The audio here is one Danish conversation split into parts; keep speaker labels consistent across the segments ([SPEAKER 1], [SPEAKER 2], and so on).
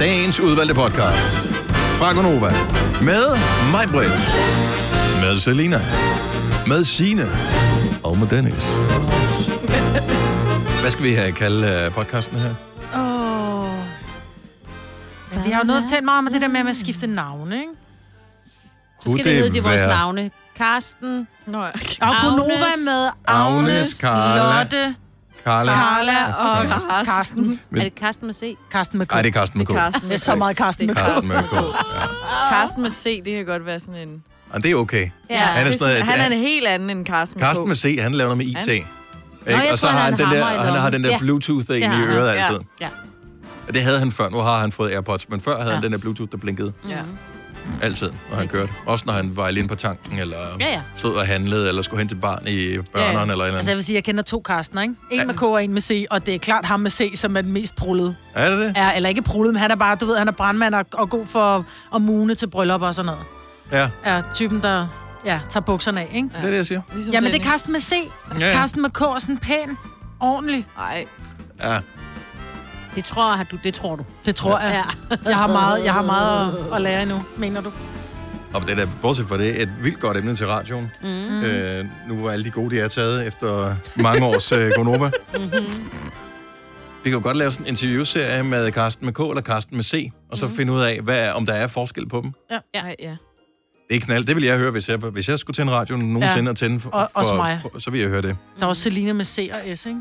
[SPEAKER 1] dagens udvalgte podcast fra Gonova. Med mig, Britt. Med Selina. Med Sine Og med Dennis.
[SPEAKER 2] Mm-hmm.
[SPEAKER 1] Hvad skal vi øh, kalde øh, podcasten her?
[SPEAKER 3] Åh. Men vi har jo noget at tale meget om det der med, at man skifter navne, ikke?
[SPEAKER 4] Så skal det hedde de vores navne. Karsten.
[SPEAKER 5] Nå, ja.
[SPEAKER 3] Og Gunova er med Agnes,
[SPEAKER 1] Agnes, Carla,
[SPEAKER 3] Lotte,
[SPEAKER 1] Carla.
[SPEAKER 3] Carla og
[SPEAKER 5] Karsten.
[SPEAKER 3] Karsten.
[SPEAKER 4] Er det Karsten med C?
[SPEAKER 3] Karsten med K.
[SPEAKER 1] Nej, det er Carsten med K.
[SPEAKER 3] Det er så meget Karsten med K.
[SPEAKER 1] Carsten med K.
[SPEAKER 5] Karsten med C, det kan godt være sådan en...
[SPEAKER 1] Og det er okay.
[SPEAKER 4] Ja.
[SPEAKER 1] Han er
[SPEAKER 5] det er
[SPEAKER 1] sådan-
[SPEAKER 5] sådan, han er en helt anden end Karsten med
[SPEAKER 1] Carsten
[SPEAKER 5] K.
[SPEAKER 1] med C, han laver noget med IT.
[SPEAKER 5] Ja.
[SPEAKER 1] Ikke?
[SPEAKER 4] jeg
[SPEAKER 1] og så
[SPEAKER 4] tror,
[SPEAKER 1] har han,
[SPEAKER 4] han
[SPEAKER 1] den
[SPEAKER 4] har
[SPEAKER 1] der,
[SPEAKER 4] hammer i
[SPEAKER 1] og han har den der
[SPEAKER 4] lommen. Ja.
[SPEAKER 1] Bluetooth-ting
[SPEAKER 4] Det
[SPEAKER 1] i
[SPEAKER 4] har han,
[SPEAKER 1] øret
[SPEAKER 5] ja.
[SPEAKER 1] altid.
[SPEAKER 4] Ja.
[SPEAKER 1] Det havde han før. Nu har han fået AirPods, men før havde
[SPEAKER 4] Ja.
[SPEAKER 1] han den der Bluetooth, der blinkede
[SPEAKER 5] Ja.
[SPEAKER 1] altid, når han kørte. Også når han var alene på tanken, eller
[SPEAKER 4] Ja, ja.
[SPEAKER 1] stod og handlede, eller skulle hen til barn i børneren, eller en
[SPEAKER 3] Altså,
[SPEAKER 1] eller
[SPEAKER 3] jeg vil sige, jeg kender to Karsten, ikke? En med K og en med C, og det er klart ham med C, som er den mest prullede.
[SPEAKER 1] andet. Er det det?
[SPEAKER 3] Ja, eller ikke prullede, men han er bare, du ved, han er brandmand og, og god for at mune til bryllup og sådan noget.
[SPEAKER 1] Ja,
[SPEAKER 3] Er typen, der ja, tager bukserne af, ikke?
[SPEAKER 1] det er det, jeg siger.
[SPEAKER 5] Ligesom
[SPEAKER 3] Jamen, det er
[SPEAKER 5] Dennis.
[SPEAKER 3] Karsten med C.
[SPEAKER 1] Ja, ja.
[SPEAKER 3] Karsten med K er sådan pæn, ordentlig.
[SPEAKER 5] Ej,
[SPEAKER 1] Ja.
[SPEAKER 4] Det tror jeg, du. Det tror du.
[SPEAKER 3] Det tror jeg.
[SPEAKER 4] Ja.
[SPEAKER 3] Jeg har meget, jeg har meget at, at lære endnu, mener du?
[SPEAKER 1] Og det er da, bortset fra det, et vildt godt emne til radioen. Mm. Øh, nu hvor alle de gode, de er taget efter mange års øh, Gonova. Mm-hmm. Vi kan jo godt lave sådan en interviewserie med Karsten med K eller Karsten med C, og så mm. finde ud af, hvad, om der er forskel på dem.
[SPEAKER 4] Ja.
[SPEAKER 5] ej, ja.
[SPEAKER 1] Det er knald. Det vil jeg høre, hvis jeg, hvis jeg skulle tænde radioen nogensinde ja. og tænde for,
[SPEAKER 3] Og- også
[SPEAKER 1] for,
[SPEAKER 3] mig.
[SPEAKER 1] for, så vil jeg høre det.
[SPEAKER 3] Der er også Selina med C og S, ikke?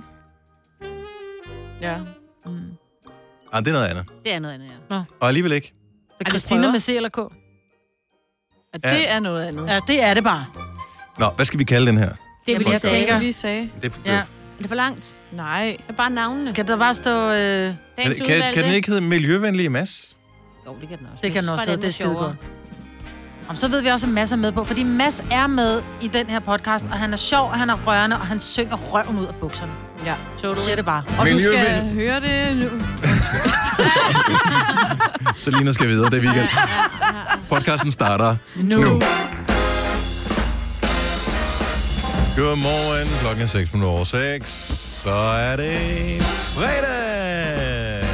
[SPEAKER 5] Ja.
[SPEAKER 1] Ah, det er noget andet.
[SPEAKER 4] Det er noget andet, ja.
[SPEAKER 1] Og alligevel ikke.
[SPEAKER 3] Og
[SPEAKER 4] vi
[SPEAKER 3] Christina
[SPEAKER 4] prøver.
[SPEAKER 3] med C eller K?
[SPEAKER 5] Og det er noget andet.
[SPEAKER 3] Ja, det er det bare.
[SPEAKER 1] Nå, hvad skal vi kalde den her?
[SPEAKER 4] Det
[SPEAKER 3] Jamen,
[SPEAKER 4] vil jeg
[SPEAKER 3] jeg
[SPEAKER 4] sige.
[SPEAKER 3] tænker-
[SPEAKER 5] Vi sagde,
[SPEAKER 1] Det, det,
[SPEAKER 3] Ja.
[SPEAKER 4] Er det for langt?
[SPEAKER 5] nej.
[SPEAKER 4] Det er bare navnene.
[SPEAKER 3] Skal der bare stå... Øh...
[SPEAKER 1] kan, kan, kan den ikke hedde Miljøvenlige Mads?
[SPEAKER 4] Jo, det kan den også.
[SPEAKER 3] Det kan den også, det er skide
[SPEAKER 4] sjovere.
[SPEAKER 3] godt. Jamen, så ved vi også, at Mads er med på, fordi Mads er med i den her podcast, og han er sjov, og han er rørende, og han synger røven ud af bukserne.
[SPEAKER 5] Ja.
[SPEAKER 3] Du
[SPEAKER 4] Totally.
[SPEAKER 3] siger det bare.
[SPEAKER 5] Og du
[SPEAKER 1] Miljøvenlig.
[SPEAKER 5] skal høre det nu.
[SPEAKER 1] Selina skal videre, det er weekend. Podcasten starter nu. nu. Godmorgen, klokken er 6 minutter over 6. Så er det fredag!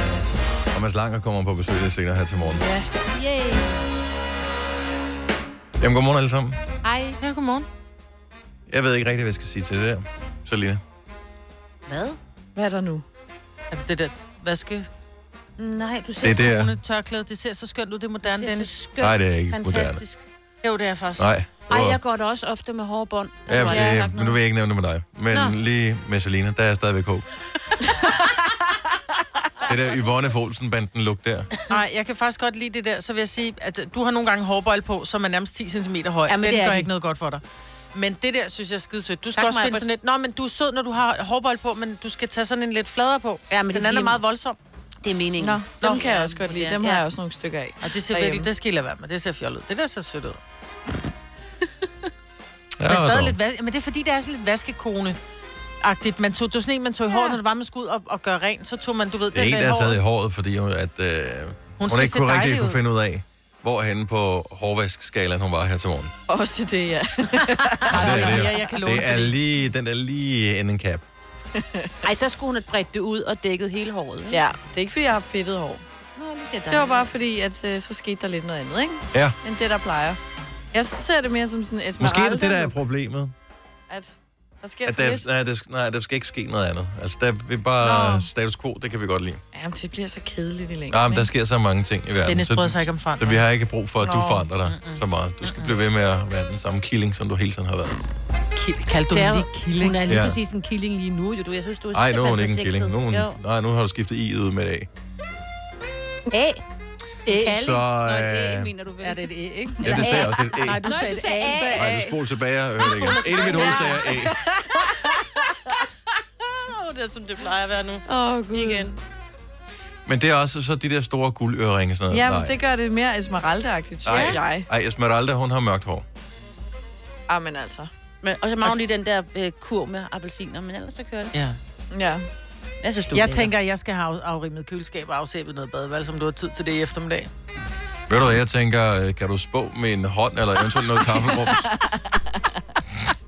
[SPEAKER 1] Og Mads Langer kommer på besøg lidt senere her til morgen.
[SPEAKER 4] Yay.
[SPEAKER 1] Jamen, godmorgen alle sammen.
[SPEAKER 4] Hej.
[SPEAKER 3] Ja, godmorgen.
[SPEAKER 1] Jeg ved ikke rigtig, hvad jeg skal sige til det der. Selina.
[SPEAKER 4] Hvad?
[SPEAKER 5] Hvad er der nu?
[SPEAKER 3] Er det det der vaske?
[SPEAKER 4] Nej, du ser
[SPEAKER 1] Det er det,
[SPEAKER 3] Ja.
[SPEAKER 1] jeg-
[SPEAKER 3] Tørklæde, det ser så skønt ud, det er moderne,
[SPEAKER 4] det er
[SPEAKER 3] Dennis.
[SPEAKER 4] så skønt.
[SPEAKER 1] Nej, det er ikke
[SPEAKER 4] Fantastisk.
[SPEAKER 3] Jo, det er faktisk.
[SPEAKER 1] Nej.
[SPEAKER 4] Ej, jeg går da også ofte med hårde bånd.
[SPEAKER 1] Ja,
[SPEAKER 4] Hvor jeg har
[SPEAKER 1] det,
[SPEAKER 4] sagt
[SPEAKER 1] men nu
[SPEAKER 4] noget.
[SPEAKER 1] vil jeg ikke nævne det med dig. Men Nå.
[SPEAKER 4] Nå.
[SPEAKER 1] lige med Selina, der er jeg stadigvæk håb. det der Yvonne Folsen-banden look der.
[SPEAKER 3] Nej, jeg kan faktisk godt lide det der. Så vil jeg sige, at du har nogle gange hårbøjle på, som er nærmest 10 cm høj.
[SPEAKER 4] Jamen,
[SPEAKER 3] Jamen,
[SPEAKER 4] det
[SPEAKER 3] Den
[SPEAKER 4] er
[SPEAKER 3] gør
[SPEAKER 4] de.
[SPEAKER 3] ikke noget godt for dig. Men det der, synes jeg er skide sødt. Du skal
[SPEAKER 4] Tak,
[SPEAKER 3] tak, også
[SPEAKER 4] Maja,
[SPEAKER 3] finde
[SPEAKER 4] for-
[SPEAKER 3] sådan lidt... Nå, men du er sød, når du har hårbøjle på, men du skal tage sådan en lidt fladere på.
[SPEAKER 4] Ja, men det
[SPEAKER 3] Den
[SPEAKER 4] er
[SPEAKER 3] anden er
[SPEAKER 4] fordi-
[SPEAKER 3] meget voldsom.
[SPEAKER 4] Det er meningen.
[SPEAKER 5] Nå, dem
[SPEAKER 3] Nå.
[SPEAKER 5] kan jeg også godt lide. Dem
[SPEAKER 4] Ja.
[SPEAKER 5] har jeg også nogle stykker af.
[SPEAKER 3] Og det ser
[SPEAKER 5] Derhjemme.
[SPEAKER 3] virkelig, det skal I lade være med. Det ser fjollet ud. Det der ser sødt ud. Men
[SPEAKER 1] Ja,
[SPEAKER 3] stadig
[SPEAKER 1] dog.
[SPEAKER 3] lidt vas- men det er fordi, det er sådan lidt vaskekone. Agtigt. Man tog, det var sådan en, man tog i håret, når det var, man skulle ud og, og gøre rent. Så tog man, du ved,
[SPEAKER 1] Det er
[SPEAKER 3] den
[SPEAKER 1] en,
[SPEAKER 3] der i
[SPEAKER 1] der er taget i
[SPEAKER 3] håret.
[SPEAKER 1] håret, fordi hun, at, øh, hun, hun
[SPEAKER 3] skal
[SPEAKER 1] ikke
[SPEAKER 3] se
[SPEAKER 1] kunne rigtig
[SPEAKER 3] dejlig
[SPEAKER 1] kunne
[SPEAKER 3] ud.
[SPEAKER 1] finde ud af, hvor henne på hårvaskskalaen hun var her til morgen.
[SPEAKER 5] Også det, ja.
[SPEAKER 1] Ja, det,
[SPEAKER 3] ja, jeg kan låne
[SPEAKER 1] det er lige, den der lige en cap.
[SPEAKER 4] Ej, så skulle hun have bredt det ud og dækket hele håret. Ikke?
[SPEAKER 5] ja. Det er ikke, fordi jeg har fedtet hår.
[SPEAKER 4] Nå, det, ser
[SPEAKER 5] Det var bare fordi, at øh, så skete der lidt noget andet, ikke?
[SPEAKER 1] Ja,
[SPEAKER 5] End det, der plejer. Jeg ser det mere som sådan en
[SPEAKER 1] måske
[SPEAKER 5] esmeralda.
[SPEAKER 1] er det det, der er problemet.
[SPEAKER 5] At der sker
[SPEAKER 1] At
[SPEAKER 5] for lidt.
[SPEAKER 1] der, nej, der, sk- nej, der skal ikke ske noget andet. Altså, der vi bare
[SPEAKER 5] Nå.
[SPEAKER 1] status quo, det kan vi godt lide.
[SPEAKER 5] Jamen, det bliver så kedeligt i længden.
[SPEAKER 1] Ja, men der sker så mange ting i verden.
[SPEAKER 3] Dennis
[SPEAKER 1] så,
[SPEAKER 3] bryder sig ikke om
[SPEAKER 1] så
[SPEAKER 3] forandring.
[SPEAKER 1] vi har ikke brug for, at du
[SPEAKER 5] Nå.
[SPEAKER 1] forandrer dig så meget. Du skal blive ved med at være den samme killing, som du hele tiden har været.
[SPEAKER 3] Kild, kaldte du
[SPEAKER 4] det er,
[SPEAKER 3] hende
[SPEAKER 4] jo-
[SPEAKER 3] lige killing?
[SPEAKER 4] hun er lige
[SPEAKER 1] Ja.
[SPEAKER 4] ja. præcis en killing lige nu. Jo, du, jeg synes, du er
[SPEAKER 1] Nej, nu er hun
[SPEAKER 3] Altså
[SPEAKER 4] simpelthen
[SPEAKER 1] ikke en
[SPEAKER 4] så sexet.
[SPEAKER 1] killing. Nu, er hun,
[SPEAKER 4] Jo.
[SPEAKER 1] nej, nu har du skiftet i ud med A.
[SPEAKER 4] A. A.
[SPEAKER 1] Så,
[SPEAKER 4] Nå,
[SPEAKER 1] øh,
[SPEAKER 4] det mener du vel?
[SPEAKER 3] Er det et æ, ikke?
[SPEAKER 1] Ja, det sagde jeg også et A.
[SPEAKER 3] Nej, du
[SPEAKER 4] Nå,
[SPEAKER 3] sagde
[SPEAKER 4] du
[SPEAKER 3] et
[SPEAKER 4] sagde
[SPEAKER 3] æ.
[SPEAKER 4] A.
[SPEAKER 1] Nej, du spol tilbage og hør det igen. Ind i mit hoved sagde jeg A.
[SPEAKER 3] Åh, Det er, som det plejer at være nu.
[SPEAKER 5] Åh, oh, gud. Igen.
[SPEAKER 1] Men det er også så de der store guldøreringe sådan noget.
[SPEAKER 5] Jamen, det gør det mere esmeralda-agtigt, synes jeg.
[SPEAKER 1] Ej, Esmeralda, hun har mørkt hår.
[SPEAKER 5] Jamen altså.
[SPEAKER 4] Men, og så mangler hun lige den der øh, kurv med appelsiner, men ellers så kører det.
[SPEAKER 3] Ja.
[SPEAKER 5] Ja.
[SPEAKER 4] Jeg synes, du er
[SPEAKER 3] Jeg
[SPEAKER 4] lækker.
[SPEAKER 3] tænker, at jeg skal have afrimet køleskab og afsæbet noget badeværelse, som du har tid til det i eftermiddag.
[SPEAKER 1] Ved du hvad, jeg tænker, øh, kan du spå med en hånd eller eventuelt noget kaffelrums?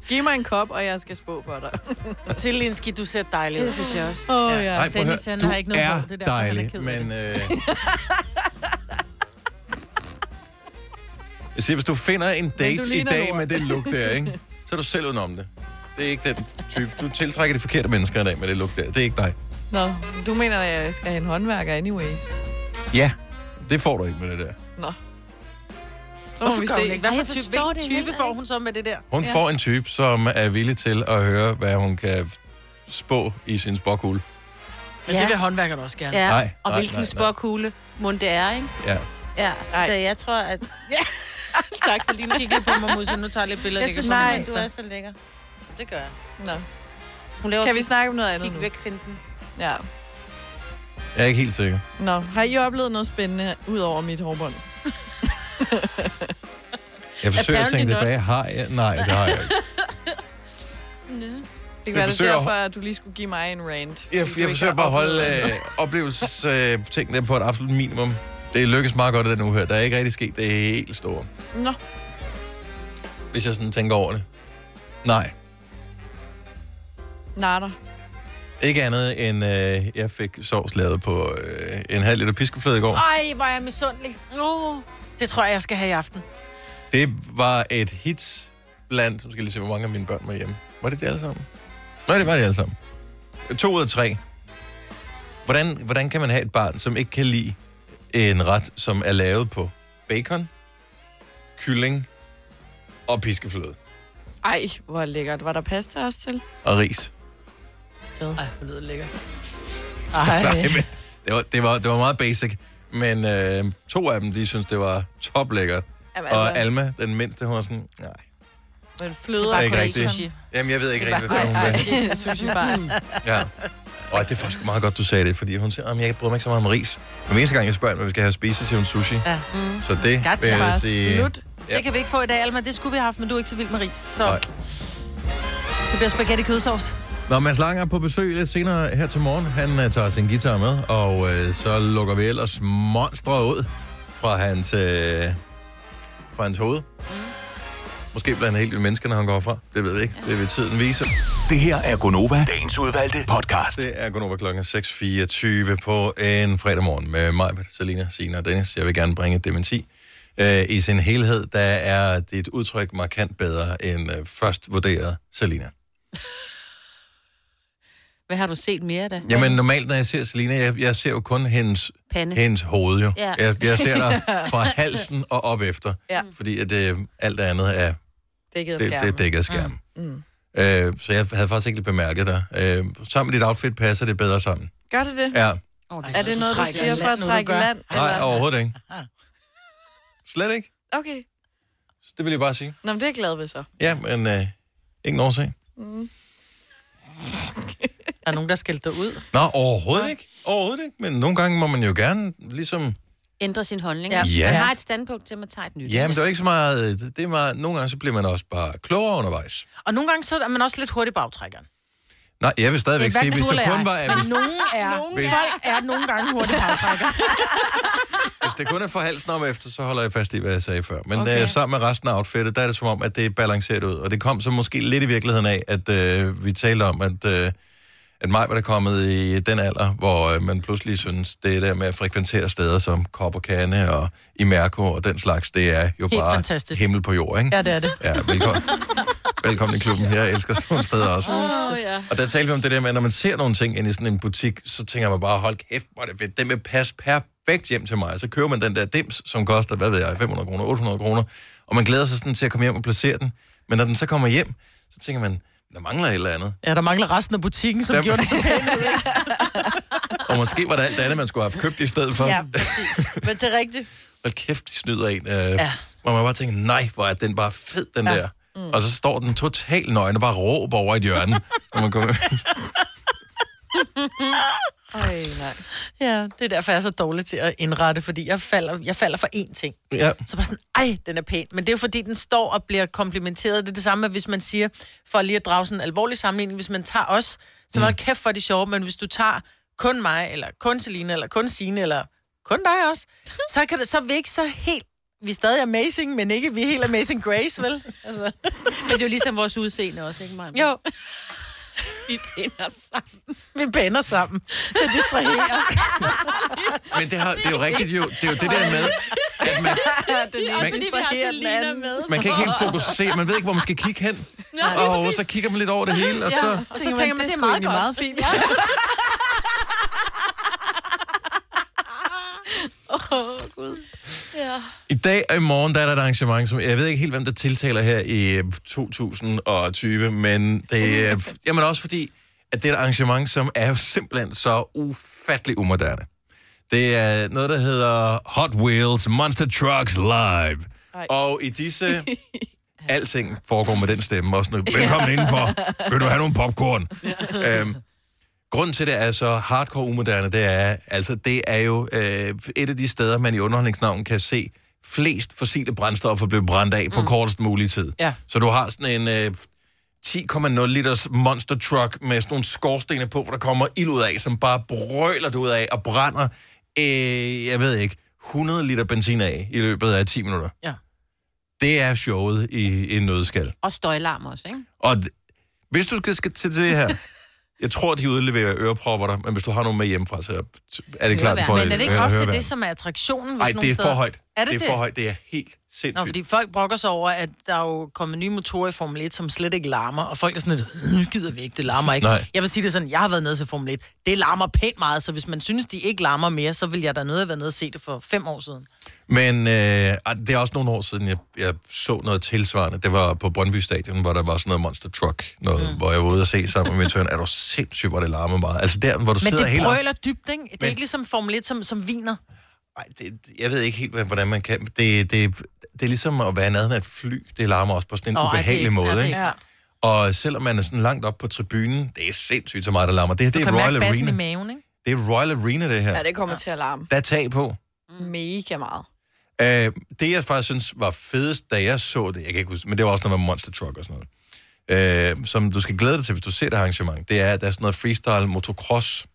[SPEAKER 5] Giv mig en kop, og jeg skal spå for dig.
[SPEAKER 3] Zelensky, du ser dejlig ud.
[SPEAKER 4] Det synes jeg også.
[SPEAKER 5] Åh, oh, ja.
[SPEAKER 1] Nej, prøv at
[SPEAKER 3] Dennis,
[SPEAKER 1] høre,
[SPEAKER 3] han
[SPEAKER 1] du
[SPEAKER 3] har ikke noget
[SPEAKER 1] er
[SPEAKER 3] hår, det er derfor, han er
[SPEAKER 1] dejlig,
[SPEAKER 3] ked af
[SPEAKER 1] men øh, Jeg siger, hvis du finder en
[SPEAKER 5] du
[SPEAKER 1] date i
[SPEAKER 5] ligner
[SPEAKER 1] dag
[SPEAKER 5] lort.
[SPEAKER 1] med den lugt der, ikke? så er du selv udenom det. Det er ikke den type. Du tiltrækker de forkerte mennesker i dag med det lugt der. Det er ikke dig.
[SPEAKER 5] Nå, du mener, at jeg skal have en håndværker anyways.
[SPEAKER 1] Ja. Det får du ikke med det der.
[SPEAKER 5] Nå. Så må
[SPEAKER 3] Hvorfor
[SPEAKER 5] vi
[SPEAKER 3] gør
[SPEAKER 5] se.
[SPEAKER 3] hun ikke? Hvad
[SPEAKER 4] Ej,
[SPEAKER 3] for
[SPEAKER 4] jeg
[SPEAKER 3] type,
[SPEAKER 4] forstår
[SPEAKER 3] hvilken
[SPEAKER 4] det
[SPEAKER 3] type
[SPEAKER 4] heller
[SPEAKER 3] får
[SPEAKER 4] ikke.
[SPEAKER 3] hun så med det der?
[SPEAKER 1] Hun ja. får en type, som er villig til at høre, hvad hun kan spå i sin spåkugle.
[SPEAKER 3] Men
[SPEAKER 4] Ja.
[SPEAKER 3] det vil håndværkerne også gerne.
[SPEAKER 4] Ja.
[SPEAKER 1] Nej,
[SPEAKER 4] og
[SPEAKER 1] nej,
[SPEAKER 4] hvilken
[SPEAKER 1] nej, nej.
[SPEAKER 4] spåkugle mund det er, ikke?
[SPEAKER 1] Ja.
[SPEAKER 4] Ja,
[SPEAKER 5] Nej.
[SPEAKER 4] så jeg tror, at... Ja. tak, Selina.
[SPEAKER 3] Kig lige på mig, Musse. Nu tager jeg lidt billeder.
[SPEAKER 4] Jeg
[SPEAKER 3] det
[SPEAKER 4] synes,
[SPEAKER 3] kan komme
[SPEAKER 4] nej,
[SPEAKER 3] på
[SPEAKER 4] du
[SPEAKER 3] Insta.
[SPEAKER 4] er så lækker. Det gør jeg.
[SPEAKER 5] Nå.
[SPEAKER 4] Hun laver
[SPEAKER 5] Kan vi snakke om noget andet nu?
[SPEAKER 4] kig væk, finde den.
[SPEAKER 5] Ja.
[SPEAKER 1] Jeg er ikke helt sikker.
[SPEAKER 5] Nå, har I oplevet noget spændende ud over mit hårbånd?
[SPEAKER 1] Jeg forsøger at
[SPEAKER 4] Apparently
[SPEAKER 1] tænke tilbage. Har jeg? Nej, det har jeg ikke.
[SPEAKER 5] Det kan være, det
[SPEAKER 1] forsøger-
[SPEAKER 5] er derfor, at du lige skulle give mig en rant. fordi
[SPEAKER 1] Jeg,
[SPEAKER 5] du
[SPEAKER 1] jeg
[SPEAKER 5] ikke
[SPEAKER 1] forsøger
[SPEAKER 5] har
[SPEAKER 1] bare at holde
[SPEAKER 5] oplevet
[SPEAKER 1] øh, oplevelsestingene på et absolut minimum. Det lykkes meget godt i den uge her. Der er ikke rigtig sket det helt store,
[SPEAKER 5] noget. Nå,
[SPEAKER 1] hvis jeg sådan tænker over det. Nej,
[SPEAKER 5] natter.
[SPEAKER 1] ikke andet end, øh, jeg fik sovs lavet på øh, en halv liter piskefløde i går.
[SPEAKER 3] Ej, hvor er jeg misundelig. Uh, det tror jeg, jeg skal have i aften.
[SPEAKER 1] Det var et hit blandt, nu skal jeg lige se, hvor mange af mine børn var hjemme. Var det det alle sammen? Nej, det var det alle sammen. To ud af tre. Hvordan, hvordan kan man have et barn, som ikke kan lide en ret, som er lavet på bacon, kylling og piskefløde
[SPEAKER 5] Ej, hvor lækkert. Var der pasta også til?
[SPEAKER 1] og ris?
[SPEAKER 5] Sted.
[SPEAKER 3] Ej, hvor lyder det lækkert.
[SPEAKER 1] Nej,
[SPEAKER 3] Ej.
[SPEAKER 1] men det var, det, var, det var meget basic. Men øh, to af dem, de synes, det var toplækkert.
[SPEAKER 5] Jamen,
[SPEAKER 1] Og Alma, den mindste, hun var sådan, nej.
[SPEAKER 5] Men
[SPEAKER 3] Det
[SPEAKER 5] fløde
[SPEAKER 3] er
[SPEAKER 5] og
[SPEAKER 1] ikke
[SPEAKER 3] bare
[SPEAKER 1] rigtigt.
[SPEAKER 3] sushi.
[SPEAKER 1] Jamen, jeg ved ikke
[SPEAKER 3] Det var
[SPEAKER 1] rigtig, hvad fanden hun sagde.
[SPEAKER 5] sushi bar.
[SPEAKER 1] Ja. Og det er faktisk meget godt, du sagde det, fordi hun siger, at jeg bryder mig ikke så meget om ris. Men hver eneste gang, jeg spørger, hvad vi skal have at spise, siger hun sushi.
[SPEAKER 3] Ja.
[SPEAKER 1] Mm. Så det
[SPEAKER 3] Gotcha.
[SPEAKER 1] vil jeg
[SPEAKER 5] Bare
[SPEAKER 1] sige...
[SPEAKER 5] slut.
[SPEAKER 1] Ja.
[SPEAKER 3] Det kan vi ikke få i dag, Alma. Det skulle vi have haft, men du er ikke så vild med ris. Så
[SPEAKER 1] Nej.
[SPEAKER 3] det bliver spaghetti kødsovs.
[SPEAKER 1] Når Mads Lange er på besøg lidt senere her til morgen, han øh, tager sin guitar med, og øh, så lukker vi ellers monstre ud fra hans, øh, fra hans hoved. Måske bliver han helt vild menneske, når han går fra. Det ved vi ikke. Det vil tiden vise.
[SPEAKER 6] Det her er Gonova, dagens udvalgte podcast.
[SPEAKER 1] Det er kun over klokken 6.24 på en fredag morgen med mig, Selina, Sina og Dennis. Jeg vil gerne bringe dementi. Øh, I sin helhed, der er dit udtryk markant bedre end øh, først vurderet Selina.
[SPEAKER 4] Hvad har du set mere da?
[SPEAKER 1] Jamen normalt, når jeg ser Selina, jeg, jeg ser jo kun hendes,
[SPEAKER 4] Pande.
[SPEAKER 1] hendes hoved jo.
[SPEAKER 4] Ja.
[SPEAKER 1] Jeg, jeg ser dig fra halsen og op efter,
[SPEAKER 5] Ja.
[SPEAKER 1] fordi at, øh, alt det andet er
[SPEAKER 5] Dækket af
[SPEAKER 1] det,
[SPEAKER 5] skærmen.
[SPEAKER 1] det er dækket af skærmen. Mm. Mm. Øh, så jeg havde faktisk ikke lige bemærket dig. Øh, sammen med dit outfit passer det bedre sammen.
[SPEAKER 5] Gør det det?
[SPEAKER 1] Ja.
[SPEAKER 4] Oh,
[SPEAKER 5] Er det
[SPEAKER 3] Så
[SPEAKER 5] noget, du
[SPEAKER 3] trækker
[SPEAKER 5] siger for
[SPEAKER 3] i land,
[SPEAKER 5] at
[SPEAKER 3] nu, du
[SPEAKER 5] trække i
[SPEAKER 3] gør.
[SPEAKER 5] land?
[SPEAKER 1] Nej,
[SPEAKER 5] eller?
[SPEAKER 1] overhovedet ikke. Slet ikke.
[SPEAKER 5] Okay.
[SPEAKER 1] Det vil jeg bare sige.
[SPEAKER 5] Nå, men det er jeg glad ved så. Mm.
[SPEAKER 1] Ja, men øh, ingen årsag.
[SPEAKER 3] Der er nogen, der skældte dig ud.
[SPEAKER 1] Nå, overhovedet ikke. Overhovedet ikke. Men nogle gange må man jo gerne ligesom...
[SPEAKER 4] Ændre sin holdning.
[SPEAKER 5] Ja.
[SPEAKER 1] Ja.
[SPEAKER 4] Man har et standpunkt til, at man tager et nyt.
[SPEAKER 1] Ja, men det er jo ikke så meget... øh, Det er meget... Nogle gange så bliver man også bare klogere undervejs.
[SPEAKER 3] Og nogle gange så er man også lidt hurtig i bagtrækkeren.
[SPEAKER 1] Nej, jeg vil stadigvæk
[SPEAKER 3] Hverken
[SPEAKER 1] sige, hvis
[SPEAKER 3] du
[SPEAKER 1] det
[SPEAKER 3] eller
[SPEAKER 1] kun
[SPEAKER 3] jeg.
[SPEAKER 1] var...
[SPEAKER 3] Men
[SPEAKER 1] Hvis,
[SPEAKER 3] nogen er.
[SPEAKER 1] Hvis-
[SPEAKER 3] Folk er nogle gange hurtig i bagtrækkeren.
[SPEAKER 1] hvis det kun er for halsen om efter, så holder jeg fast i, hvad jeg sagde før. Men okay. øh, sammen med resten af outfittet, der er det som om, at det er balanceret ud. Og det kom så måske lidt i virkeligheden af, at øh, vi talte om, at... Øh, at mig var der kommet i den alder, hvor øh, man pludselig synes, det der med at frekventere steder som Copacabana og Imerco og den slags, det er jo
[SPEAKER 3] Helt
[SPEAKER 1] bare
[SPEAKER 3] fantastisk.
[SPEAKER 1] himmel på jord, ikke?
[SPEAKER 3] Ja, det er det.
[SPEAKER 1] Ja, velkommen. velkommen i klubben. Jeg elsker sådan nogle steder også.
[SPEAKER 4] Åh, ja.
[SPEAKER 1] Og der talte vi om det der med, at når man ser nogle ting inde i sådan en butik, så tænker man bare, hold kæft, hvor er det fedt. Den vil passe perfekt hjem til mig. Så køber man den der dims, som koster, hvad ved jeg, 500 kroner, 800 kroner. Og man glæder sig sådan til at komme hjem og placere den. Men når den så kommer hjem, så tænker man, der mangler et eller andet.
[SPEAKER 3] Ja, der mangler resten af butikken, som
[SPEAKER 1] Der-
[SPEAKER 3] gjorde det så pænt.
[SPEAKER 1] Og måske var det alt det andet, man skulle have købt i stedet for.
[SPEAKER 3] Ja, præcis. Men det er rigtigt.
[SPEAKER 1] hold kæft, de snyder en. Øh, ja. Hvor man bare tænker, nej, hvor er den bare fed, den ja. der. Mm. Og så står den totalt nøgen og bare råber over et hjørne. når man kommer...
[SPEAKER 5] Ej, nej.
[SPEAKER 3] Ja, det er derfor, jeg er så dårlig til at indrette, fordi jeg falder, jeg falder for én ting.
[SPEAKER 1] ja.
[SPEAKER 3] Så bare sådan, ej, den er pæn. Men det er jo fordi, den står og bliver komplimenteret. Det er det samme, hvis man siger, for lige at drage sådan en alvorlig sammenligning, hvis man tager os, så var mm. kæft for det sjove, men hvis du tager kun mig, eller kun Selina, eller kun Signe, eller kun dig også, så, kan det, så er vi ikke så helt vi er stadig amazing, men ikke vi er helt amazing grace, vel? Altså.
[SPEAKER 4] Men det er jo ligesom vores udseende også, ikke, Maja?
[SPEAKER 3] Jo,
[SPEAKER 4] Vi binder sammen.
[SPEAKER 3] vi bander sammen. Det distraherer.
[SPEAKER 1] Men det, har, det er jo rigtigt jo. Det er jo det der med, at man,
[SPEAKER 5] Ja, den ene
[SPEAKER 4] Også fordi vi har
[SPEAKER 5] distraherer den
[SPEAKER 4] Selina
[SPEAKER 5] anden.
[SPEAKER 4] med.
[SPEAKER 1] man kan ikke helt fokusere. Man ved ikke, hvor man skal kigge hen.
[SPEAKER 4] Nej, lige
[SPEAKER 1] og
[SPEAKER 4] præcis.
[SPEAKER 1] så kigger man lidt over det hele, og så...
[SPEAKER 5] Og så tænker man, det er meget, godt. meget fint. Ja.
[SPEAKER 4] Åh, Gud. Ja.
[SPEAKER 1] I dag og i morgen, der er der et arrangement, som jeg ved ikke helt, hvem der tiltaler her i øh, 2020, men det er... Jamen altså- også fordi, at det er et arrangement, som er jo simpelthen så ufattelig umoderne. Det er noget, der hedder Hot Wheels Monster Trucks Live. Ej. Og i disse... Alting foregår med den stemme. Også nu, velkommen indenfor. Vil du have nogle popcorn? Ja. Øhm, Grunden til det er så hardcore umoderne, det er, altså det er jo øh, et af de steder, man i underholdningsnavn kan se flest fossile brændstoffer blive brændt af på kortest mulig tid.
[SPEAKER 3] Mm. Ja.
[SPEAKER 1] Så du har sådan en øh, 10,0 liters monster truck med sådan nogle skorstene på, hvor der kommer ild ud af, som bare brøler det ud af og brænder, øh, jeg ved ikke, 100 liter benzin af i løbet af 10 minutter.
[SPEAKER 3] Ja.
[SPEAKER 1] Det er showet i, i en nødskal.
[SPEAKER 4] Og støjlarm også, ikke?
[SPEAKER 1] Og d- hvis du skal- skal til det her, jeg tror, de udleverer ørepropper dig, men hvis du har nogen med hjemmefra, så er det klart,
[SPEAKER 4] Høreværn.
[SPEAKER 1] for
[SPEAKER 3] Men er det ikke
[SPEAKER 1] øh,
[SPEAKER 3] ofte
[SPEAKER 1] høreværn.
[SPEAKER 3] det, som er attraktionen? Hvis
[SPEAKER 1] Ej,
[SPEAKER 3] nogle
[SPEAKER 1] det er for
[SPEAKER 3] steder-
[SPEAKER 1] højt.
[SPEAKER 3] Er det
[SPEAKER 1] det er for højt. Det er helt sindssygt.
[SPEAKER 3] Nå, fordi folk brokker sig over, at der er jo kommet nye motorer i Formel 1, som slet ikke larmer, og folk er sådan lidt, "Øh, gider vi ikke, det larmer ikke.
[SPEAKER 1] Nej.
[SPEAKER 3] Jeg vil sige det sådan, jeg har været nede til Formel 1, det larmer pænt meget, så hvis man synes, de ikke larmer mere, så vil jeg da nødt at være nede og se det for fem år siden.
[SPEAKER 1] Men øh, ej, det er også nogle år siden, jeg, jeg så noget tilsvarende. Det var på Brøndby Stadion, hvor der var sådan noget monster truck, noget, mm. hvor jeg var ude og se sammen med min tøn. Er du sindssygt, hvor det larmer meget? Altså der, hvor du
[SPEAKER 3] Men
[SPEAKER 1] sidder
[SPEAKER 3] det
[SPEAKER 1] hele...
[SPEAKER 3] brøler dybt, ikke? Det er
[SPEAKER 1] Men-
[SPEAKER 3] ikke ligesom Formel 1, som, som viner.
[SPEAKER 1] Ej, det, jeg ved ikke helt, hvad- hvordan man kan... Det, det, det er ligesom at være i nærheden af et fly. Det larmer også på sådan en
[SPEAKER 3] Nå,
[SPEAKER 1] oh,
[SPEAKER 3] ej, det er
[SPEAKER 1] ubehagelig
[SPEAKER 3] ikke- ja, det
[SPEAKER 1] måde,
[SPEAKER 3] er
[SPEAKER 1] ikke?
[SPEAKER 5] Ja.
[SPEAKER 1] Og selvom man er sådan langt op på tribunen, det er sindssygt så meget, der larmer. Det her, det er
[SPEAKER 3] Kan
[SPEAKER 1] Royal
[SPEAKER 3] mærke bassen
[SPEAKER 1] Arena.
[SPEAKER 3] i maven, ikke?
[SPEAKER 1] Det er Royal Arena, det her.
[SPEAKER 5] ja, det kommer til at larme
[SPEAKER 1] Der er tag på.
[SPEAKER 3] Mm.
[SPEAKER 5] mega meget.
[SPEAKER 1] Øh, det, jeg faktisk synes var fedest, da jeg så det, jeg kan ikke huske, men det var også noget med Monster Truck og sådan noget, øh, som du skal glæde dig til, hvis du ser det arrangement, det er, at der er sådan noget freestyle motocross.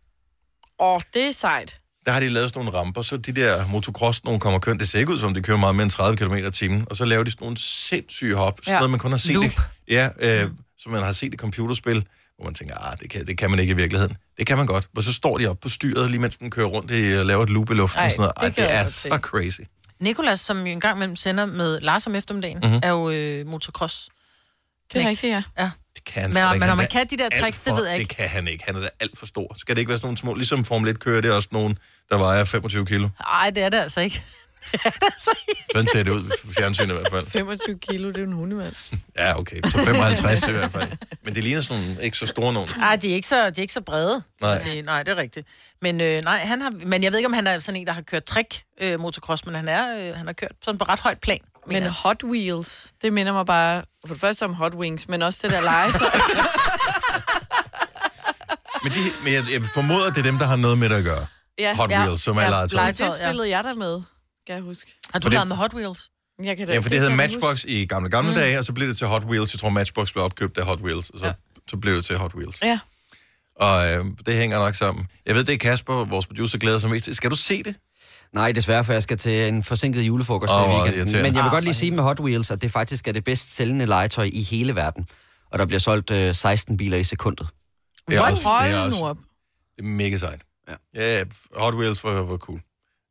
[SPEAKER 5] Åh, det er sejt.
[SPEAKER 1] Der har de lavet sådan nogle ramper, så de der motocross, nogen kommer kørt, det ser ikke ud som, de kører meget mere end 30 km i timen, og så laver de sådan nogle sindssyge hop, sådan
[SPEAKER 5] Ja.
[SPEAKER 1] noget, man kun har set
[SPEAKER 3] Loop.
[SPEAKER 1] det. Ja, øh, som man har set i computerspil, hvor man tænker, ah, det kan, det kan man ikke i virkeligheden. Det kan man godt. Og så står de op på styret, lige mens den kører rundt i- og laver et loop i luften.
[SPEAKER 5] Ej,
[SPEAKER 1] og sådan noget.
[SPEAKER 5] det kan
[SPEAKER 1] det
[SPEAKER 5] jeg
[SPEAKER 1] er
[SPEAKER 5] godt
[SPEAKER 1] så
[SPEAKER 5] se.
[SPEAKER 1] crazy.
[SPEAKER 3] Nikolas, som jo engang mellem sender med Lars om eftermiddagen,
[SPEAKER 1] Mhm.
[SPEAKER 3] mm-hmm. er jo øh, motocross.
[SPEAKER 5] Det er rigtigt, ja.
[SPEAKER 3] Ja.
[SPEAKER 1] Det kan han
[SPEAKER 3] Men,
[SPEAKER 1] sgu da ikke.
[SPEAKER 3] men
[SPEAKER 1] Han
[SPEAKER 3] om man
[SPEAKER 1] er
[SPEAKER 3] kan de der
[SPEAKER 1] alt
[SPEAKER 3] tricks, det
[SPEAKER 1] for-
[SPEAKER 3] ved jeg ikke.
[SPEAKER 1] Det kan han ikke. Han er da alt for stor. Skal det ikke være sådan nogle små, ligesom Formel 1 kører, det er også nogen, der vejer 25 kilo.
[SPEAKER 3] Nej, det er det altså ikke.
[SPEAKER 1] Sådan ser det ud på fjernsynet i hvert fald.
[SPEAKER 5] 25 kilo, det er jo en hundemand.
[SPEAKER 1] Ja, okay. Så 55 i hvert fald. Men det ligner sådan nogle ikke så store nogen.
[SPEAKER 3] Nej, Ah, de er ikke så, de er ikke så brede.
[SPEAKER 1] Nej.
[SPEAKER 3] Nej. Sige. nej, det er rigtigt. Men, øh, nej, han har, men jeg ved ikke, om han er sådan en, der har kørt trick øh, motocross, men han, er, øh, han har kørt sådan på ret højt plan. mener
[SPEAKER 5] Men
[SPEAKER 3] jeg.
[SPEAKER 5] Hot Wheels, det minder mig bare for det første om Hot Wings, men også det der legetøj.
[SPEAKER 1] Men, de, men jeg, jeg formoder, det er dem, der har noget med det at gøre.
[SPEAKER 5] ja,
[SPEAKER 1] Hot
[SPEAKER 3] ja.
[SPEAKER 1] Wheels, som er
[SPEAKER 3] Ja,
[SPEAKER 1] legetøj.
[SPEAKER 3] legetøj,
[SPEAKER 5] det
[SPEAKER 3] ja.
[SPEAKER 5] spillede jeg der med, skal jeg huske.
[SPEAKER 3] har du
[SPEAKER 1] for det-
[SPEAKER 3] lavet med Hot Wheels?
[SPEAKER 5] Jeg kan da,
[SPEAKER 1] Ja, for det,
[SPEAKER 5] kan
[SPEAKER 1] hed
[SPEAKER 5] jeg da huske.
[SPEAKER 1] Matchbox i gamle, gamle mm. dage, og så blev det til Hot Wheels. Jeg tror, Matchbox blev opkøbt af Hot Wheels, og så, ja. så blev det til Hot Wheels.
[SPEAKER 5] Ja.
[SPEAKER 1] Og øh, det hænger nok sammen. Jeg ved, det er Kasper, vores producer, glæder sig mest til. Skal du se det?
[SPEAKER 7] Nej, desværre, for jeg skal til en forsinket julefrokost
[SPEAKER 1] Åh,
[SPEAKER 7] oh, i
[SPEAKER 1] hvor
[SPEAKER 7] weekenden.
[SPEAKER 1] irriterende.
[SPEAKER 7] Men jeg vil
[SPEAKER 3] Ah,
[SPEAKER 7] godt lige
[SPEAKER 3] for
[SPEAKER 7] sige med Hot Wheels, at det faktisk er det bedst sælgende legetøj i hele verden. Og der bliver solgt øh, 16 biler i sekundet.
[SPEAKER 1] Det er
[SPEAKER 5] What?
[SPEAKER 1] også- det er
[SPEAKER 5] Hold
[SPEAKER 1] også-
[SPEAKER 5] nu op.
[SPEAKER 1] Det er mega sejt.
[SPEAKER 7] Ja.
[SPEAKER 1] ja Hot Wheels var, var cool.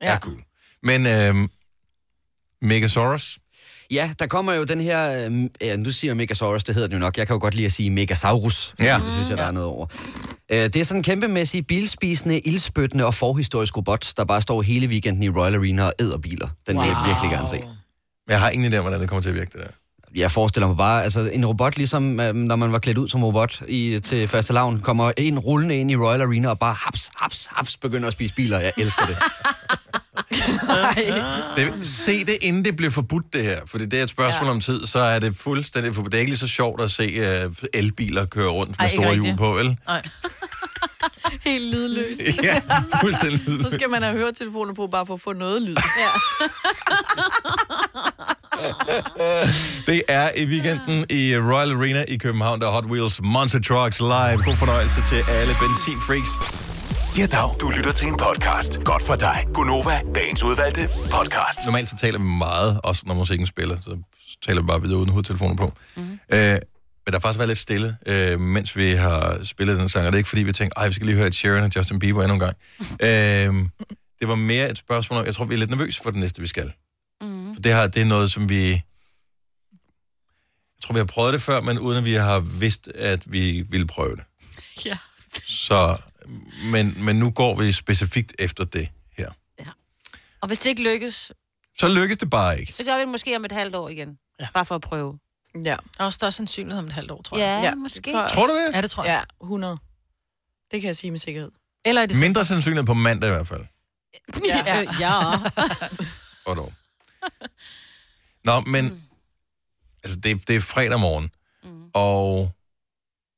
[SPEAKER 1] Ja. Er
[SPEAKER 5] Ja.
[SPEAKER 1] cool. Men øh, Megasaurus,
[SPEAKER 7] Ja, der kommer jo den her... Øh, ja, nu siger jeg Megasaurus, det hedder den jo nok. Jeg kan jo godt lide at sige Megasaurus.
[SPEAKER 1] Ja.
[SPEAKER 7] Det synes jeg, der er noget over. Øh, det er sådan en kæmpemæssig bilspisende, ildspyttende og forhistorisk robot, der bare står hele weekenden i Royal Arena og æder biler. Den wow. vil jeg virkelig gerne se.
[SPEAKER 1] jeg har ingen idé om, hvordan det kommer til at virke, det der.
[SPEAKER 7] jeg forestiller mig bare, altså en robot, ligesom øh, når man var klædt ud som robot i, til første lavn, kommer en rullende ind i Royal Arena og bare haps, haps, haps, begynder at spise biler. Jeg elsker det.
[SPEAKER 1] det. Se det, inden det bliver forbudt, det her. For det er et spørgsmål ja. om tid, så er det fuldstændig forbudt. Det er ikke lige så sjovt at se øh, elbiler køre rundt med
[SPEAKER 3] Ej,
[SPEAKER 1] Ej,
[SPEAKER 3] ikke
[SPEAKER 1] store hjul
[SPEAKER 3] rigtigt.
[SPEAKER 1] på, vel?
[SPEAKER 3] Nej.
[SPEAKER 5] Helt lydløs.
[SPEAKER 1] ja, fuldstændig.
[SPEAKER 5] Så skal man have høretelefoner på, bare for at få noget lyd.
[SPEAKER 1] Det er i weekenden i Royal Arena i København, der er Hot Wheels Monster Trucks Live. God fornøjelse til alle benzinfreaks.
[SPEAKER 6] Ja, dag. Du lytter til en podcast. Godt for dig. Gunova, dagens udvalgte podcast.
[SPEAKER 1] normalt så taler vi meget, også når musikken spiller, så taler vi bare videre uden hovedtelefoner på. Mm. Øh, men der har faktisk været lidt stille, øh, mens vi har spillet den sang, og det er ikke fordi, vi tænkte, ej, vi skal lige høre et Sharon og Justin Bieber endnu en gang. øh, det var mere et spørgsmål om, jeg tror, vi er lidt nervøse for det næste, vi skal. det, har, det er noget, som vi... Jeg tror, vi har prøvet det før, men uden at vi har vidst, at vi ville prøve det.
[SPEAKER 4] Ja.
[SPEAKER 1] Så, men, men nu går vi specifikt efter det her.
[SPEAKER 4] Og hvis det ikke lykkes,
[SPEAKER 1] Så lykkes det bare ikke.
[SPEAKER 4] så gør vi det måske om et halvt år igen. Ja. Bare for at prøve.
[SPEAKER 5] Ja.
[SPEAKER 3] Der er også større sandsynlighed om et halvt år, tror jeg.
[SPEAKER 4] Ja,
[SPEAKER 5] Ja,
[SPEAKER 4] ja
[SPEAKER 5] det
[SPEAKER 4] måske.
[SPEAKER 5] tror jeg.
[SPEAKER 1] Tror du det?
[SPEAKER 3] Ja, det tror jeg.
[SPEAKER 5] Ja, 100. Det kan jeg sige med sikkerhed.
[SPEAKER 3] Eller i det
[SPEAKER 1] Mindre sandsynligt på mandag i hvert fald.
[SPEAKER 4] Ja.
[SPEAKER 5] Ja.
[SPEAKER 4] Øh, ja.
[SPEAKER 1] Og dog. Nå, men... Mm. Altså, det, det er fredag morgen, mm. og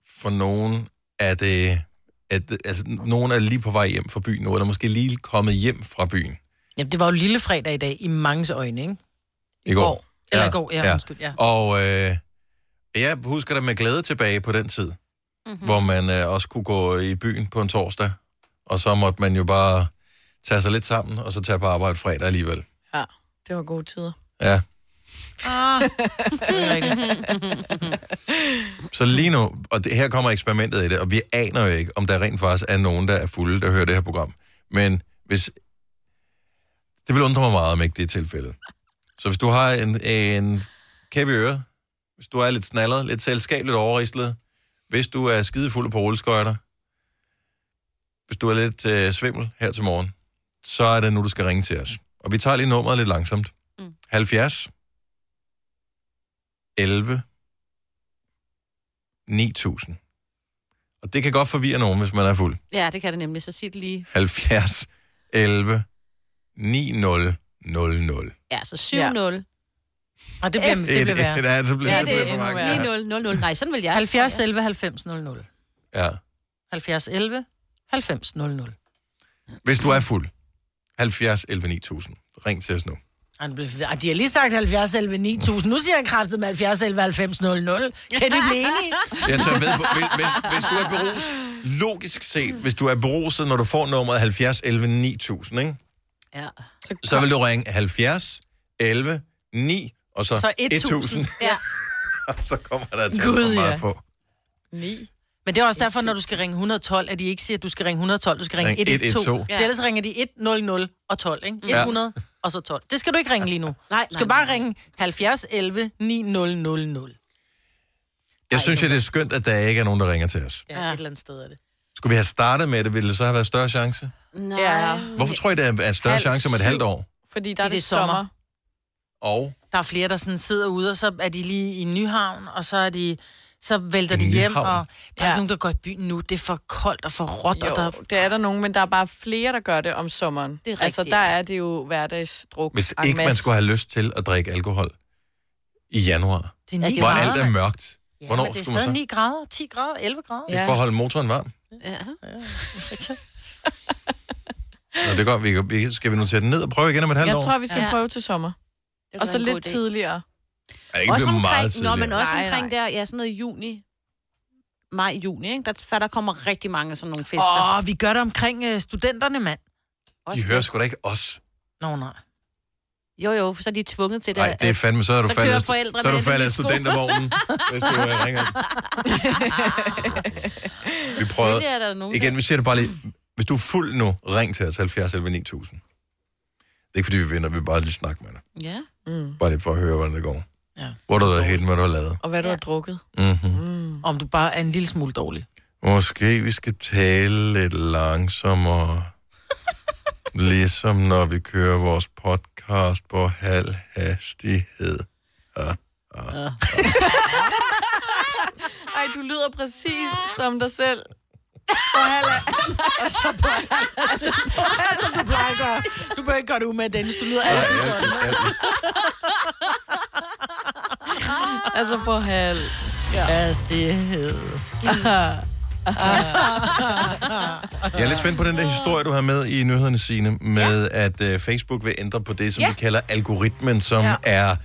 [SPEAKER 1] for nogen er det... At, altså, nogen er lige på vej hjem fra byen nu, eller måske lige kommet hjem fra byen
[SPEAKER 3] Jamen, det var jo lille fredag i dag, i manges øjne, ikke?
[SPEAKER 1] i går.
[SPEAKER 3] Eller i går, ja, undskyld, ja.
[SPEAKER 1] Og øh, jeg husker det med glæde tilbage på den tid,
[SPEAKER 3] Mhm.
[SPEAKER 1] mm-hmm. hvor man øh, også kunne gå i byen på en torsdag, og så måtte man jo bare tage sig lidt sammen, og så tage på arbejde fredag alligevel.
[SPEAKER 5] Ja, det var gode tider.
[SPEAKER 1] Ja.
[SPEAKER 3] Ah. det er rigtigt.
[SPEAKER 1] Så lige nu, og det, her kommer eksperimentet i det, og vi aner jo ikke, om der rent faktisk er nogen, der er fulde, der hører det her program. Men hvis... Det vil undre mig meget, om ikke det er tilfældet. Så hvis du har en, en kæve øre, hvis du er lidt snallet, lidt selskabeligt overrislet, hvis du er skidefuld på rulleskøjter, hvis du er lidt øh, svimmel her til morgen, så er det nu, du skal ringe til os. Og vi tager lige nummeret lidt langsomt. Mm.
[SPEAKER 4] Mm.
[SPEAKER 1] 70 11 9000. Og det kan godt forvirre nogen, hvis man er fuld.
[SPEAKER 4] ja, det kan det nemlig. Så sig det lige.
[SPEAKER 1] 70 11 9000.
[SPEAKER 4] Ja, så 7-0.
[SPEAKER 5] Ja.
[SPEAKER 4] Ja. 9-0.
[SPEAKER 3] Og Ah, det bliver, det bliver værre.
[SPEAKER 1] et, et, så bliver
[SPEAKER 5] Ja,
[SPEAKER 1] det,
[SPEAKER 5] det
[SPEAKER 1] bliver
[SPEAKER 5] er
[SPEAKER 1] for
[SPEAKER 5] endnu
[SPEAKER 1] mange.
[SPEAKER 5] værre.
[SPEAKER 1] Ja.
[SPEAKER 4] 9-0. Nej, sådan vil jeg.
[SPEAKER 3] 70 11 90 00.
[SPEAKER 1] Ja.
[SPEAKER 3] 70 11 90 00.
[SPEAKER 1] Hvis du er fuld. 70 11 9000. Ring til os nu.
[SPEAKER 3] Ej, nu bliver- Ej, ah, de har lige sagt 70 11 9000. Nu siger han kraftet med 70 11 90 00. Kan de blive enige?
[SPEAKER 1] Jeg tager ved, på- hvis, hvis- hvis du er beruset, logisk set, hvis du er beruset, når du får nummeret 70 11 9000, ikke?
[SPEAKER 4] Ja.
[SPEAKER 1] så vil du ringe 70 11 9 og så,
[SPEAKER 3] Så 1000.
[SPEAKER 4] Ja.
[SPEAKER 1] så kommer der til
[SPEAKER 3] Gud,
[SPEAKER 1] for meget
[SPEAKER 3] ja.
[SPEAKER 1] på.
[SPEAKER 5] 9.
[SPEAKER 3] Men det er også derfor, når du skal ringe 112, at de ikke siger, at du skal ringe 112, du skal ringe
[SPEAKER 1] Ring
[SPEAKER 3] 112.
[SPEAKER 1] 112.
[SPEAKER 3] Ja. Ellers ringer de 100 og 12, ikke?
[SPEAKER 1] Ja.
[SPEAKER 3] 100 og så 12. Det skal du ikke ringe lige nu.
[SPEAKER 4] Nej,
[SPEAKER 3] Du skal
[SPEAKER 4] nej,
[SPEAKER 3] bare
[SPEAKER 4] nej.
[SPEAKER 3] ringe 70 11 9000.
[SPEAKER 1] Jeg synes, jo, det er skønt, at der ikke er nogen, der ringer til os.
[SPEAKER 3] Ja, ja, et eller andet sted er det.
[SPEAKER 1] Skulle vi have startet med det, ville det så have været større chance?
[SPEAKER 4] Nej.
[SPEAKER 5] Ja.
[SPEAKER 4] Ja.
[SPEAKER 1] Hvorfor tror I, der er større
[SPEAKER 5] Halv
[SPEAKER 1] chance om et
[SPEAKER 5] syv.
[SPEAKER 1] halvt år?
[SPEAKER 5] Fordi der er det,
[SPEAKER 3] det er
[SPEAKER 5] sommer.
[SPEAKER 3] sommer.
[SPEAKER 1] Og
[SPEAKER 3] Der er flere, der sådan sidder ude, og så er de lige i Nyhavn, og så er de så vælter de hjem,
[SPEAKER 1] Nyhavn?
[SPEAKER 3] og der er
[SPEAKER 5] Ja.
[SPEAKER 3] ja. nogen, der går i byen nu. Det er for koldt og for råt, og der...
[SPEAKER 5] Jo, det er der nogen, men der er bare flere, der gør det om sommeren.
[SPEAKER 4] Det er
[SPEAKER 5] Altså,
[SPEAKER 4] rigtigt,
[SPEAKER 5] der
[SPEAKER 4] ja.
[SPEAKER 5] er det jo hverdagsdruk.
[SPEAKER 1] hvis
[SPEAKER 5] en
[SPEAKER 1] ikke man
[SPEAKER 5] masse.
[SPEAKER 1] skulle have lyst til at drikke alkohol i januar,
[SPEAKER 3] Det er 9
[SPEAKER 4] Ja, det er
[SPEAKER 1] hvor
[SPEAKER 4] jo
[SPEAKER 3] grader.
[SPEAKER 1] alt er mørkt,
[SPEAKER 3] Ja,
[SPEAKER 1] hvornår
[SPEAKER 3] men det er
[SPEAKER 1] skulle man
[SPEAKER 3] stadig
[SPEAKER 1] så?
[SPEAKER 3] 9 grader, 10 grader, 11 grader.
[SPEAKER 1] ikke for at holde motoren varm.
[SPEAKER 4] ja.
[SPEAKER 1] Nå, det er godt, vi, kan- vi, skal vi nu sætte den ned og prøve igen om et halvt
[SPEAKER 5] Jeg
[SPEAKER 1] år?
[SPEAKER 5] tror, vi skal
[SPEAKER 4] Ja.
[SPEAKER 5] prøve til sommer.
[SPEAKER 4] Det
[SPEAKER 5] Og så
[SPEAKER 4] kunne være en
[SPEAKER 5] lidt
[SPEAKER 4] god idé.
[SPEAKER 5] tidligere.
[SPEAKER 1] Er det ikke blevet meget
[SPEAKER 4] Nå,
[SPEAKER 1] tidligere?
[SPEAKER 4] men også
[SPEAKER 5] Nej,
[SPEAKER 4] nej, omkring
[SPEAKER 5] nej.
[SPEAKER 4] nej. der, ja, sådan noget juni, maj, juni, ikke? Der, for der kommer rigtig mange sådan nogle fester.
[SPEAKER 3] Åh, oh, vi gør det omkring øh, studenterne, mand.
[SPEAKER 1] De
[SPEAKER 4] Også
[SPEAKER 1] hører
[SPEAKER 4] det.
[SPEAKER 1] sgu da ikke os.
[SPEAKER 3] Nå, nej.
[SPEAKER 4] Jo, jo, for så er de tvunget til det.
[SPEAKER 1] Nej, det er
[SPEAKER 4] at-
[SPEAKER 1] fandme, så er du
[SPEAKER 4] så
[SPEAKER 1] faldet,
[SPEAKER 4] kører
[SPEAKER 1] så
[SPEAKER 4] forældrene
[SPEAKER 1] er du
[SPEAKER 4] ind i
[SPEAKER 1] faldet af
[SPEAKER 4] sko.
[SPEAKER 1] studentervognen, hvis du øh, ringer. Vi prøver.
[SPEAKER 4] Selvfølgelig er der nogen,
[SPEAKER 1] Igen, vi siger det bare lige. Hvis du er fuld nu, ring til os 70 11 9000. Det er ikke fordi, vi vinder, vi vil bare lige snakke med dig.
[SPEAKER 4] der- Ja.
[SPEAKER 1] Bare lige for at høre, hvordan det går.
[SPEAKER 3] Ja.
[SPEAKER 1] Hvor du har været helt, hvad du har lavet.
[SPEAKER 5] Og hvad du
[SPEAKER 4] Ja.
[SPEAKER 5] har drukket. Mm.
[SPEAKER 1] Mm-hmm.
[SPEAKER 3] Om du bare er en lille smule dårlig.
[SPEAKER 1] Måske vi skal tale lidt langsommere. ligesom når vi kører vores podcast på halv hastighed.
[SPEAKER 5] Ej, du lyder præcis som dig selv.
[SPEAKER 3] Altså, du plejer at gøre. Du bør ikke gøre det med, Dennis. Du lyder altid sådan.
[SPEAKER 5] Altså på halv.
[SPEAKER 3] Hastighed.
[SPEAKER 1] Jeg er lidt spændt på den der historie, du har med i nyhederne, Signe, med ja. at øh, Facebook vil ændre på det, som ja. de kalder algoritmen, som ja. er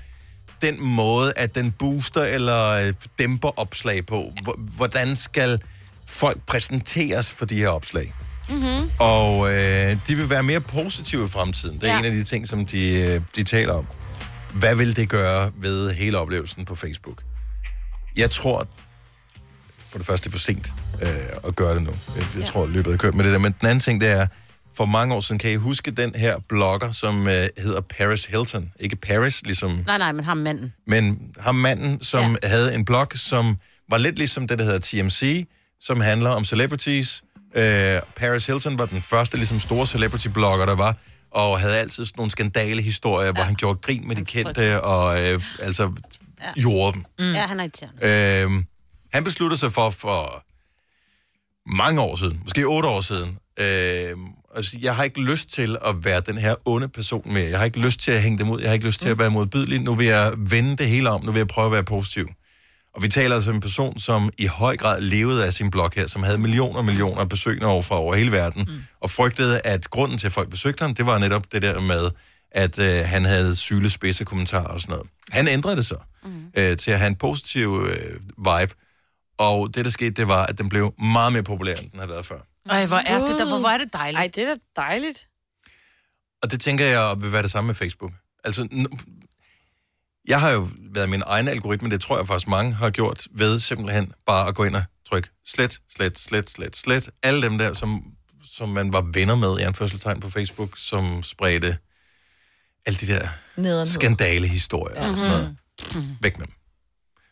[SPEAKER 1] den måde, at den booster eller øh, dæmper opslag på. H- hvordan skal folk præsenteres for de her opslag? Mm-hmm. Og øh, de vil være mere positive i fremtiden. Det er ja.
[SPEAKER 4] Ja.
[SPEAKER 1] en af de ting, som de, øh, de taler om. Hvad vil det gøre ved hele oplevelsen på Facebook? Jeg tror, for det første, det er for sent øh, at gøre det nu. Jeg, jeg ja. tror, løbet er kørt med det der. Men den anden ting, det er, for mange år siden, kan I huske den her blogger, som øh, hedder Paris Hilton? Ikke Paris, ligesom,
[SPEAKER 4] Nej, nej, men ham manden.
[SPEAKER 1] men ham manden, som ja. havde en blog, som var lidt ligesom det, der hedder TMC, som handler om celebrities. Øh, Paris Hilton var den første ligesom store celebrity-blogger, der var, og havde altid sådan nogle skandalehistorier, ja. hvor han gjorde grin med de kendte, og øh, altså ja. jorde dem.
[SPEAKER 4] Mm. Ja, han er irriterende.
[SPEAKER 1] Øhm, han besluttede sig for, for mange år siden, måske otte år siden, øhm, altså, jeg har ikke lyst til at være den her onde person mere. Jeg har ikke lyst til at hænge dem ud. Jeg har ikke lyst til at være modbydelig. Nu vil jeg vende det hele om. Nu vil jeg prøve at være positiv. Og vi taler altså om en person, som i høj grad levede af sin blog her, som havde millioner og millioner af besøgende over fra over hele verden, mm. og frygtede, at grunden til, at folk besøgte ham, det var netop det der med, at øh, han havde syle spidse kommentarer og sådan noget. Han ændrede det så mm. øh, til at have en positiv øh, vibe, og det, der skete, det var, at den blev meget mere populær, end den havde været før.
[SPEAKER 3] Ej, hvor er det der, hvor, hvor er det dejligt.
[SPEAKER 5] Ej, det er da dejligt.
[SPEAKER 1] Og det tænker jeg vil være det samme med Facebook. Altså, n- jeg har jo været min egen algoritme, det tror jeg faktisk mange har gjort, ved simpelthen bare at gå ind og trykke slet, slet, slet, slet, slet. Alle dem der, som, som man var venner med i anførselstegn på Facebook, som spredte alle de der
[SPEAKER 5] Nederen.
[SPEAKER 1] skandalehistorier og sådan noget. Væk med dem.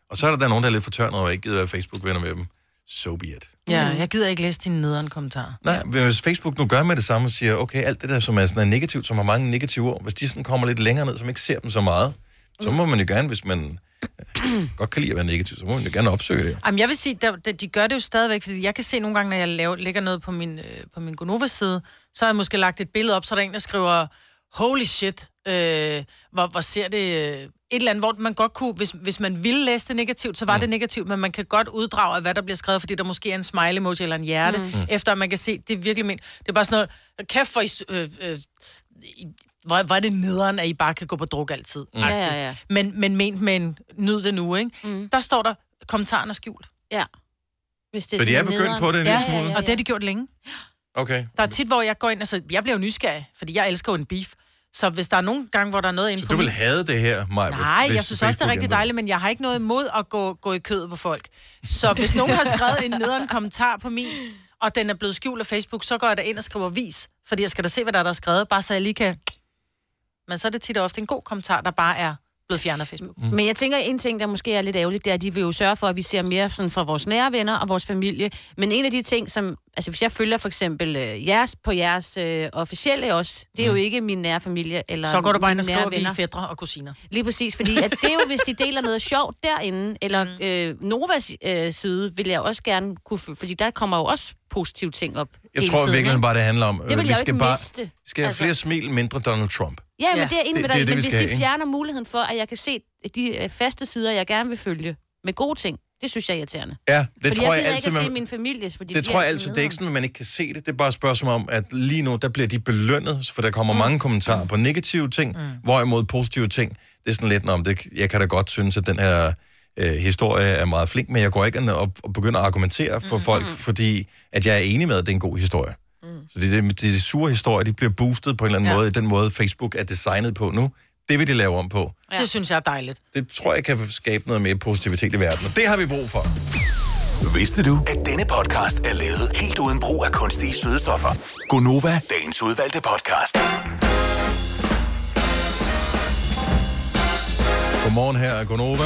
[SPEAKER 1] Og så er der, der nogen, der er lidt fortørnet og ikke gider være Facebook-venner med dem. So be it.
[SPEAKER 3] Ja,
[SPEAKER 5] Mm.
[SPEAKER 3] jeg gider ikke læse dine nederen kommentarer.
[SPEAKER 1] Nej, hvis Facebook nu gør med det samme og siger, okay, alt det der, som er sådan er negativt, som har mange negative ord, hvis de sådan kommer lidt længere ned, som ikke ser dem så meget, så må man jo gerne, hvis man øh, godt kan lide at være negativ, så må man jo gerne opsøge det.
[SPEAKER 3] Jamen, jeg vil sige, der, der, de gør det jo stadigvæk, fordi jeg kan se nogle gange, når jeg laver, lægger noget på min, øh, på min Gonova-side, så har jeg måske lagt et billede op, så er der en, der skriver, holy shit, øh, hvor, hvor ser det... Øh, et eller andet, hvor man godt kunne, hvis, hvis man ville læse det negativt, så var mm. det negativt, men man kan godt uddrage af, hvad der bliver skrevet, fordi der måske er en smile emoji eller en hjerte, mm. efter at man kan se, det er virkelig men. Det er bare sådan noget, kæft for, I, s- øh, øh, I, hvor, hvor er det nederen, at I bare kan gå på druk altid. Mm.
[SPEAKER 4] Ja, ja, ja.
[SPEAKER 3] Men, men ment med en nyd det nu, ikke? Mm. Der står der, kommentaren er skjult.
[SPEAKER 4] Ja. Hvis det
[SPEAKER 1] Så de
[SPEAKER 4] sådan
[SPEAKER 1] er begyndt
[SPEAKER 4] nederen.
[SPEAKER 1] på det en lille
[SPEAKER 4] Ja, ja,
[SPEAKER 1] smule?
[SPEAKER 3] Og det har de gjort længe.
[SPEAKER 1] Okay.
[SPEAKER 3] Der er tit, hvor jeg går ind og så, jeg bliver jo nysgerrig, fordi jeg elsker jo en beef. Så hvis der er nogle gange, hvor der er noget inde
[SPEAKER 1] Så
[SPEAKER 3] på
[SPEAKER 1] du vil
[SPEAKER 3] min-
[SPEAKER 1] have det her, Maja?
[SPEAKER 3] Nej, jeg synes også, det er rigtig dejligt, men jeg har ikke noget imod at gå, gå i kødet på folk. Så hvis nogen har skrevet en nederen kommentar på min, og den er blevet skjult af Facebook, så går jeg ind og skriver vis, fordi jeg skal da se, hvad der er, der er skrevet, bare så jeg lige kan... Men så er det tit og ofte en god kommentar, der bare er blevet fjernet af Facebook.
[SPEAKER 1] Mm.
[SPEAKER 4] Men jeg tænker, en ting, der måske er lidt ærgerligt, det er, at de vil jo sørge for, at vi ser mere sådan fra vores nære venner og vores familie. Men en af de ting, som... Altså, hvis jeg følger for eksempel øh, jeres på jeres øh, officielle også, det er jo ikke min nære familie eller
[SPEAKER 3] Så går du bare ind og
[SPEAKER 4] mine nære
[SPEAKER 3] skriver, vi er
[SPEAKER 4] venner.
[SPEAKER 3] fædre og kusiner.
[SPEAKER 4] Lige præcis, fordi at det er jo, hvis de deler noget sjovt derinde, eller øh, Novas øh, side, vil jeg også gerne kunne... f- Fordi der kommer jo også positive ting op
[SPEAKER 1] Jeg
[SPEAKER 4] hele
[SPEAKER 1] tror
[SPEAKER 4] tiden,
[SPEAKER 1] virkelig
[SPEAKER 4] ikke?
[SPEAKER 1] bare, det handler om. øh,
[SPEAKER 4] vil
[SPEAKER 1] vi
[SPEAKER 4] jeg jo
[SPEAKER 1] skal
[SPEAKER 4] ikke
[SPEAKER 1] bare,
[SPEAKER 4] miste.
[SPEAKER 1] vi Skal have
[SPEAKER 4] Altså-
[SPEAKER 1] flere smil, mindre Donald Trump.
[SPEAKER 4] Ja, men
[SPEAKER 3] Ja.
[SPEAKER 4] det er enig
[SPEAKER 1] Det-
[SPEAKER 4] med
[SPEAKER 1] det er
[SPEAKER 4] dig. i,
[SPEAKER 1] det, vi
[SPEAKER 4] Men hvis
[SPEAKER 1] skal,
[SPEAKER 4] de
[SPEAKER 1] ikke?
[SPEAKER 4] fjerner muligheden for, at jeg kan se de øh, faste sider, jeg gerne vil følge med gode ting, det synes jeg er irriterende.
[SPEAKER 1] Ja, det
[SPEAKER 4] fordi
[SPEAKER 1] tror
[SPEAKER 4] jeg gider
[SPEAKER 1] jeg
[SPEAKER 4] ikke
[SPEAKER 1] altid,
[SPEAKER 4] at se
[SPEAKER 1] man,
[SPEAKER 4] min familie, fordi
[SPEAKER 1] det
[SPEAKER 4] de
[SPEAKER 1] tror jeg
[SPEAKER 4] altid
[SPEAKER 1] altid, det er ikke sådan, at man ikke kan se det. Det er bare et spørgsmål om, at lige nu, der bliver de belønnet, for der kommer mm. mange kommentarer på negative ting, mm. hvorimod positive ting, det er sådan lidt, om det, jeg kan da godt synes, at den her øh, historie er meget flink, men jeg går ikke ind og, og begynder at argumentere for mm. folk, fordi at jeg er enig med, at det er en god historie. Mm. Så det, det, det, de sure historier, de bliver boostet på en eller anden ja. måde, i den måde Facebook er designet på nu. Det vil de lave om på.
[SPEAKER 3] Ja. Det synes jeg er dejligt.
[SPEAKER 1] Det tror jeg kan skabe noget mere positivitet i verden, og det har vi brug for.
[SPEAKER 6] Vidste du, at denne podcast er lavet helt uden brug af kunstige sødestoffer? Gonova, dagens udvalgte podcast.
[SPEAKER 1] Godmorgen her er Gunova.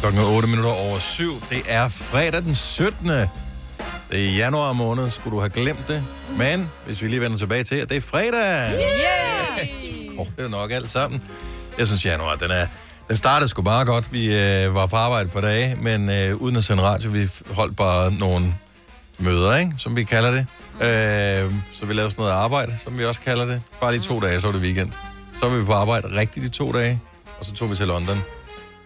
[SPEAKER 1] Klokken er 8 minutter over 7. Det er fredag den 17. Det er i januar måned. Skulle du have glemt det? Men hvis vi lige vender tilbage til, at det er fredag. Yeah! Oh, det er nok alt sammen. Jeg synes, januar, den er... Den startede sgu bare godt. Vi øh, var på arbejde på dage, men øh, uden at sende radio, vi holdt bare nogle møder, ikke? som vi kalder det. Øh, så vi lavede sådan noget arbejde, som vi også kalder det. Bare lige to dage, så var det weekend. Så var vi på arbejde rigtigt i to dage, og så tog vi til London.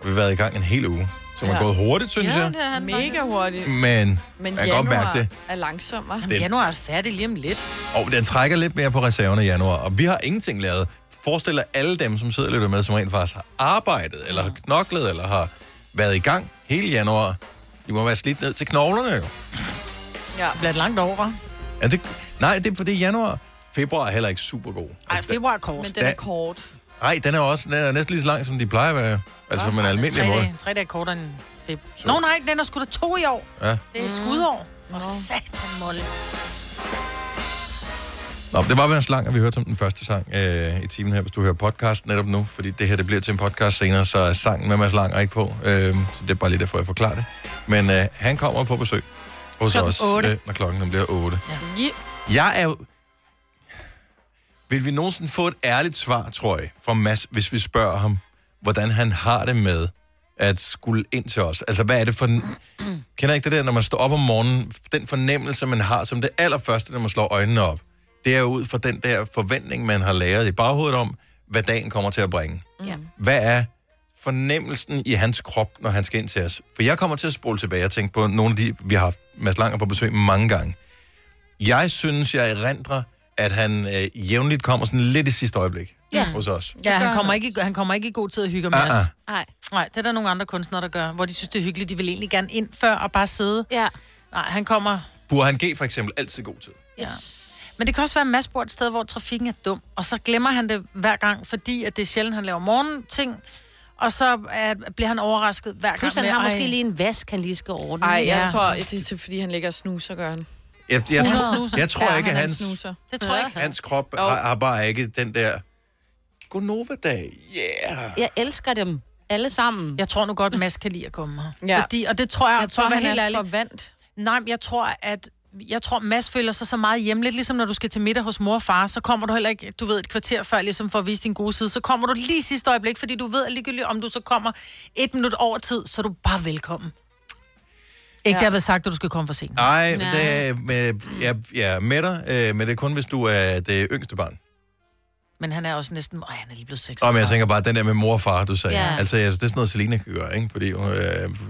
[SPEAKER 1] Og vi har været i gang en hel uge, som ja. er
[SPEAKER 5] Ja.
[SPEAKER 1] gået hurtigt, synes jeg.
[SPEAKER 3] er han
[SPEAKER 5] Mega hurtigt.
[SPEAKER 1] Men,
[SPEAKER 5] Men
[SPEAKER 1] man kan
[SPEAKER 5] januar
[SPEAKER 1] godt mærke det.
[SPEAKER 5] er langsommere.
[SPEAKER 3] Men januar er færdig lige om lidt.
[SPEAKER 1] Og den trækker lidt mere på reserverne i januar, og vi har ingenting lavet. Forestil dig alle dem, som sidder og lytter med, som rent faktisk har arbejdet, eller har knoklet, eller har været i gang hele januar. De må være slidt ned til knoglerne, jo.
[SPEAKER 5] Ja.
[SPEAKER 3] Det bliver et langt over.
[SPEAKER 1] Er det, nej, det er fordi januar, februar er heller ikke super god.
[SPEAKER 3] Ej, februar er kort.
[SPEAKER 5] Men den
[SPEAKER 1] Da-
[SPEAKER 5] er kort.
[SPEAKER 1] Nej, den er også den er næsten lige så lang, som de plejer at være. Altså, men
[SPEAKER 3] tre,
[SPEAKER 1] almindelig måde.
[SPEAKER 3] dage, tre dage kortere end februar. Nå nej, den er sgu da to i år.
[SPEAKER 1] Ja.
[SPEAKER 3] Det er skudår. For satan, Molle.
[SPEAKER 1] Nå, det var vel en slang, og vi hørte som den første sang øh, i timen her, hvis du hører podcast netop nu, fordi det her det bliver til en podcast senere, så er sangen med Mads Langer ikke på. Øh, så det er bare lige derfor, jeg forklarer det. Men øh, han kommer på besøg hos
[SPEAKER 3] Klokken
[SPEAKER 1] os, øh,
[SPEAKER 3] otte.
[SPEAKER 1] når klokken den bliver 8.
[SPEAKER 5] Ja.
[SPEAKER 1] Jeg er jo... Vil vi nogensinde få et ærligt svar, tror jeg, fra Mads, hvis vi spørger ham, hvordan han har det med at skulle ind til os? Altså, hvad er det for... en- Kender I ikke det der, når man står op om morgenen, den fornemmelse, man har som det allerførste, når man slår øjnene op? Det er jo ud fra den der forventning, man har lavet i baghovedet om, hvad dagen kommer til at bringe.
[SPEAKER 4] Ja.
[SPEAKER 1] Hvad er fornemmelsen i hans krop, når han skal ind til os? For jeg kommer til at spole tilbage og tænke på nogle af de, vi har haft Mads Langer på besøg mange gange. Jeg synes, jeg erindrer, at han øh, jævnligt kommer sådan lidt i sidste øjeblik ja.
[SPEAKER 4] Ja.
[SPEAKER 1] Mm. hos os.
[SPEAKER 3] Ja,
[SPEAKER 4] gør
[SPEAKER 3] han kommer,
[SPEAKER 4] han
[SPEAKER 3] ikke, i- han kommer ikke i god tid og hygger med
[SPEAKER 1] Ah,
[SPEAKER 3] os.
[SPEAKER 1] ah.
[SPEAKER 4] Nej.
[SPEAKER 3] Nej, det er der nogle andre kunstnere, der gør, hvor de synes, det er hyggeligt. De vil egentlig gerne ind før og bare sidde.
[SPEAKER 4] Ja.
[SPEAKER 3] Nej, han kommer...
[SPEAKER 1] Burhan G for eksempel altid god tid.
[SPEAKER 4] Yes.
[SPEAKER 3] Men det kan også være, at Mads bor et sted, hvor trafikken er dum, og så glemmer han det hver gang, fordi at det er sjældent, han laver morgenting, og så er, bliver han overrasket hver
[SPEAKER 4] Plus,
[SPEAKER 3] gang.
[SPEAKER 4] han
[SPEAKER 3] med,
[SPEAKER 4] har
[SPEAKER 3] "Ej,
[SPEAKER 4] måske lige en vask, han lige skal ordne.
[SPEAKER 5] Ej, jeg
[SPEAKER 3] Ja.
[SPEAKER 5] tror, det er til- fordi, han ligger og snuser, gør han.
[SPEAKER 1] Jeg, jeg,
[SPEAKER 3] Han
[SPEAKER 1] tror,
[SPEAKER 3] snuser.
[SPEAKER 1] jeg tror
[SPEAKER 5] Ja,
[SPEAKER 1] ikke, at
[SPEAKER 5] han er en
[SPEAKER 1] hans,
[SPEAKER 5] snuser.
[SPEAKER 3] Det tror jeg ikke.
[SPEAKER 1] hans krop har, har bare ikke den der Gonova-dag. Yeah!
[SPEAKER 4] Jeg elsker dem alle sammen.
[SPEAKER 3] Jeg tror nu godt, Mads kan lide at komme her.
[SPEAKER 5] Ja.
[SPEAKER 3] Fordi, og det tror jeg,
[SPEAKER 5] Jeg tror,
[SPEAKER 3] for at
[SPEAKER 5] han
[SPEAKER 3] være helt
[SPEAKER 5] er
[SPEAKER 3] ærlig.
[SPEAKER 5] forvandt.
[SPEAKER 3] Nej, men jeg tror, at jeg tror, Mads føler sig så meget hjemme. Lidt ligesom når du skal til middag hos mor og far, så kommer du heller ikke, du ved, et kvarter før, ligesom for at vise din gode side. Så kommer du lige sidste øjeblik, fordi du ved at ligegyldigt, om du så kommer et minut over tid, så er du bare velkommen. Ikke ja.
[SPEAKER 5] Ja.
[SPEAKER 3] derved sagt, at du skal komme for sent.
[SPEAKER 1] Ej,
[SPEAKER 4] Nej.
[SPEAKER 1] det er med, jeg, jeg er med dig, øh, men det er kun, hvis du er det yngste barn.
[SPEAKER 3] Men han er også næsten... Ej, han er lige blevet 6.
[SPEAKER 1] Og men jeg tænker bare, den der med mor og far, du sagde.
[SPEAKER 4] Ja.
[SPEAKER 1] Altså, jeg- det er sådan noget, Selina kan gøre, ikke? Fordi øh,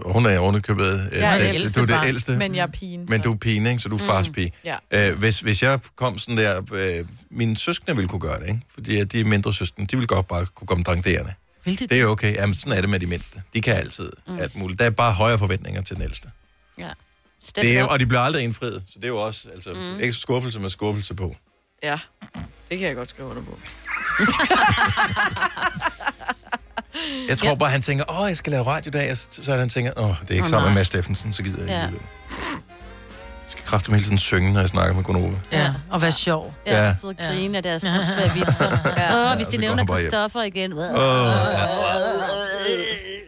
[SPEAKER 1] hun er ovenikøbet... Øh,
[SPEAKER 5] Jeg er det
[SPEAKER 1] øh,
[SPEAKER 3] ældste
[SPEAKER 1] du er det
[SPEAKER 3] barn,
[SPEAKER 1] ældste.
[SPEAKER 5] Men jeg er pigen,
[SPEAKER 1] Men du er pigen, ikke? Så du er fars pige.
[SPEAKER 5] Ja.
[SPEAKER 1] Øh, hvis, hvis jeg kom sådan der... Øh, mine søskende ville kunne gøre det, ikke? Fordi at de mindre søskende, de ville godt bare kunne komme drangerende.
[SPEAKER 3] Hvilket?
[SPEAKER 1] Det er okay. Jamen, sådan er det med de mindste. De kan altid mm. alt muligt. Der er bare højere forventninger til den ældste.
[SPEAKER 4] Ja. Step
[SPEAKER 1] Det er,
[SPEAKER 4] up.
[SPEAKER 1] og de bliver aldrig indfriet. Så det er jo også altså, mm. ekstra skuffelse med skuffelse på.
[SPEAKER 5] Ja, det kan jeg godt skrive under på.
[SPEAKER 1] Jeg tror bare, han tænker, åh, jeg skal lave radio i dag. Og Så så er han tænker, åh, det er ikke
[SPEAKER 4] Åh,
[SPEAKER 1] sammen med
[SPEAKER 4] nej.
[SPEAKER 1] Mads Steffensen, så gider jeg ikke.
[SPEAKER 4] Ja.
[SPEAKER 1] alligevel." Jeg skal kraftigt hele tiden synge, når jeg snakker med Gunova.
[SPEAKER 3] Ja, og vær sjov.
[SPEAKER 4] Ja,
[SPEAKER 1] Ja.
[SPEAKER 4] ja. sidde og grine af deres åndssvage vitser. ja. Åh, hvis
[SPEAKER 1] så
[SPEAKER 4] de
[SPEAKER 1] går
[SPEAKER 4] nævner
[SPEAKER 1] han bare hjem.
[SPEAKER 4] Christoffer igen. Øh.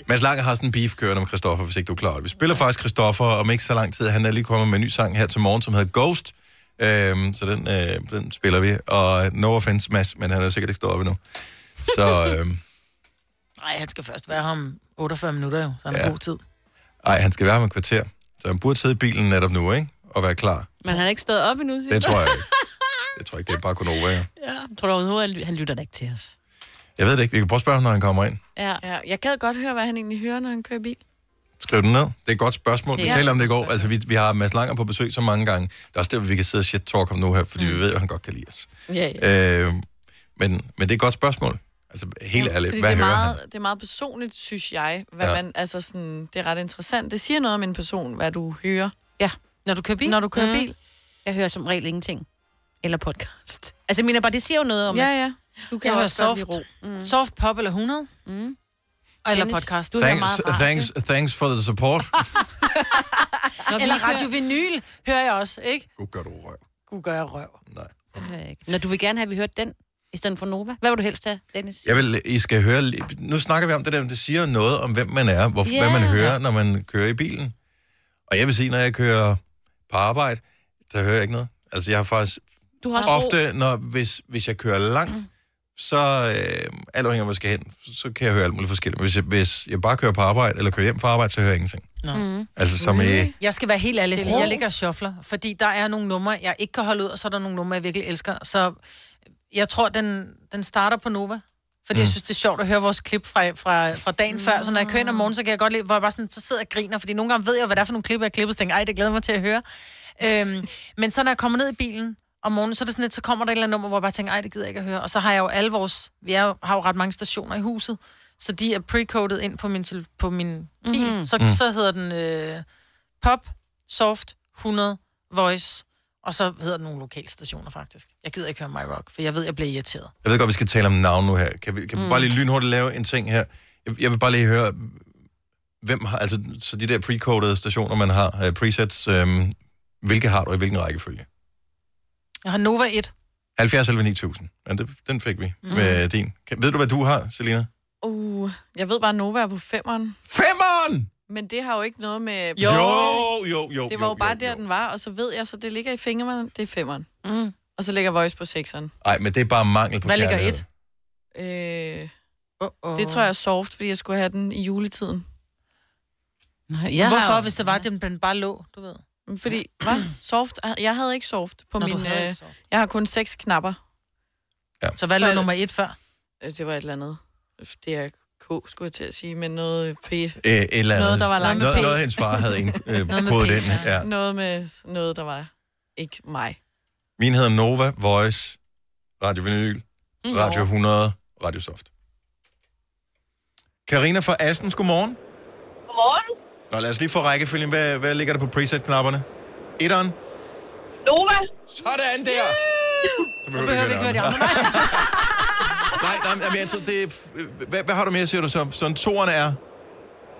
[SPEAKER 1] Mads Lange har sådan en beef kørende om Christoffer, hvis ikke du er klar. over det. Vi spiller faktisk Christoffer om ikke så lang tid. Han er lige kommet med en ny sang her til morgen, som hedder Ghost. Øhm, så den, øh, den spiller vi. Og no offense, Mads, men han er jo sikkert ikke stået op endnu. Så øhm,
[SPEAKER 3] Nej, han skal først være her om 48 minutter jo, så han har
[SPEAKER 1] Ja.
[SPEAKER 3] god tid.
[SPEAKER 1] ej, han skal være her om et kvarter. Så han burde sidde i bilen netop nu, ikke? Og være klar.
[SPEAKER 4] Men han har ikke stået op endnu, siger
[SPEAKER 1] Det tror jeg ikke. Det tror jeg ikke, det er bare kun over.
[SPEAKER 4] jeg. Tror du overhovedet, han- han lytter da ikke til os?
[SPEAKER 1] Jeg ved det ikke. Vi kan prøve at spørge ham, når han kommer ind.
[SPEAKER 4] Ja.
[SPEAKER 5] Ja, jeg gad godt høre, hvad han egentlig hører, når han kører bil.
[SPEAKER 1] Skriv den ned. Det er et godt spørgsmål. Vi
[SPEAKER 4] Ja.
[SPEAKER 1] talte om det i går. Altså, vi, vi har Mads Langer på besøg så mange gange. Det er også der, hvor vi kan sidde og shit-talk om nu her, fordi mm. vi ved, at han godt kan lide os.
[SPEAKER 5] Ja, ja.
[SPEAKER 1] Øh, men, men det er et godt spørgsmål. Altså, helt ærligt,
[SPEAKER 5] Fordi
[SPEAKER 1] hvad
[SPEAKER 5] det, er
[SPEAKER 1] hører
[SPEAKER 5] meget,
[SPEAKER 1] han?
[SPEAKER 5] det er meget personligt, synes jeg. Hvad
[SPEAKER 1] Ja.
[SPEAKER 5] ja. man, altså sådan, det er ret interessant. Det siger noget om en person, hvad du hører,
[SPEAKER 4] ja. Når du kører bil?
[SPEAKER 5] når du kører mm. bil.
[SPEAKER 4] Jeg hører som regel ingenting. Eller podcast. Altså, jeg mener bare, det siger jo noget om...
[SPEAKER 5] Ja, ja. Du kan jeg
[SPEAKER 3] Jeg hører
[SPEAKER 5] også godt
[SPEAKER 3] soft,
[SPEAKER 5] lide ro.
[SPEAKER 3] mm. soft pop eller 100. Mm. Eller
[SPEAKER 4] Dennis,
[SPEAKER 3] podcast.
[SPEAKER 4] Du hører
[SPEAKER 1] Thanks,
[SPEAKER 4] meget radio.
[SPEAKER 1] thanks, thanks for the support.
[SPEAKER 4] Når vi
[SPEAKER 3] Eller
[SPEAKER 4] ikke hører-
[SPEAKER 3] Radio Vinyl hører jeg også, ikke?
[SPEAKER 1] Gud, gør du røv.
[SPEAKER 3] Gud gør jeg røv.
[SPEAKER 1] Nej.
[SPEAKER 4] hører jeg ikke. Når du vil gerne have, at vi hørte den, i stedet for Nova. Hvad vil du helst have, Dennis?
[SPEAKER 1] Jeg vil, I skal høre... li- Nu snakker vi om det der, det siger noget om, hvem man er, hvor, yeah.
[SPEAKER 4] Ja.
[SPEAKER 1] hvad man hører, når man kører i bilen. Og jeg vil sige, når jeg kører på arbejde, der hører jeg ikke noget. Altså, jeg har faktisk
[SPEAKER 4] Du har Mm. også
[SPEAKER 3] Mm.
[SPEAKER 4] ro.
[SPEAKER 1] ofte, når, hvis, hvis jeg kører langt, så øh, alt afhængig af, hvor jeg skal hen, så kan jeg høre alt muligt forskelligt. Men Hvis jeg, hvis jeg bare kører på arbejde, eller kører hjem fra arbejde, så hører jeg ingenting.
[SPEAKER 3] Nå.
[SPEAKER 1] Altså,
[SPEAKER 4] Mm.
[SPEAKER 1] som i...
[SPEAKER 3] Jeg skal være helt ærlig og sige,
[SPEAKER 4] Ro.
[SPEAKER 3] jeg ligger og shuffler, fordi der er nogle numre, jeg ikke kan holde ud, og så er der nogle numre, jeg virkelig elsker. Så jeg tror, den, den starter på Nova. Fordi mm. jeg synes, det er sjovt at høre vores klip fra, fra, fra dagen før. Så når jeg kører ind om morgenen, så kan jeg godt lide, hvor jeg bare sådan, så sidder jeg og griner. Fordi nogle gange ved jeg, hvad det er for nogle klip, jeg har klippet. Så tænker jeg, ej, det glæder jeg mig til at høre. Øhm, men så når jeg kommer ned i bilen om morgenen, så er det sådan lidt, så kommer der et eller andet nummer, hvor jeg bare tænker, ej, det gider jeg ikke at høre. Og så har jeg jo alle vores, vi er jo, har jo ret mange stationer i huset, så de er pre-coded ind på min, tel- på min bil. Mm-hmm. Så,
[SPEAKER 1] Mm.
[SPEAKER 3] så hedder den øh, Pop, Soft, 100, Voice, og så hedder den nogle lokale stationer faktisk. Jeg gider ikke høre My Rock, for jeg ved, jeg bliver irriteret.
[SPEAKER 1] Jeg ved godt, vi skal tale om navn nu her. Kan vi, kan vi bare lige lynhurtigt lave en ting her? Jeg, jeg vil bare lige høre, hvem har... Altså, så de der pre-codede stationer, man har, øhm, øh, presets, øh, hvilke har du i hvilken rækkefølge?
[SPEAKER 3] Jeg har Nova 1,
[SPEAKER 1] 70 eller 9000. Ja, det, den fik vi mm. med din. Kan, ved du, hvad du har, Selina?
[SPEAKER 5] Uh, jeg ved bare, at Nova er på femmeren.
[SPEAKER 1] Femmeren!
[SPEAKER 5] Men det har jo ikke noget med...
[SPEAKER 1] Jo, jo, jo. jo
[SPEAKER 5] Det var jo,
[SPEAKER 1] jo,
[SPEAKER 5] bare der,
[SPEAKER 1] jo.
[SPEAKER 5] den var, og så ved jeg, så det ligger i fingrene, det er femmeren. Mm. Og så ligger Voice på sekseren.
[SPEAKER 1] Nej, men det er bare mangel på
[SPEAKER 3] Hvad ligger
[SPEAKER 1] kærlighed.
[SPEAKER 3] et?
[SPEAKER 5] Øh,
[SPEAKER 3] Uh-oh.
[SPEAKER 5] det tror jeg er soft, fordi jeg skulle have den i juletiden.
[SPEAKER 4] Nej,
[SPEAKER 3] Ja,
[SPEAKER 4] jeg
[SPEAKER 3] Hvorfor,
[SPEAKER 4] har
[SPEAKER 3] jo.
[SPEAKER 4] jo-
[SPEAKER 3] hvis det var, at den bare lå, du ved?
[SPEAKER 5] Fordi, hvad? Soft? Jeg havde ikke soft på
[SPEAKER 3] Nå,
[SPEAKER 5] min...
[SPEAKER 3] du havde
[SPEAKER 5] Øh,
[SPEAKER 3] ikke soft.
[SPEAKER 5] jeg har kun seks knapper.
[SPEAKER 3] Så hvad
[SPEAKER 5] Så
[SPEAKER 3] lå
[SPEAKER 5] er det-
[SPEAKER 3] nummer et før?
[SPEAKER 5] Øh, Det var et eller andet. Det er K, skulle jeg til at sige, men noget P.
[SPEAKER 1] Øh, et eller andet.
[SPEAKER 5] Noget, der var langt med
[SPEAKER 1] noget,
[SPEAKER 5] P.
[SPEAKER 1] noget, hendes far havde ind, øh,
[SPEAKER 3] med
[SPEAKER 1] kodet
[SPEAKER 3] P,
[SPEAKER 1] ind.
[SPEAKER 3] ja.
[SPEAKER 1] Ja.
[SPEAKER 5] Noget med noget, der var ikke mig.
[SPEAKER 1] Min hedder Nova, Voice, Radio Vinyl, Radio 100, Radio Soft. Karina fra Assens, godmorgen.
[SPEAKER 8] Godmorgen.
[SPEAKER 1] Nå, lad os lige få rækkefølgen. Hvad, hvad ligger der på preset-knapperne? Etteren.
[SPEAKER 8] Nova.
[SPEAKER 1] Sådan der! Så behøver, vi ikke høre de andre. nej, nej, men jeg tror, det er, hvad, hvad har du mere, siger du så? Sådan toeren er?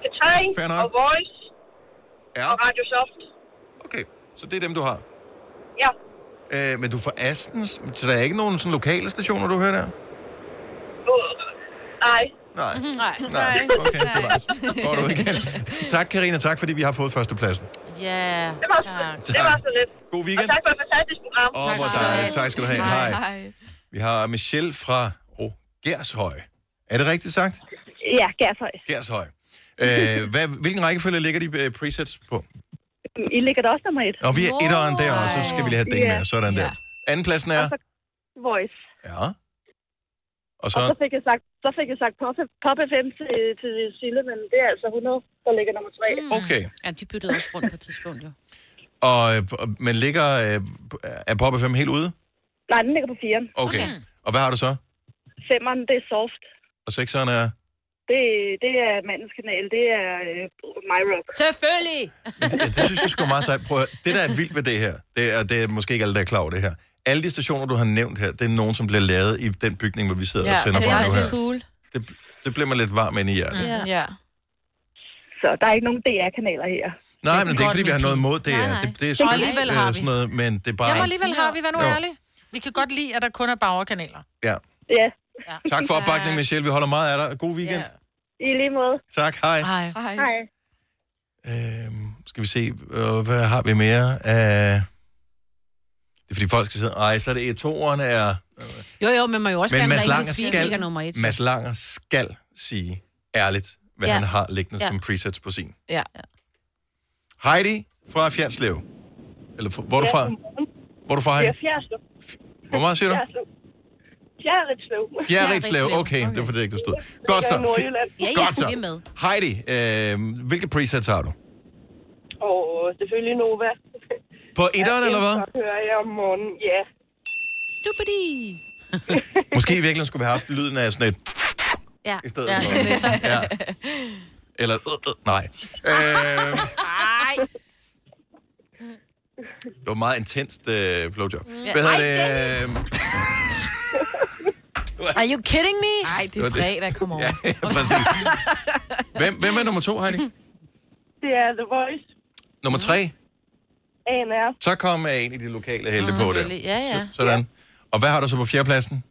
[SPEAKER 8] Katrin.
[SPEAKER 1] Fair nok.
[SPEAKER 8] Og Voice.
[SPEAKER 1] Ja.
[SPEAKER 8] Og Radio Soft.
[SPEAKER 1] Okay, så det er dem, du har.
[SPEAKER 8] Ja.
[SPEAKER 1] Øh, men du er fra Assens, så der er ikke nogen sådan lokale stationer, du hører der?
[SPEAKER 8] Uh, nej.
[SPEAKER 1] Mhm, Nej.
[SPEAKER 5] Nej.
[SPEAKER 1] Nej, okay, det var altså. Går du igen. Tak, Karina. Tak, fordi vi har fået førstepladsen.
[SPEAKER 4] Ja,
[SPEAKER 8] Det var,
[SPEAKER 4] tak.
[SPEAKER 8] det var så lidt.
[SPEAKER 1] God
[SPEAKER 8] Og
[SPEAKER 1] weekend.
[SPEAKER 8] tak for et fantastisk program.
[SPEAKER 1] Åh, hvor dejligt. Tak skal du have. Hej. Vi har Michelle fra oh, Gershøj. Er det rigtigt sagt?
[SPEAKER 8] Ja, Gershøj.
[SPEAKER 1] Gershøj. Øh, hvad, hvilken rækkefølge ligger de øh, presets på?
[SPEAKER 8] I ligger der også nummer et.
[SPEAKER 1] Og vi er etteren der, og så skal vi lige have den
[SPEAKER 8] Ja.
[SPEAKER 1] med. Sådan der. Anden pladsen er?
[SPEAKER 8] Voice.
[SPEAKER 1] Ja. Og
[SPEAKER 8] Og så
[SPEAKER 1] så?
[SPEAKER 8] fik jeg sagt, så fik jeg sagt Pop, Pop FM til, til Sille, men det er altså 100, der ligger nummer tre.
[SPEAKER 1] Okay.
[SPEAKER 4] Ja, de byttede også rundt på et tidspunkt, jo.
[SPEAKER 1] Og, øh, og- men ligger... Øh, er Pop 5 helt ude?
[SPEAKER 8] Nej, den ligger på firen.
[SPEAKER 1] Okay.
[SPEAKER 4] Okay.
[SPEAKER 1] Og hvad har du så?
[SPEAKER 8] Femmeren, det er soft.
[SPEAKER 1] Og sekseren er...
[SPEAKER 8] Det, det er mandens kanal. Det er øh, My Rock.
[SPEAKER 4] Selvfølgelig!
[SPEAKER 1] Men det, det synes jeg sgu er meget sejt. Prøv at, høre, det, der er vildt ved det her, det er, det er måske ikke alle, der er klar over det her. Alle de stationer, du har nævnt her, det er nogen, som bliver lavet i den bygning, hvor vi sidder ja, og sender
[SPEAKER 5] det er
[SPEAKER 1] fra nu
[SPEAKER 5] altid
[SPEAKER 1] her.
[SPEAKER 5] cool.
[SPEAKER 1] Det, det bliver man lidt varm ind i hjertet. Mm.
[SPEAKER 4] Ja.
[SPEAKER 5] Ja.
[SPEAKER 8] Så der er ikke nogen DR-kanaler her.
[SPEAKER 1] Nej, men det er ikke,
[SPEAKER 3] godt,
[SPEAKER 1] fordi vi har
[SPEAKER 3] min
[SPEAKER 1] noget imod det.
[SPEAKER 4] Nej,
[SPEAKER 1] er-
[SPEAKER 4] nej.
[SPEAKER 1] Det, det er sgu
[SPEAKER 3] alligevel
[SPEAKER 1] øh,
[SPEAKER 3] har vi.
[SPEAKER 1] sådan noget, men det er bare...
[SPEAKER 3] Jamen alligevel har vi, vær nu
[SPEAKER 1] Jo.
[SPEAKER 3] ærlig. Vi kan godt lide, at der kun er bagerkanaler.
[SPEAKER 1] Ja.
[SPEAKER 8] Ja,
[SPEAKER 1] Tak for opbakningen, Michelle. Vi holder meget af dig. God weekend. Ja.
[SPEAKER 8] i lige måde.
[SPEAKER 1] Tak, hej.
[SPEAKER 3] Ej.
[SPEAKER 5] Hej.
[SPEAKER 8] Hej.
[SPEAKER 1] Øhm, skal vi se, øh, hvad har vi mere? Øh, det er fordi folk skal sidde, ej, så er det toeren er...
[SPEAKER 4] Jo, jo, men man jo også
[SPEAKER 1] Men
[SPEAKER 4] gerne
[SPEAKER 1] Mads
[SPEAKER 4] rigtig
[SPEAKER 1] Langer,
[SPEAKER 4] sige, at den ligger
[SPEAKER 1] skal,
[SPEAKER 4] nummer et.
[SPEAKER 1] Mads Langer skal sige ærligt, hvad ja.
[SPEAKER 4] Ja.
[SPEAKER 1] han har liggende ja.
[SPEAKER 4] Ja.
[SPEAKER 1] som presets på sin.
[SPEAKER 5] Ja.
[SPEAKER 1] Heidi fra Fjernslev. Eller fra- hvor er du fra? Hvor er du fra,
[SPEAKER 8] Det
[SPEAKER 1] Heidi?
[SPEAKER 8] er Fjerdslev.
[SPEAKER 1] Hvor meget siger du?
[SPEAKER 8] Fjerdslev. Fjerdslev.
[SPEAKER 1] Fjerritslev.
[SPEAKER 4] Fjerritslev.
[SPEAKER 1] Okay, det var fordi, det ikke du stod. Godt så.
[SPEAKER 8] ligger i Nordjylland.
[SPEAKER 4] Ja, ja,
[SPEAKER 1] Godt så.
[SPEAKER 4] vi er med.
[SPEAKER 1] Heidi, øh, hvilke presets har du?
[SPEAKER 8] Og øh, selvfølgelig Nova.
[SPEAKER 1] På etteren, eller hvad?
[SPEAKER 8] Så hører jeg om morgenen. Ja.
[SPEAKER 4] Dubidi.
[SPEAKER 1] Måske i virkeligheden skulle vi have haft lyden af sådan et...
[SPEAKER 4] Ja.
[SPEAKER 1] I stedet for... Ja. Eller... Øh, øh, nej. Øh,
[SPEAKER 4] Ej,
[SPEAKER 1] det var meget intenst øh, blowjob. Hvad hedder det? Øhm,
[SPEAKER 5] Are you kidding me? Nej, det
[SPEAKER 1] var
[SPEAKER 5] er
[SPEAKER 1] det.
[SPEAKER 5] fredag, kom over.
[SPEAKER 1] Ja, præcis. Hvem, hvem er nummer to, Heidi?
[SPEAKER 8] Det er The Voice.
[SPEAKER 1] Nummer tre?
[SPEAKER 8] ANR.
[SPEAKER 1] Så kom jeg ind i de lokale helte
[SPEAKER 8] Mm.
[SPEAKER 1] på det.
[SPEAKER 4] selvfølgelig. Ja, ja.
[SPEAKER 1] Sådan. Og hvad har du så på fjerdepladsen?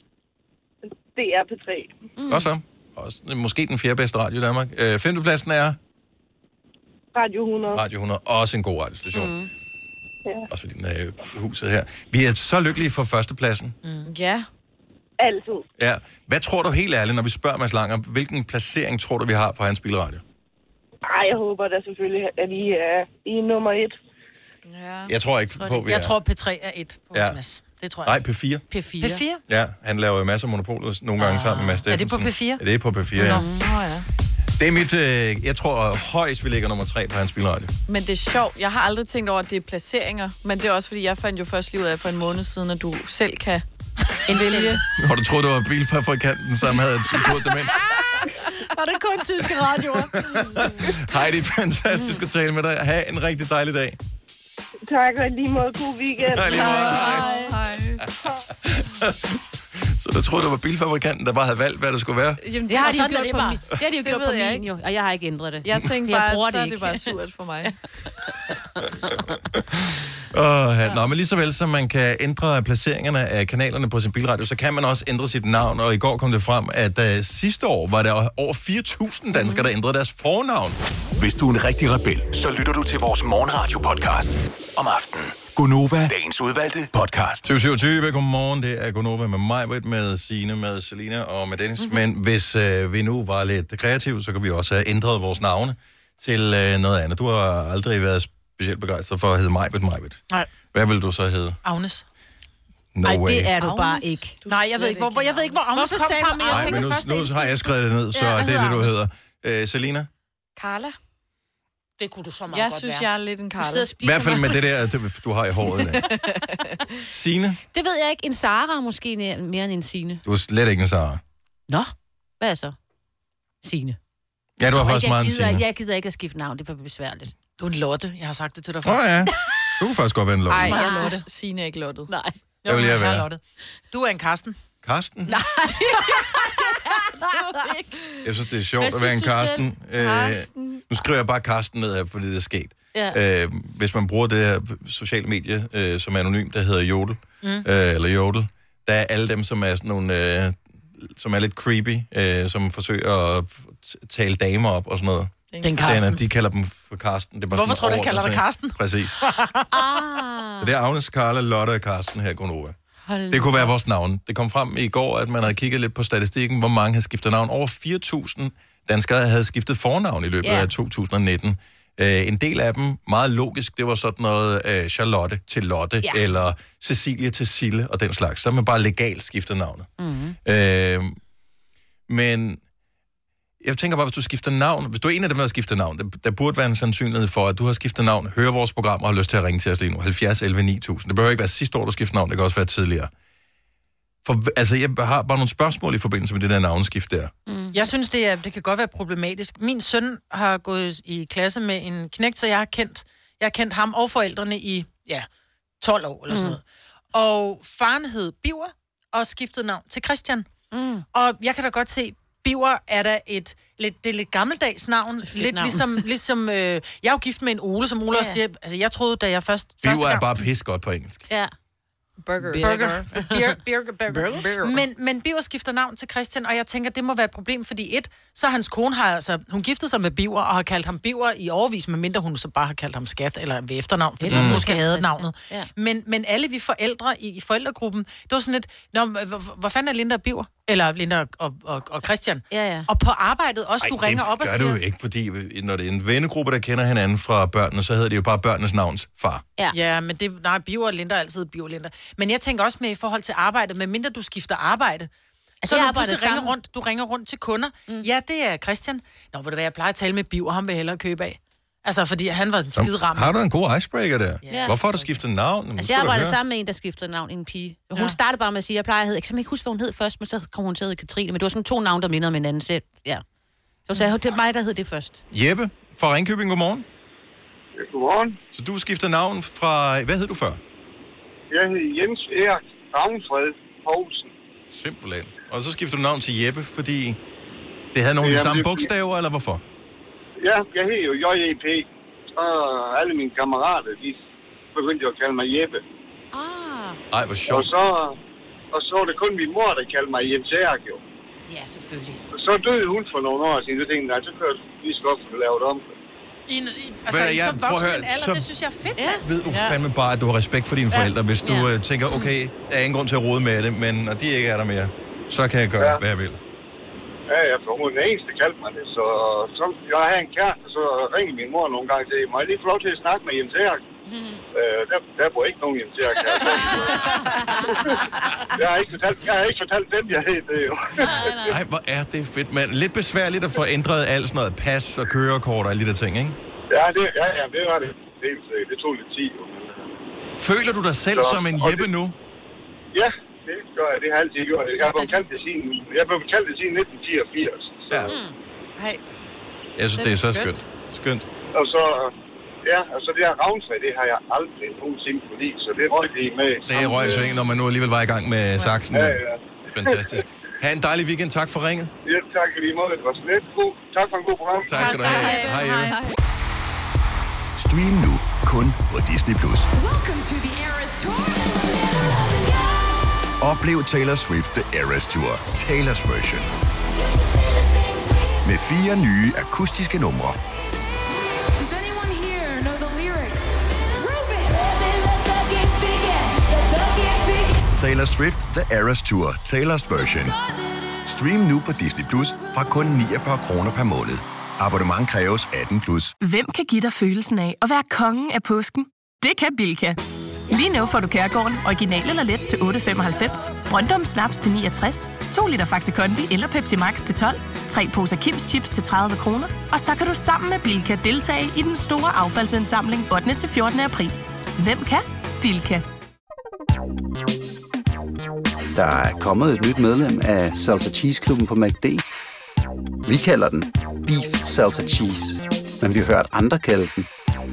[SPEAKER 8] Det er P3.
[SPEAKER 1] Mm. Godt så. Også, øh, måske den fjerde bedste radio i Danmark. Øh, femtepladsen er
[SPEAKER 8] Radio 100.
[SPEAKER 1] Radio 100. Også en god radiostation. Mm.
[SPEAKER 8] Ja.
[SPEAKER 1] Også fordi den er jo i huset her. Vi er så lykkelige for førstepladsen. Mm.
[SPEAKER 5] Ja.
[SPEAKER 8] Altid.
[SPEAKER 1] Ja. Hvad tror du helt ærligt, når vi spørger Mads Langer, hvilken placering tror du, vi har på hans bilradio?
[SPEAKER 8] Ej, jeg håber da selvfølgelig, at I er i er nummer et.
[SPEAKER 5] ja.
[SPEAKER 1] Jeg tror ikke på, vi
[SPEAKER 3] Jeg
[SPEAKER 1] er.
[SPEAKER 3] tror, P3 er et på
[SPEAKER 1] Ja.
[SPEAKER 3] ja. Mads. Det tror jeg.
[SPEAKER 1] Nej, P4.
[SPEAKER 4] P4.
[SPEAKER 3] P4? Ah.
[SPEAKER 1] Ja, han laver jo masser af monopolet nogle gange sammen med Mads
[SPEAKER 3] Er det på
[SPEAKER 1] Steffensen.
[SPEAKER 3] P4?
[SPEAKER 1] Ja, det er på P4, ja.
[SPEAKER 5] Nå, ja.
[SPEAKER 1] Det er mit, øh, jeg tror højst, vi ligger nummer tre på hans bilradio.
[SPEAKER 5] Men det er sjovt. Jeg har aldrig tænkt over, at det er placeringer. Men det er også, fordi jeg fandt jo først lige ud af for en måned siden, at du selv kan vælge.
[SPEAKER 1] Og du troede, du var bilfabrikanten, som havde et kort dement.
[SPEAKER 3] Ah! Var det kun tyske radioer?
[SPEAKER 1] Heidi, fantastisk at tale med dig. Ha' en rigtig dejlig dag.
[SPEAKER 8] Tak, og i lige måde god weekend.
[SPEAKER 1] Hej, lige måde. Hej.
[SPEAKER 5] Hej.
[SPEAKER 1] Så du troede, du var bilfabrikanten, der bare havde valgt, hvad det skulle være?
[SPEAKER 5] Jamen,
[SPEAKER 4] Det har
[SPEAKER 5] og
[SPEAKER 4] de jo
[SPEAKER 5] sådan er
[SPEAKER 4] gjort på
[SPEAKER 5] bare.
[SPEAKER 4] min. Det har de jo gjort
[SPEAKER 5] ved
[SPEAKER 4] på
[SPEAKER 5] jeg
[SPEAKER 4] min, jo. Og jeg har ikke ændret det.
[SPEAKER 5] Jeg tænkte
[SPEAKER 4] Jeg
[SPEAKER 5] bare,
[SPEAKER 4] bruger
[SPEAKER 5] at så
[SPEAKER 4] det
[SPEAKER 5] er det
[SPEAKER 4] ikke.
[SPEAKER 5] bare surt for mig.
[SPEAKER 1] Oh, ja. Nå, men lige så vel som man kan ændre placeringerne af kanalerne på sin bilradio, så kan man også ændre sit navn. Og i går kom det frem, at uh, sidste år var der over 4.000 danskere, der ændrede deres fornavn.
[SPEAKER 6] Hvis du er en rigtig rebel, så lytter du til vores morgenradio-podcast om aftenen. Gunova, dagens udvalgte podcast.
[SPEAKER 1] 2027, godmorgen. Det er Gunova med mig, Britt, med Signe, med Selina og med
[SPEAKER 4] Mhm.
[SPEAKER 1] Dennis. Mm-hmm. Men hvis øh, vi nu var lidt kreative, så kan vi også have ændret vores navne til øh, noget andet. Du har aldrig været specielt begejstret for at hedde Majbet Majbet.
[SPEAKER 3] Nej.
[SPEAKER 1] Hvad vil du så hedde?
[SPEAKER 3] Agnes.
[SPEAKER 1] No
[SPEAKER 4] Nej,
[SPEAKER 1] way.
[SPEAKER 4] det er du bare ikke.
[SPEAKER 3] Nej, jeg ved ikke, hvor, hvor, jeg ved ikke, hvor Agnes
[SPEAKER 4] Hvorfor
[SPEAKER 3] kom
[SPEAKER 4] sagde
[SPEAKER 3] fra,
[SPEAKER 4] du
[SPEAKER 3] men jeg
[SPEAKER 1] Nej,
[SPEAKER 3] tænker
[SPEAKER 1] men nu,
[SPEAKER 3] først,
[SPEAKER 1] nu har jeg skrevet det ned, så
[SPEAKER 4] Ja,
[SPEAKER 1] ja,
[SPEAKER 4] jeg
[SPEAKER 1] det er det, du hedder.
[SPEAKER 4] hedder
[SPEAKER 1] Øh, Selina?
[SPEAKER 5] Carla?
[SPEAKER 3] det kunne du så meget
[SPEAKER 5] Jeg
[SPEAKER 3] godt
[SPEAKER 5] synes,
[SPEAKER 3] være.
[SPEAKER 5] jeg er lidt en
[SPEAKER 4] Du sidder
[SPEAKER 5] Carla.
[SPEAKER 4] og
[SPEAKER 1] I
[SPEAKER 4] spiser
[SPEAKER 1] hvert fald
[SPEAKER 4] mig.
[SPEAKER 1] med det der, det- du har i håret. Der. Signe?
[SPEAKER 4] Det ved jeg ikke. En Sara er måske næ- mere end en Sine.
[SPEAKER 1] Du er slet ikke en Sara.
[SPEAKER 4] Nå, hvad er så? Sine.
[SPEAKER 1] Ja, du har
[SPEAKER 4] Jeg,
[SPEAKER 1] faktisk meget en
[SPEAKER 4] gider,
[SPEAKER 1] Signe. Åh
[SPEAKER 4] jeg gider ikke at skifte navn, det er for besværligt.
[SPEAKER 3] Du er en Lotte, jeg har sagt det til dig før.
[SPEAKER 1] oh, ja. Du kunne faktisk godt være en lov.
[SPEAKER 5] Nej, jeg
[SPEAKER 4] Nej.
[SPEAKER 5] synes, Signe er ikke lottet.
[SPEAKER 4] Nej.
[SPEAKER 3] Jo,
[SPEAKER 1] Hvad vil jeg
[SPEAKER 3] er
[SPEAKER 1] være?
[SPEAKER 3] Lotte. Du er en Karsten.
[SPEAKER 1] Karsten? Nej. jeg synes, det er sjovt
[SPEAKER 4] Hvad
[SPEAKER 1] at være en
[SPEAKER 4] synes du
[SPEAKER 1] Karsten. Øh, nu skriver jeg bare Karsten ned her, fordi det er sket.
[SPEAKER 4] Ja.
[SPEAKER 1] Øh, hvis man bruger det her sociale medie, øh, som er anonym, der hedder Jodel, mm. øh, eller Jodel, der er alle dem, som er sådan nogle, øh, som er lidt creepy, øh, som forsøger at t- tale damer op og sådan noget.
[SPEAKER 3] Den
[SPEAKER 1] Karsten.
[SPEAKER 3] Karsten.
[SPEAKER 1] de kalder dem for Karsten. Det er bare
[SPEAKER 3] Hvorfor tror
[SPEAKER 1] sådan
[SPEAKER 3] du, jeg kalder dig Karsten?
[SPEAKER 1] overordnet, ikke? Præcis.
[SPEAKER 4] Ah,
[SPEAKER 1] Så det er Agnes, Karla, Lotte og Karsten her, Gunova.
[SPEAKER 4] hold
[SPEAKER 1] Det kunne være vores navn. Det kom frem i går, at man havde kigget lidt på statistikken, hvor mange havde skiftet navn. Over 4.000 danskere havde skiftet fornavn i løbet
[SPEAKER 4] Ja.
[SPEAKER 1] yeah. af 2019. Øh, en del af dem, meget logisk, det var sådan noget øh, Charlotte til Lotte,
[SPEAKER 4] Ja.
[SPEAKER 1] eller Cecilie til Sille og den slags. Så har man bare legalt skiftet navnet. Mm-hmm. Øh, men jeg tænker bare, hvis du skifter navn, hvis du er en af dem, der har skiftet navn, der, der burde være en sandsynlighed for, at du har skiftet navn, hører vores program og har lyst til at ringe til os lige nu. 70 11 9000. Det behøver ikke være sidste år, du skiftede navn, det kan også være tidligere. For, hv- altså, jeg har bare nogle spørgsmål i forbindelse med det der navnskift der.
[SPEAKER 4] Mm.
[SPEAKER 3] Mm. Jeg synes, det, er, det kan godt være problematisk. Min søn har gået i klasse med en knægt, så jeg har kendt, jeg har kendt ham og forældrene i ja, 12 år eller sådan noget. Og faren hed Biver og skiftede navn til Christian. Mm. Og jeg kan da godt se, Biver er da et lidt, det er lidt gammeldags navn. Lidt
[SPEAKER 4] navn.
[SPEAKER 3] navn. ligesom, ligesom øh, jeg er jo gift med en Ole, som Ole ja. også siger. Altså, jeg troede, da jeg først... første
[SPEAKER 1] Biver er
[SPEAKER 3] gang-
[SPEAKER 1] bare pis godt på engelsk.
[SPEAKER 4] Ja.
[SPEAKER 5] Burger.
[SPEAKER 3] Burger. Beer, beer, burger. Men, men Biver skifter navn til Christian, og jeg tænker, det må være et problem, fordi et, så hans kone har altså, hun giftede sig med Biver, og har kaldt ham Biver i overvis, medmindre hun så bare har kaldt ham skat, eller ved efternavn, fordi hun måske havde navnet.
[SPEAKER 4] Ja.
[SPEAKER 3] Men, men alle vi forældre i, i forældregruppen, det var sådan lidt, Nå, hvor, hvor- hvor fanden er Linda og Biver? Eller Linda og, og, og, og Christian.
[SPEAKER 4] Ja, ja.
[SPEAKER 3] Og på arbejdet også, Ej, du ringer
[SPEAKER 1] det
[SPEAKER 3] op og
[SPEAKER 1] gør
[SPEAKER 3] siger...
[SPEAKER 1] det jo ikke, fordi når det er en vennegruppe, der kender hinanden fra børnene, så hedder det jo bare børnenes navns far.
[SPEAKER 4] Ja.
[SPEAKER 3] Ja, men det, nej, Biver og Linda er altid Biver og Linda. Men jeg tænker også med i forhold til arbejde, medmindre du skifter arbejde, så
[SPEAKER 4] jeg
[SPEAKER 3] når du
[SPEAKER 4] arbejder
[SPEAKER 3] pludselig ringer
[SPEAKER 4] sammen.
[SPEAKER 3] rundt, du ringer rundt til kunder. Mm. Ja, det er Christian. Nå, hvor det være, jeg plejer at tale med Biver, ham vil jeg hellere købe af. Altså, fordi han var en skide ram.
[SPEAKER 1] Har du en god icebreaker der?
[SPEAKER 4] Ja.
[SPEAKER 1] Hvorfor har du skiftet navn? Nu
[SPEAKER 4] Altså,
[SPEAKER 1] skal
[SPEAKER 4] jeg
[SPEAKER 1] du
[SPEAKER 4] arbejder
[SPEAKER 1] høre.
[SPEAKER 4] sammen med en, der skiftede navn, en pige. Hun ja. startede bare med at sige, at jeg plejer at hedde, jeg kan simpelthen ikke huske, hvad hun hed først, men så kom hun til at hedde Katrine, men det var sådan to navne, der mindede om hinanden selv. Ja. Så sagde hun, det er mig, der hed det først.
[SPEAKER 1] Jeppe fra Ringkøbing, godmorgen.
[SPEAKER 9] Godmorgen.
[SPEAKER 1] Så du skiftede navn fra... Hvad hed du før?
[SPEAKER 9] Jeg hedder Jens Erik Ravnfred Poulsen.
[SPEAKER 1] Simpelthen. Og så skiftede du navn til Jeppe, fordi det havde nogle af de
[SPEAKER 9] Jamen,
[SPEAKER 1] samme
[SPEAKER 9] det-
[SPEAKER 1] bogstaver, eller hvorfor?
[SPEAKER 9] Ja, jeg hedder jo JEP, og alle mine kammerater, de begyndte jo at kalde mig Jeppe.
[SPEAKER 4] Ah,
[SPEAKER 1] Ej, hvor
[SPEAKER 9] Og
[SPEAKER 1] sjovt.
[SPEAKER 9] så, og så var det kun min mor, der kaldte mig Jens Erik jo.
[SPEAKER 4] ja, selvfølgelig.
[SPEAKER 9] Og så døde hun for nogle år siden, og jeg tænkte, nej, så kan jeg lige så godt få det lavet om.
[SPEAKER 3] I, en- i, altså,
[SPEAKER 1] Hvad er
[SPEAKER 3] i
[SPEAKER 1] jeg-
[SPEAKER 3] så
[SPEAKER 1] prøv at
[SPEAKER 3] voksen
[SPEAKER 1] høre,
[SPEAKER 3] en alder,
[SPEAKER 1] så-
[SPEAKER 3] det synes jeg er fedt.
[SPEAKER 4] Ja.
[SPEAKER 3] Ja.
[SPEAKER 1] Ved du fandme bare, at du har respekt for dine forældre, hvis du
[SPEAKER 4] Ja.
[SPEAKER 1] øh, tænker, okay, der er ingen grund til at rode med det, men når de ikke er der mere, så kan jeg gøre,
[SPEAKER 9] Ja.
[SPEAKER 1] hvad jeg vil.
[SPEAKER 9] Ja, ja, for hun er den eneste, der kaldte mig det. Så, så jeg har en kæreste, så ringer min mor nogle gange til, må jeg lige få lov til at snakke med Jens Erik? Øh, der, der bor ikke nogen Jens Erik. her. jeg, har ikke fortalt, jeg har ikke fortalt dem, jeg hed det jo.
[SPEAKER 1] Ej, hvor er det fedt, mand. Lidt besværligt at få ændret alt sådan noget pas og kørekort og alle de der ting, ikke?
[SPEAKER 9] ja, det, ja, ja, det var det. Det, det tog lidt tid. jo, men, øh,
[SPEAKER 1] Føler du dig selv
[SPEAKER 9] Så-
[SPEAKER 1] som en
[SPEAKER 9] og
[SPEAKER 1] Jeppe
[SPEAKER 9] det-
[SPEAKER 1] nu?
[SPEAKER 9] Ja, det gør jeg. Det har jeg altid gjort. Jeg har blevet kaldt det siden, jeg blev kaldt det siden 1984. Så,
[SPEAKER 1] Ja.
[SPEAKER 5] Hej.
[SPEAKER 1] Jeg synes, det
[SPEAKER 5] Det
[SPEAKER 1] er
[SPEAKER 5] er
[SPEAKER 1] så
[SPEAKER 5] skønt.
[SPEAKER 1] skønt. Skønt.
[SPEAKER 9] Og så, ja, og så det her ravnsag, det har jeg aldrig nogensinde kunne lide, så det røg lige med.
[SPEAKER 1] Det røg så en, når man nu alligevel var i gang med saksen.
[SPEAKER 9] Ja,
[SPEAKER 1] der.
[SPEAKER 9] ja.
[SPEAKER 1] Fantastisk. Ha' en dejlig weekend. Tak for ringet.
[SPEAKER 9] Ja, tak i lige måde. Det var slet god. Tak for en god program.
[SPEAKER 1] Tak skal du have. Hej, Jeppe.
[SPEAKER 6] Stream nu Kun på Disney+. Plus.
[SPEAKER 10] Welcome to the Eras Tour.
[SPEAKER 6] Oplev Taylor Swift The Eras Tour, Taylor's version. Med fire nye akustiske numre.
[SPEAKER 10] Does anyone here know the lyrics?
[SPEAKER 6] Taylor Swift The Eras Tour, Taylor's version. Stream nu på Disney Plus fra kun 49 kroner per måned. Abonnement kræves 18 plus.
[SPEAKER 11] Hvem kan give dig følelsen af at være kongen af påsken? Det kan Bilka! Lige nu får du Kærgården original eller let til 8.95, Brøndum Snaps til 69, 2 liter Faxi Kondi eller Pepsi Max til 12, 3 poser Kims Chips til 30 kroner, og så kan du sammen med Bilka deltage i den store affaldsindsamling 8. til 14. april. Hvem kan? Bilka.
[SPEAKER 12] Mm. Der er kommet et nyt medlem af Salsa Cheese Klubben på MACD. Vi kalder den Beef Salsa Cheese, men vi har hørt andre kalde den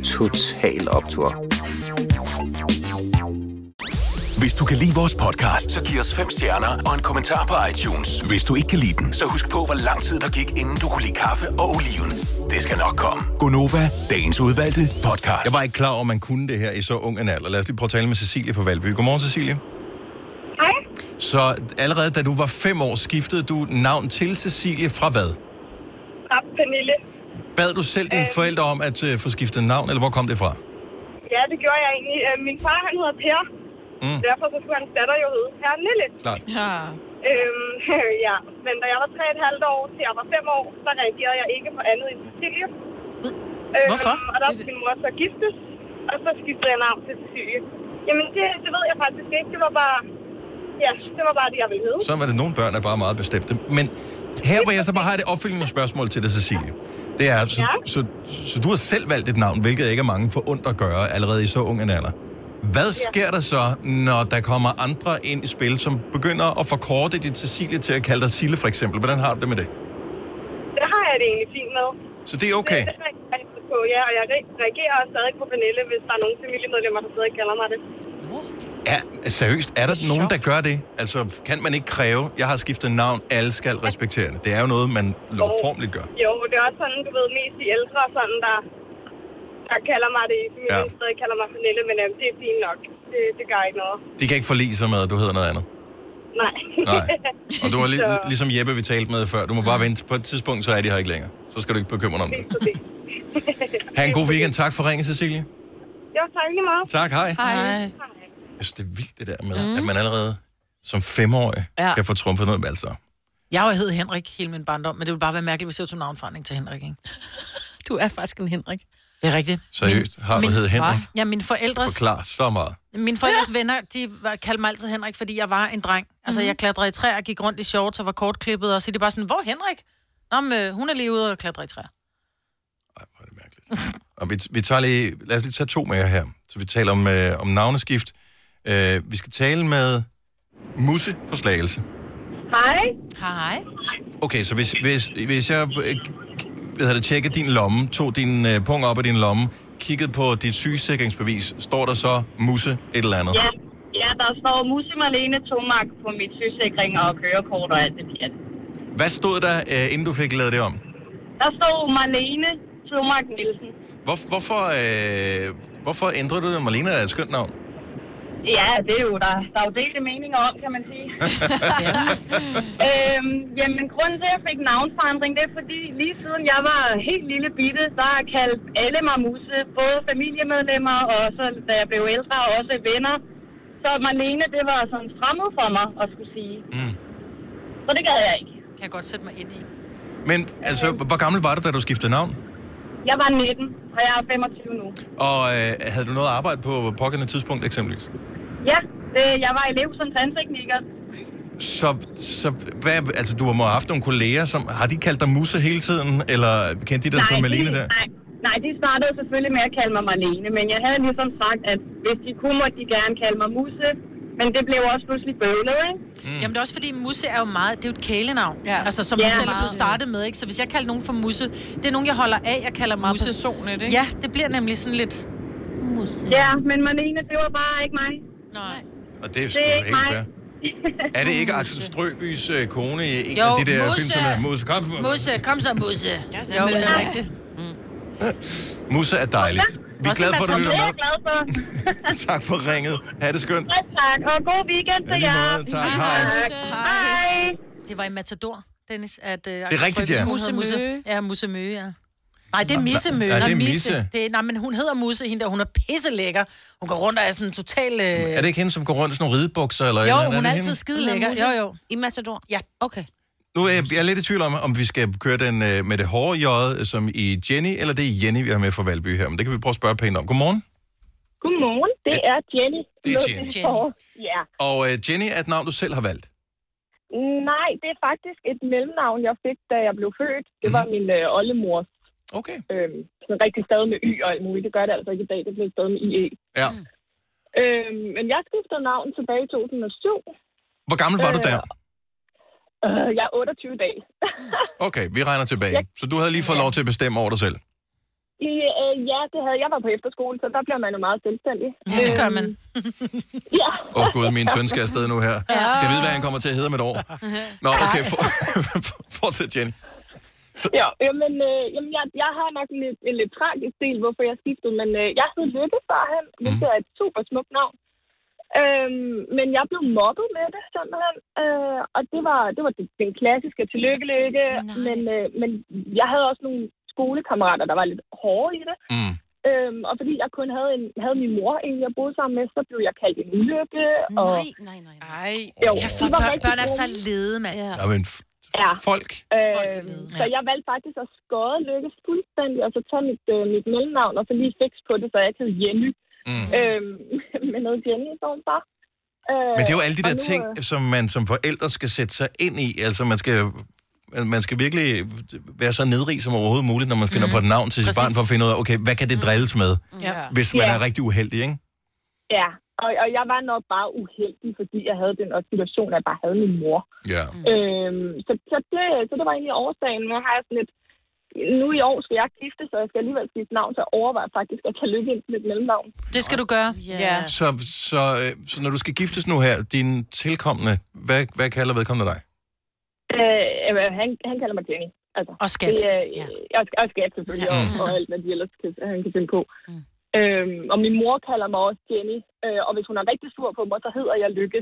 [SPEAKER 12] Total Optor.
[SPEAKER 6] Hvis du kan lide vores podcast, så giv os fem stjerner og en kommentar på iTunes. Hvis du ikke kan lide den, så husk på, hvor lang tid der gik, inden du kunne lide kaffe og oliven. Det skal nok komme. Gonova, dagens udvalgte podcast.
[SPEAKER 1] Jeg var ikke klar over, at man kunne det her i så ung en alder. Lad os lige prøve at tale med Cecilie fra Valby. Godmorgen, Cecilie.
[SPEAKER 8] Hej.
[SPEAKER 1] Så allerede da du var fem år, skiftede du navn til Cecilie fra hvad?
[SPEAKER 8] Fra Pernille.
[SPEAKER 1] Bad du selv dine forældre om at øh, få skiftet navn, eller hvor kom det fra?
[SPEAKER 8] Ja, det gjorde jeg egentlig. Øh, Min far, han hedder Per. Mm. Derfor så skulle hans datter jo hedde Pernille.
[SPEAKER 1] Klart.
[SPEAKER 5] Ja.
[SPEAKER 8] Øhm, ja. Men da jeg var 3,5 år til jeg var 5 år, så reagerede jeg ikke på andet end Cecilie. Øhm,
[SPEAKER 5] Hvorfor?
[SPEAKER 8] Og der skulle min mor så giftes, og så skiftede jeg navn til Cecilie. Jamen, det, det ved jeg faktisk ikke. Det var bare... Ja, det var bare det, jeg ville hedde.
[SPEAKER 1] Så var det nogle børn, der bare er meget bestemte. Men her, hvor jeg så bare har det opfølgende spørgsmål til dig, Cecilie. Det er, så,
[SPEAKER 8] Ja.
[SPEAKER 1] så, så du har selv valgt et navn, hvilket ikke er mange forundt at gøre allerede i så ung en alder. Hvad sker der så, når der kommer andre ind i spil, som begynder at forkorte dit Cecilie til at kalde dig Sille, for eksempel? Hvordan har du det med det?
[SPEAKER 8] Det har jeg det egentlig fint med.
[SPEAKER 1] Så det er okay?
[SPEAKER 8] Det, det reagerer jeg på, ja, og jeg re- reagerer også stadig på Pernille, hvis der er nogen familiemedlemmer, der stadig kalder mig det.
[SPEAKER 1] Ja, seriøst, er der nogen, der gør det? Altså, kan man ikke kræve, jeg har skiftet navn, alle skal respektere det? Det er jo noget, man lovformeligt gør.
[SPEAKER 8] Jo, det er også sådan, du ved, mest de ældre, sådan, der, der kalder mig det i familien,
[SPEAKER 1] Ja.
[SPEAKER 8] ja. stadig kalder mig Pernille, men jamen, det er fint nok. Det, det gør ikke noget.
[SPEAKER 1] De kan ikke forlige sig med, at du hedder noget andet.
[SPEAKER 8] Nej.
[SPEAKER 1] Nej. Og du er li-
[SPEAKER 8] Så,
[SPEAKER 1] ligesom Jeppe, vi talte med før. Du må bare vente. På et tidspunkt, så er de her ikke længere. Så skal du ikke bekymre dig om det.
[SPEAKER 8] så det.
[SPEAKER 1] Ha' en god weekend. Tak for ringen, Cecilie.
[SPEAKER 8] Jo, tak lige meget.
[SPEAKER 1] Tak, hej.
[SPEAKER 5] Hej.
[SPEAKER 1] Jeg synes, det er vildt det der med, at man allerede som femårig
[SPEAKER 3] Mm. Ja.
[SPEAKER 1] kan få trumfet noget med altså.
[SPEAKER 3] Jeg har jo hed Henrik hele min barndom, men det ville bare være mærkeligt, hvis jeg tog navnforandring til Henrik, ikke?
[SPEAKER 4] Du er faktisk en Henrik.
[SPEAKER 3] Det er rigtigt.
[SPEAKER 1] Seriøst, har du
[SPEAKER 3] men-
[SPEAKER 1] heddet Henrik?
[SPEAKER 3] Ja, mine forældres,
[SPEAKER 1] Forklar så meget.
[SPEAKER 3] mine forældres venner, de var- kaldte mig altid Henrik, fordi jeg var en dreng. Altså,
[SPEAKER 4] Mhm.
[SPEAKER 3] jeg klatrede i træer, gik rundt i shorts og var kortklippet, og så er de bare sådan, hvor er Henrik? Nå, men, øh, hun er lige ude og klatre i træer.
[SPEAKER 1] Ej, hvor er det mærkeligt. Og vi, vi tager lige, lad os lige tage to mere her. Så vi taler om, øh, om navneskift. Øh, vi skal tale med Musse fra Slagelse.
[SPEAKER 8] Hej.
[SPEAKER 3] Hej.
[SPEAKER 1] Okay, så hvis, hvis, hvis jeg øh, hvad hedder det, tjekker din lomme, tog din øh, pung op af din lomme, kiggede på dit sygesikringsbevis, står der så Musse et eller andet?
[SPEAKER 8] Ja, ja der står Musse Marlene Tomark på mit sygesikring og kørekort og alt det pjat.
[SPEAKER 1] Hvad stod der, øh, inden du fik lavet det om?
[SPEAKER 8] Der står Marlene Tomark Nielsen.
[SPEAKER 1] Hvor, hvorfor, øh, hvorfor ændrede du det? Marlene er et skønt navn.
[SPEAKER 8] Ja, det er jo, der, der er jo delte meninger om, kan man sige. øhm, jamen, grunden til, at jeg fik navnforandring, det er fordi, lige siden jeg var helt lille bitte, der har kaldt alle mig Musse, både familiemedlemmer og så, da jeg blev ældre, også venner. Så Marlene, det var sådan fremmed for mig at skulle sige.
[SPEAKER 1] Mm.
[SPEAKER 8] Så det gad jeg ikke.
[SPEAKER 3] Kan jeg godt sætte mig ind i.
[SPEAKER 1] Men altså, hvor gammel var du, da du skiftede navn?
[SPEAKER 8] Jeg var 19, og jeg er 25 nu.
[SPEAKER 1] Og øh, havde du noget arbejde på pågældende tidspunkt eksempelvis?
[SPEAKER 8] Ja, øh, jeg var elev som tandtekniker.
[SPEAKER 1] Så, så hvad, altså, du må have haft nogle kolleger, som har de kaldt dig Musse hele tiden? Eller kendte de dig som Malene
[SPEAKER 8] de,
[SPEAKER 1] der?
[SPEAKER 8] nej, nej, de startede selvfølgelig med at kalde mig Marlene, men jeg havde ligesom sagt, at hvis de kunne, måtte de gerne kalde mig Musse. Men det blev også pludselig bøvlet, ikke?
[SPEAKER 3] Mm. Jamen det er også fordi, Musse er jo meget, det er jo et kælenavn. Ja.
[SPEAKER 5] Ja.
[SPEAKER 3] Altså som
[SPEAKER 8] Ja,
[SPEAKER 3] ja, du selv er blevet
[SPEAKER 8] meget.
[SPEAKER 3] startet med, ikke? Så hvis jeg kalder nogen for Musse, det er nogen, jeg holder af, jeg kalder
[SPEAKER 5] Meget
[SPEAKER 3] Musse.
[SPEAKER 5] personligt, ikke?
[SPEAKER 3] Ja, det bliver nemlig sådan lidt... Musse.
[SPEAKER 8] Ja, men Marlene, det var bare ikke mig.
[SPEAKER 3] Nej.
[SPEAKER 1] Og det er sgu
[SPEAKER 8] Det er
[SPEAKER 1] helt
[SPEAKER 8] ikke mig.
[SPEAKER 1] fair. Er det ikke Axel Strøbys øh, kone i en
[SPEAKER 3] Jo,
[SPEAKER 1] af de der
[SPEAKER 3] Musse.
[SPEAKER 1] film, som hedder Musse? Kom,
[SPEAKER 3] Musse, kom så, Musse. Ja,
[SPEAKER 4] så
[SPEAKER 3] jo,
[SPEAKER 4] Musse.
[SPEAKER 3] det er rigtigt.
[SPEAKER 1] Musse er dejligt. Vi er glade for, at du
[SPEAKER 13] Det er
[SPEAKER 1] lytter
[SPEAKER 13] jeg glad for.
[SPEAKER 1] med. tak for ringet. Ha' det skønt.
[SPEAKER 13] Ja, tak, og god weekend til
[SPEAKER 1] Ja, lige
[SPEAKER 13] jer.
[SPEAKER 1] måde. Tak. Hej.
[SPEAKER 3] Hej. Det var i Matador, Dennis. At, øh,
[SPEAKER 1] Det er rigtigt, ja.
[SPEAKER 3] Musse Mø. Ja, Musse Mø, ja. Nej, det er Misse Mø.
[SPEAKER 1] Ja, det er
[SPEAKER 3] Nå,
[SPEAKER 1] Misse.
[SPEAKER 3] Det er, nej, men hun hedder Musse, hende der. Hun er pisse lækker. Hun går rundt og er sådan total... Øh...
[SPEAKER 1] Er det ikke hende, som går rundt i sådan nogle ridebukser? Eller et eller
[SPEAKER 3] jo,
[SPEAKER 1] andet?
[SPEAKER 3] hun er
[SPEAKER 1] det
[SPEAKER 3] altid
[SPEAKER 1] hende?
[SPEAKER 3] skide lækker. Jo, jo.
[SPEAKER 4] I Matador?
[SPEAKER 3] Ja.
[SPEAKER 4] Okay.
[SPEAKER 1] Nu er jeg, jeg er lidt i tvivl om, om vi skal køre den øh, med det hårde jøde, som i Jenny, eller det er Jenny, vi har med fra Valby her. Men det kan vi prøve at spørge pænt om. Godmorgen.
[SPEAKER 8] Godmorgen, det er Jenny.
[SPEAKER 1] Det er
[SPEAKER 8] Lund
[SPEAKER 1] Jenny.
[SPEAKER 8] Forår. Ja.
[SPEAKER 1] Og øh, Jenny er et navn, du selv har valgt.
[SPEAKER 8] Nej, det er faktisk et mellemnavn, jeg fik, da jeg blev født. Det var min øh, oldemors.
[SPEAKER 1] Mhm. Okay.
[SPEAKER 8] Øhm, sådan rigtig stadig med Y og alt muligt. Det gør det altså ikke i dag, det blev stadig med IE.
[SPEAKER 1] Ja.
[SPEAKER 8] Øhm, men jeg skiftede navn tilbage i 2007.
[SPEAKER 1] Hvor gammel var du der?
[SPEAKER 8] Øh, jeg er 28 dage.
[SPEAKER 3] Øh.
[SPEAKER 1] Okay, vi regner tilbage. Så du havde lige fået lov til at bestemme over dig selv.
[SPEAKER 8] I, øh, ja, det havde jeg var på efterskole, så der bliver man jo meget selvstændig.
[SPEAKER 3] Ja, det gør man.
[SPEAKER 8] ja.
[SPEAKER 1] Åh oh, gud, min søn skal afsted nu her. Kan vide, hvad han kommer til at hedde om et år? Nå, okay, for, fortsæt, Jenny.
[SPEAKER 8] Ja, jamen, øh, jamen jeg, jeg har nok en lidt, en lidt tragisk del, hvorfor jeg skiftede, men øh, jeg hed Lykke førhen,
[SPEAKER 1] Mhm.
[SPEAKER 8] hvilket er et super smukt navn. Øhm, men jeg blev mobbet med det, simpelthen. Øh, og det var, det var den- den klassiske tillykke-lykke. Men, øh, men jeg havde også nogle skolekammerater, der var lidt hårde i det.
[SPEAKER 1] Mm.
[SPEAKER 8] Øhm, og fordi jeg kun havde, en, havde min mor, en jeg boede sammen med, så blev jeg kaldt en ulykke. Og,
[SPEAKER 4] Nej, nej, nej.
[SPEAKER 8] nej.
[SPEAKER 3] Jo, ja, for børn, børn er så lede, mand. Ja.
[SPEAKER 1] Nå, men f-
[SPEAKER 8] Ja.
[SPEAKER 1] Folk.
[SPEAKER 8] Øh, så jeg valgte faktisk at skåre Lykke fuldstændig, og så tage mit, øh, mit mellemnavn, og så lige fix på det, så jeg ikke hed Jenny.
[SPEAKER 1] Mm.
[SPEAKER 8] Øh, med noget Jenny i stedet for. Øh,
[SPEAKER 1] Men det er jo alle de
[SPEAKER 8] og
[SPEAKER 1] der
[SPEAKER 8] nu, øh,
[SPEAKER 1] ting, altså, som man som forældre skal sætte sig ind i. Altså, man skal, man skal virkelig være så nedrig som overhovedet muligt, når man finder mm. på et navn til sit
[SPEAKER 8] Præcis. Mm.
[SPEAKER 1] barn, for at finde ud af, okay, hvad kan det drilles med,
[SPEAKER 8] Ja.
[SPEAKER 1] hvis man
[SPEAKER 8] Ja.
[SPEAKER 1] er rigtig uheldig, ikke?
[SPEAKER 8] Ja, og, og jeg var nok bare uheldig, fordi jeg havde den også situation, at jeg bare havde min mor.
[SPEAKER 1] Ja.
[SPEAKER 8] Øhm, så, så, det, så det var egentlig årsagen. Nu har jeg sådan lidt, nu i år skal jeg gifte, så jeg skal alligevel skifte navn, så jeg overvejer faktisk at tage lykke ind til mit mellemnavn.
[SPEAKER 3] Det skal du gøre. Ja.
[SPEAKER 1] Så, så, øh, så når du skal giftes nu her, din tilkommende, hvad, hvad kalder vedkommende dig?
[SPEAKER 8] Øh, øh, han, han kalder mig Jenny. Altså,
[SPEAKER 3] og skat.
[SPEAKER 8] Det, øh, ja. og, og skat selvfølgelig, ja. og, og alt, hvad de ellers kan, han kan finde på. Mm. Øhm, og min mor kalder mig også Jenny, øh, og hvis hun er rigtig sur på mig, så hedder jeg Lykke.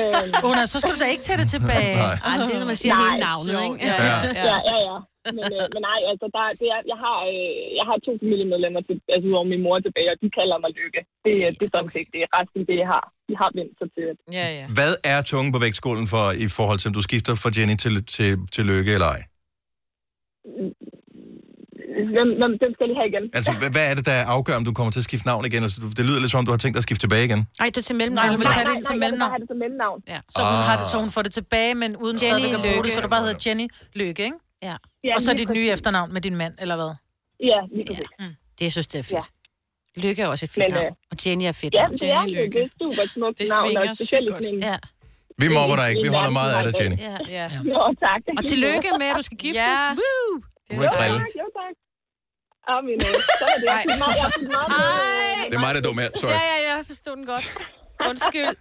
[SPEAKER 8] øhm,
[SPEAKER 3] Oh, nej, så skal du da ikke tage det tilbage.
[SPEAKER 1] Nej.
[SPEAKER 4] Ej, men det er, når man siger hele navnet,
[SPEAKER 8] sjovt.
[SPEAKER 4] ikke?
[SPEAKER 8] Ja,
[SPEAKER 4] Ja,
[SPEAKER 8] ja,
[SPEAKER 4] ja.
[SPEAKER 8] ja. ja, ja. Men, øh, men nej, altså, der, det er, jeg, har, øh, jeg har to familiemedlemmer, til, altså udover min mor tilbage, og de kalder mig Lykke. Det, ja, det er sådan set det. Resten, det jeg har, de har vendt sig til.
[SPEAKER 5] Ja, ja.
[SPEAKER 1] Hvad er tungen på vægtskålen for, i forhold til, om du skifter fra Jenny til, til, til Lykke eller ej?
[SPEAKER 8] Hvem, hvem, hvem skal lige have igen?
[SPEAKER 1] Altså, hvad, hvad er det, der afgør, om du kommer til at skifte navn igen? Altså, du- det lyder lidt som om, du har tænkt dig at skifte tilbage igen.
[SPEAKER 4] Nej, du er til
[SPEAKER 3] mellemnavn. Nej, hun vil tage det ind som
[SPEAKER 8] jeg vil bare
[SPEAKER 3] mellemnavn.
[SPEAKER 8] have det som mellemnavn.
[SPEAKER 4] Ja.
[SPEAKER 3] Så, hun
[SPEAKER 1] Ah.
[SPEAKER 3] har det, så hun får det tilbage, men uden
[SPEAKER 8] Jenny
[SPEAKER 3] stadig at bruge
[SPEAKER 8] Lykke.
[SPEAKER 3] det, så du bare hedder Jenny Lykke, ikke?
[SPEAKER 4] Ja.
[SPEAKER 3] Og så
[SPEAKER 8] lige
[SPEAKER 3] dit nye efternavn med din mand, eller hvad?
[SPEAKER 8] Ja, lige præcis.
[SPEAKER 4] Mm. Det, jeg synes, det er fedt. Lykke er også et fedt
[SPEAKER 8] Men,
[SPEAKER 4] navn.
[SPEAKER 8] øh,
[SPEAKER 4] Og Jenny er et fedt
[SPEAKER 8] Ja,
[SPEAKER 4] navn.
[SPEAKER 8] det er det. Det er et super smukt
[SPEAKER 4] Det
[SPEAKER 8] navn,
[SPEAKER 4] svinger
[SPEAKER 8] og specielt i
[SPEAKER 4] sygt
[SPEAKER 8] sådan en...
[SPEAKER 4] Ja.
[SPEAKER 1] Vi mobber dig ikke. Vi holder meget af dig, Jenny.
[SPEAKER 4] Ja, ja.
[SPEAKER 8] Nå, tak.
[SPEAKER 4] Og tillykke med, at du skal giftes.
[SPEAKER 5] Ja.
[SPEAKER 4] Woo!
[SPEAKER 1] Du er ikke drillet.
[SPEAKER 8] Jo, tak. Åh, min øh, så er det. Jeg fik meget, jeg fik meget med,
[SPEAKER 1] Det er mig, der er dum her. Sorry.
[SPEAKER 4] Ah. Ja, ja, ja, jeg forstod den godt. Undskyld,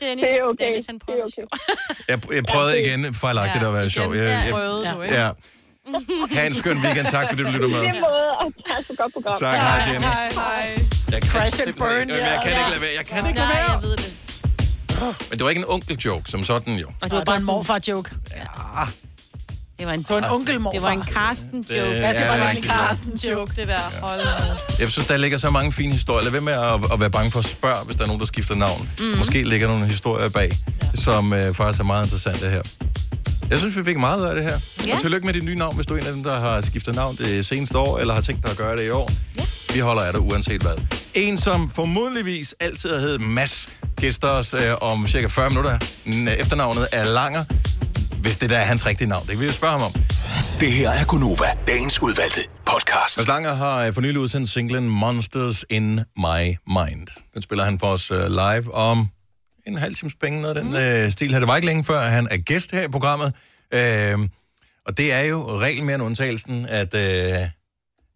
[SPEAKER 4] Jenny.
[SPEAKER 8] Det er okay.
[SPEAKER 4] Dennis, han prøver det er okay.
[SPEAKER 1] Jeg, jeg prøvede igen fejlagtigt at være sjov. Jeg, jeg,
[SPEAKER 4] prøvede du, ikke?
[SPEAKER 1] ja. Ha' en skøn weekend. Tak, fordi du lytter
[SPEAKER 8] I
[SPEAKER 1] med.
[SPEAKER 8] lige måde, og tak for godt program.
[SPEAKER 1] Tak, hej, Jenny.
[SPEAKER 5] Hej, hej.
[SPEAKER 1] Jeg kan
[SPEAKER 3] Crash and
[SPEAKER 1] simpelthen
[SPEAKER 3] burn,
[SPEAKER 1] ikke- Jamen, Jeg kan
[SPEAKER 3] ja.
[SPEAKER 1] ikke lade være. Jeg kan ikke lade
[SPEAKER 4] Nej,
[SPEAKER 1] være.
[SPEAKER 4] jeg ved det.
[SPEAKER 1] Men det var ikke en onkel-joke, som sådan jo.
[SPEAKER 4] Og
[SPEAKER 3] det var bare en morfar-joke.
[SPEAKER 4] Det var en, det
[SPEAKER 3] var en
[SPEAKER 1] Ah,
[SPEAKER 3] onkelmorfar.
[SPEAKER 4] Det var en Karsten-joke.
[SPEAKER 1] Det Ja, det var er nok en rigtig godt.
[SPEAKER 5] Karsten-joke, det der. Hold med.
[SPEAKER 1] Jeg synes, der ligger så mange fine historier. Lad være med at, at være bange for at spørge, hvis der er nogen, der skifter navn. Mm.
[SPEAKER 5] Mhm.
[SPEAKER 1] Måske ligger nogle historier bag, ja. som øh, faktisk er meget interessante her. Jeg synes, vi fik meget ud af det her.
[SPEAKER 9] Ja.
[SPEAKER 1] Ja. Og tillykke med dit nye navn, hvis du er en af dem, der har skiftet navn det seneste år, eller har tænkt dig at gøre det i år. Ja. Vi holder af dig uanset hvad. En, som formodentligvis altid har heddet Mads, gæster os øh, om cirka 40 minutter. N- øh, Efternavnet er Langer, hvis det der er hans rigtige navn. Det kan vi jo spørge ham om.
[SPEAKER 9] Det her er Gunova, dagens udvalgte podcast.
[SPEAKER 1] Mads Langer har øh, for nylig udsendt singlen Monsters in My Mind. Den spiller han for os øh, live om en halv times penge, noget af den øh, stil her. Det var ikke længe før, han er gæst her i programmet. Øh, og det er jo regel mere end undtagelsen, at øh,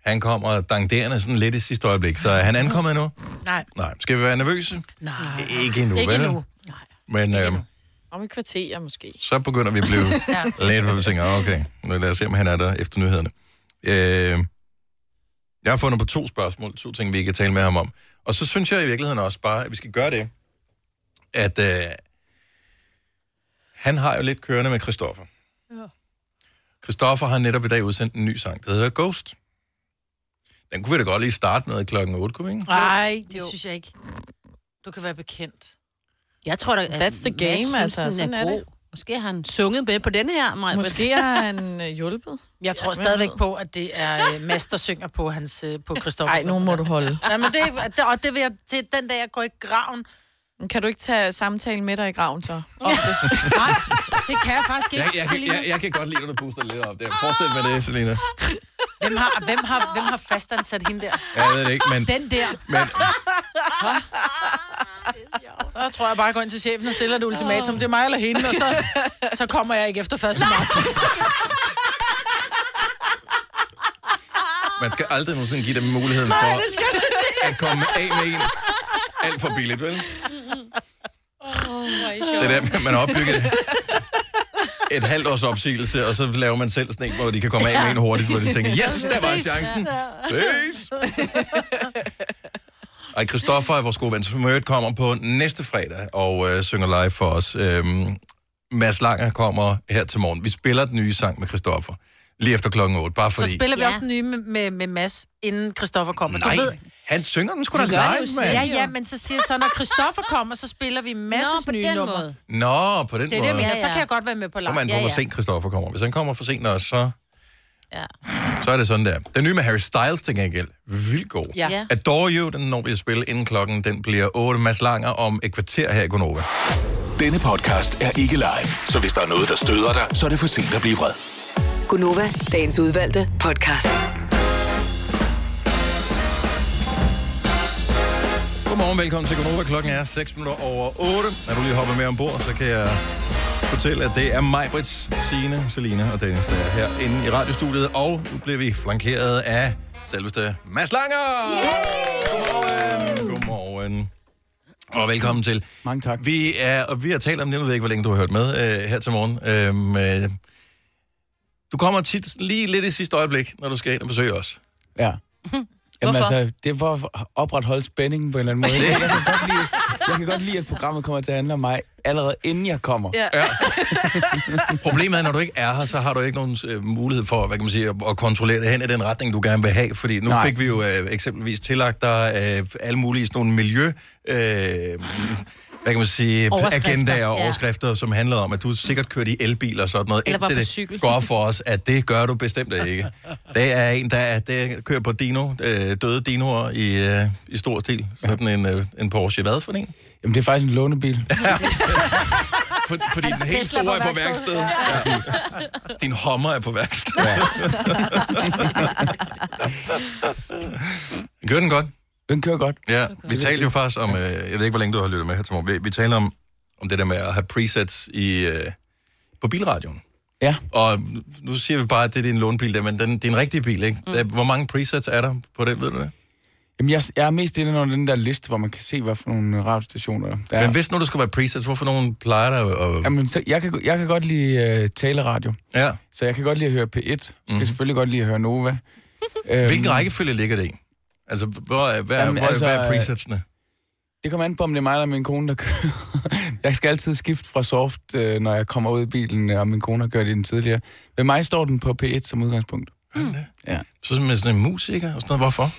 [SPEAKER 1] han kommer dangderende sådan lidt i sidste øjeblik. Så er han ankommet nu?
[SPEAKER 3] Nej.
[SPEAKER 1] Nej. Skal vi være nervøse?
[SPEAKER 3] Nej.
[SPEAKER 1] Ikke endnu,
[SPEAKER 5] Ikke
[SPEAKER 1] vel?
[SPEAKER 5] endnu.
[SPEAKER 1] Men øh,
[SPEAKER 5] Om et kvarter måske.
[SPEAKER 1] så begynder vi at blive
[SPEAKER 5] Ja.
[SPEAKER 1] "Ah, lidt, hvor vi tænker, okay, nu lad os se, om han er der efter nyhederne. Øh, Jeg har fundet på to spørgsmål, to ting, vi kan tale med ham om. Og så synes jeg i virkeligheden også bare, at vi skal gøre det, at øh, han har jo lidt kørende med Christoffer.
[SPEAKER 10] Ja.
[SPEAKER 1] Christoffer har netop i dag udsendt en ny sang, der hedder Ghost. Den kunne vi da godt lige starte med klokken 8, kunne vi ikke?
[SPEAKER 3] Nej, det jo. synes jeg ikke. Du kan være bekendt.
[SPEAKER 4] Jeg tror da, at
[SPEAKER 5] That's the game,
[SPEAKER 4] Mads synes,
[SPEAKER 5] altså.
[SPEAKER 4] den
[SPEAKER 5] Sådan er
[SPEAKER 4] god.
[SPEAKER 5] det.
[SPEAKER 4] Måske har han sunget med på denne her, Maja.
[SPEAKER 5] Måske har han øh, hjulpet.
[SPEAKER 3] Jeg tror stadigvæk på, at det er øh, Mads, der synger på, hans, øh, på Christoffer.
[SPEAKER 5] Nej, nogen må du holde.
[SPEAKER 3] Ja, men det, det, og det vil jeg til den dag, jeg går i graven.
[SPEAKER 5] Kan du ikke tage samtalen med dig i graven så? Om det?
[SPEAKER 3] Nej, det kan jeg faktisk ikke,
[SPEAKER 1] Jeg, jeg, jeg,
[SPEAKER 3] Selina.
[SPEAKER 1] jeg, jeg kan godt lide, at du puster lidt op der. Fortsæt med det, Selina.
[SPEAKER 3] Hvem har, hvem, har, hvem har fastansat hende der?
[SPEAKER 1] Jeg ved det ikke, men...
[SPEAKER 3] Den der.
[SPEAKER 1] Men-
[SPEAKER 3] Hva? Så tror jeg bare, jeg går ind til chefen og stiller det ultimatum. Det er mig eller hende, og så, så kommer jeg ikke efter 1. marts.
[SPEAKER 1] Man skal aldrig nogensinde give dem muligheden
[SPEAKER 3] Nej,
[SPEAKER 1] for
[SPEAKER 3] det skal du ikke.
[SPEAKER 1] at komme af med en alt for billigt, vel?
[SPEAKER 10] Oh,
[SPEAKER 1] Det er der, man har opbygget et halvt års opsigelse, og så laver man selv sådan en, hvor de kan komme af med en hurtigt, hvor de tænker, yes, der var chancen. Ses! Og Christoffer er vores gode ven, som i øvrigt kommer på næste fredag og øh, synger live for os. Øhm, Mads Langer kommer her til morgen. Vi spiller den nye sang med Christoffer lige efter klokken 8, bare
[SPEAKER 3] Så
[SPEAKER 1] fordi...
[SPEAKER 3] spiller vi også den nye med, med, med Mads, inden Christoffer kommer.
[SPEAKER 1] Nej,
[SPEAKER 3] Du ved,
[SPEAKER 1] han synger den sgu da
[SPEAKER 3] Vi gør det jo
[SPEAKER 1] live,
[SPEAKER 3] selv.
[SPEAKER 1] mand.
[SPEAKER 3] Ja, ja, men så siger jeg så, når Christoffer kommer, så spiller vi masses
[SPEAKER 4] Nå, på
[SPEAKER 3] nye
[SPEAKER 4] den
[SPEAKER 3] numre.
[SPEAKER 4] måde.
[SPEAKER 1] Nå, på den
[SPEAKER 3] Det er det,
[SPEAKER 1] måde.
[SPEAKER 3] jeg mener. Så kan jeg godt være med på live.
[SPEAKER 1] Kommer an på,
[SPEAKER 3] ja,
[SPEAKER 1] hvor
[SPEAKER 3] ja.
[SPEAKER 1] sent Christoffer kommer. Hvis han kommer for sent også, så... Ja. Så er det sådan der. Den nye med Harry Styles til gengæld. Vildt god.
[SPEAKER 10] Ja. Ja.
[SPEAKER 1] Adore You, den når vi at spille inden klokken. Den bliver 8 Mads Langer om et kvarter her i Gonova.
[SPEAKER 6] Denne podcast er ikke live, så hvis der er noget, der støder dig, så er det for sent at blive vred.
[SPEAKER 14] Gunova, dagens udvalgte podcast.
[SPEAKER 1] Godmorgen, velkommen til Gonova. Klokken er 6 minutter over 8. Er du lige hoppet med ombord, så kan jeg fortælle, at det er mig, Brits, Signe, Selina og Dennis, der er herinde i radiostudiet. Og nu bliver vi flankeret af selveste Mads Langer! Godmorgen! Øhm, Godmorgen. Og velkommen til.
[SPEAKER 2] Mange tak.
[SPEAKER 1] Vi, er, og vi har talt om det, jeg ved ikke, hvor længe du har hørt med øh, her til morgen. Øhm, øh, du kommer tit lige lidt i sidste øjeblik, når du skal ind og besøge os.
[SPEAKER 2] Ja. Jamen, altså, det er for at opretholde spændingen på en eller anden måde.
[SPEAKER 1] Det-
[SPEAKER 2] Jeg kan, godt lide, jeg kan godt lide, at programmet kommer til at handle om mig, allerede inden jeg kommer.
[SPEAKER 1] Ja. ja. Problemet er, når du ikke er her, så har du ikke nogen øh, mulighed for hvad kan man sige, at, at kontrollere det hen i den retning, du gerne vil have. Fordi nu Nej.
[SPEAKER 2] Nej.
[SPEAKER 1] fik vi jo øh, eksempelvis tillagt dig øh, alle mulige sådan nogle miljø... Øh, hvad kan man sige,
[SPEAKER 2] Overskrifter,
[SPEAKER 1] agendaer og
[SPEAKER 2] ja.
[SPEAKER 1] overskrifter, som handler om, at du sikkert kørte i elbil og sådan noget,
[SPEAKER 2] Eller var på
[SPEAKER 1] det
[SPEAKER 2] cykel.
[SPEAKER 1] går op for os, at det gør du bestemt ikke. Det er en, der er, det kører på dino, øh, døde dinoer i, øh, i stor stil. Sådan en, øh, en Porsche. Hvad for en?
[SPEAKER 2] Jamen, det er faktisk en lånebil.
[SPEAKER 1] For, fordi
[SPEAKER 2] Hans
[SPEAKER 4] Altså,
[SPEAKER 1] den helt
[SPEAKER 2] Tesla
[SPEAKER 1] store
[SPEAKER 2] på
[SPEAKER 1] er på værksted.
[SPEAKER 2] værksted.
[SPEAKER 1] Ja. Din hommer er på værksted. Ja. Kører den godt?
[SPEAKER 2] Den kører godt.
[SPEAKER 1] Ja, vi talte jo faktisk om, øh, jeg ved ikke, hvor længe du har lyttet med her til morgen, vi, vi talte om, om det der med at have presets i, øh, på bilradioen.
[SPEAKER 2] Ja.
[SPEAKER 1] Og nu siger vi bare, at det er din lånbil, der, men den, det er en rigtig bil, ikke? Mm. Hvor mange presets er der på den, ved du det?
[SPEAKER 2] Jamen, jeg, jeg er mest inde under den der liste, hvor man kan se, hvad for nogle radiostationer der
[SPEAKER 1] Ja.
[SPEAKER 2] er.
[SPEAKER 1] Men hvis nu der skulle være presets, hvorfor nogen plejer der at...
[SPEAKER 2] Jamen, så jeg, kan, jeg kan godt lide uh, taleradio.
[SPEAKER 1] Ja.
[SPEAKER 2] Så jeg kan godt lide at høre P1. Så skal
[SPEAKER 1] Mhm.
[SPEAKER 2] jeg selvfølgelig godt lide at høre Nova. Øhm.
[SPEAKER 1] Hvilken rækkefølge ligger det i? Altså, hvor, er- hvad, Jamen, hvor, altså,
[SPEAKER 2] øh,
[SPEAKER 1] hvad er presetsene?
[SPEAKER 2] Det kommer an på, om det er mig eller min kone, der kører. Jeg skal altid skifte fra soft, øh, når jeg kommer ud i bilen, øh, og min kone har kørt i den tidligere. Ved mig står den på P1 som udgangspunkt.
[SPEAKER 1] Mm.
[SPEAKER 2] Ja.
[SPEAKER 1] Så som sådan en musiker og sådan noget. Hvorfor?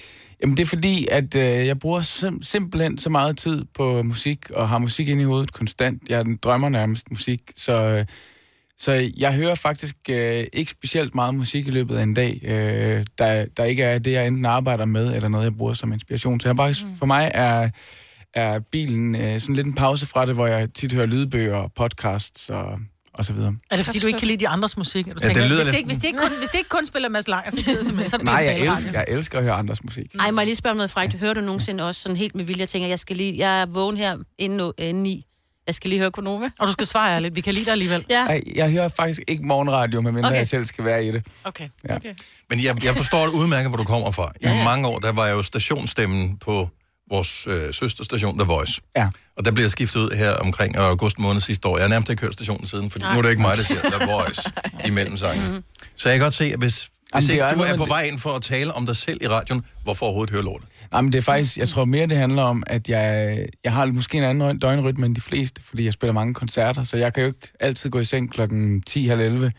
[SPEAKER 2] Jamen, det er fordi, at øh, jeg bruger sim- simpelthen så meget tid på musik, og har musik inde i hovedet konstant. Jeg drømmer nærmest musik, så, øh, så jeg hører faktisk øh, ikke specielt meget musik i løbet af en dag, øh, der, der ikke er det, jeg enten arbejder med, eller noget, jeg bruger som inspiration. Så jeg faktisk,
[SPEAKER 3] Mm.
[SPEAKER 2] for mig er, er bilen øh, sådan lidt en pause fra det, hvor jeg tit hører lydbøger og podcasts og, og så videre.
[SPEAKER 3] Er det, fordi du ikke kan lide de andres musik? at Du
[SPEAKER 2] Ja, det
[SPEAKER 3] tænker,
[SPEAKER 2] lyder
[SPEAKER 3] hvis, det
[SPEAKER 2] lidt-
[SPEAKER 3] ikke, hvis, det ikke kun, hvis det ikke kun spiller Mads Langer, så gider jeg simpelthen, så bliver
[SPEAKER 2] Nej,
[SPEAKER 3] det
[SPEAKER 2] jeg
[SPEAKER 3] taleradio.
[SPEAKER 2] elsker, jeg elsker at høre andres musik.
[SPEAKER 4] Ej,
[SPEAKER 3] Mm.
[SPEAKER 4] må jeg lige spørge om noget frækt. Hører du nogensinde også sådan helt med vilje, jeg tænker, jeg skal lige, jeg er vågen her inden, nu- øh, inden i. Jeg skal lige høre Konova.
[SPEAKER 3] Og du skal svare ærligt, vi kan lide dig alligevel.
[SPEAKER 4] Ja.
[SPEAKER 2] Ej, jeg hører faktisk ikke morgenradio, medmindre
[SPEAKER 3] Okay.
[SPEAKER 2] okay. jeg selv skal være i det.
[SPEAKER 3] Okay.
[SPEAKER 2] Ja.
[SPEAKER 3] okay.
[SPEAKER 1] Men jeg, jeg forstår det udmærket, hvor du kommer fra. I ja. mange år, der var jeg jo stationsstemmen på vores øh, søsterstation, The Voice.
[SPEAKER 2] Ja.
[SPEAKER 1] Og der blev jeg skiftet ud her omkring august måned sidste år. Jeg har nærmest ikke hørt stationen siden, for
[SPEAKER 2] Nej.
[SPEAKER 4] Mm-hmm. Mhm.
[SPEAKER 1] nu er det ikke mig, der siger The Voice imellem sangen. Så jeg kan godt se, at hvis
[SPEAKER 2] Jamen,
[SPEAKER 1] Hvis
[SPEAKER 2] det
[SPEAKER 1] ikke
[SPEAKER 2] er
[SPEAKER 1] du
[SPEAKER 2] noget,
[SPEAKER 1] er
[SPEAKER 2] men
[SPEAKER 1] på
[SPEAKER 2] det-
[SPEAKER 1] vej ind for at tale om dig selv i radioen, hvorfor overhovedet høre lortet?
[SPEAKER 2] Jamen, det er faktisk, jeg tror mere, det handler om, at jeg, jeg har måske en anden døgnrytme end de fleste, fordi jeg spiller mange koncerter, så jeg kan jo ikke altid gå i seng klokken 10 halv 11.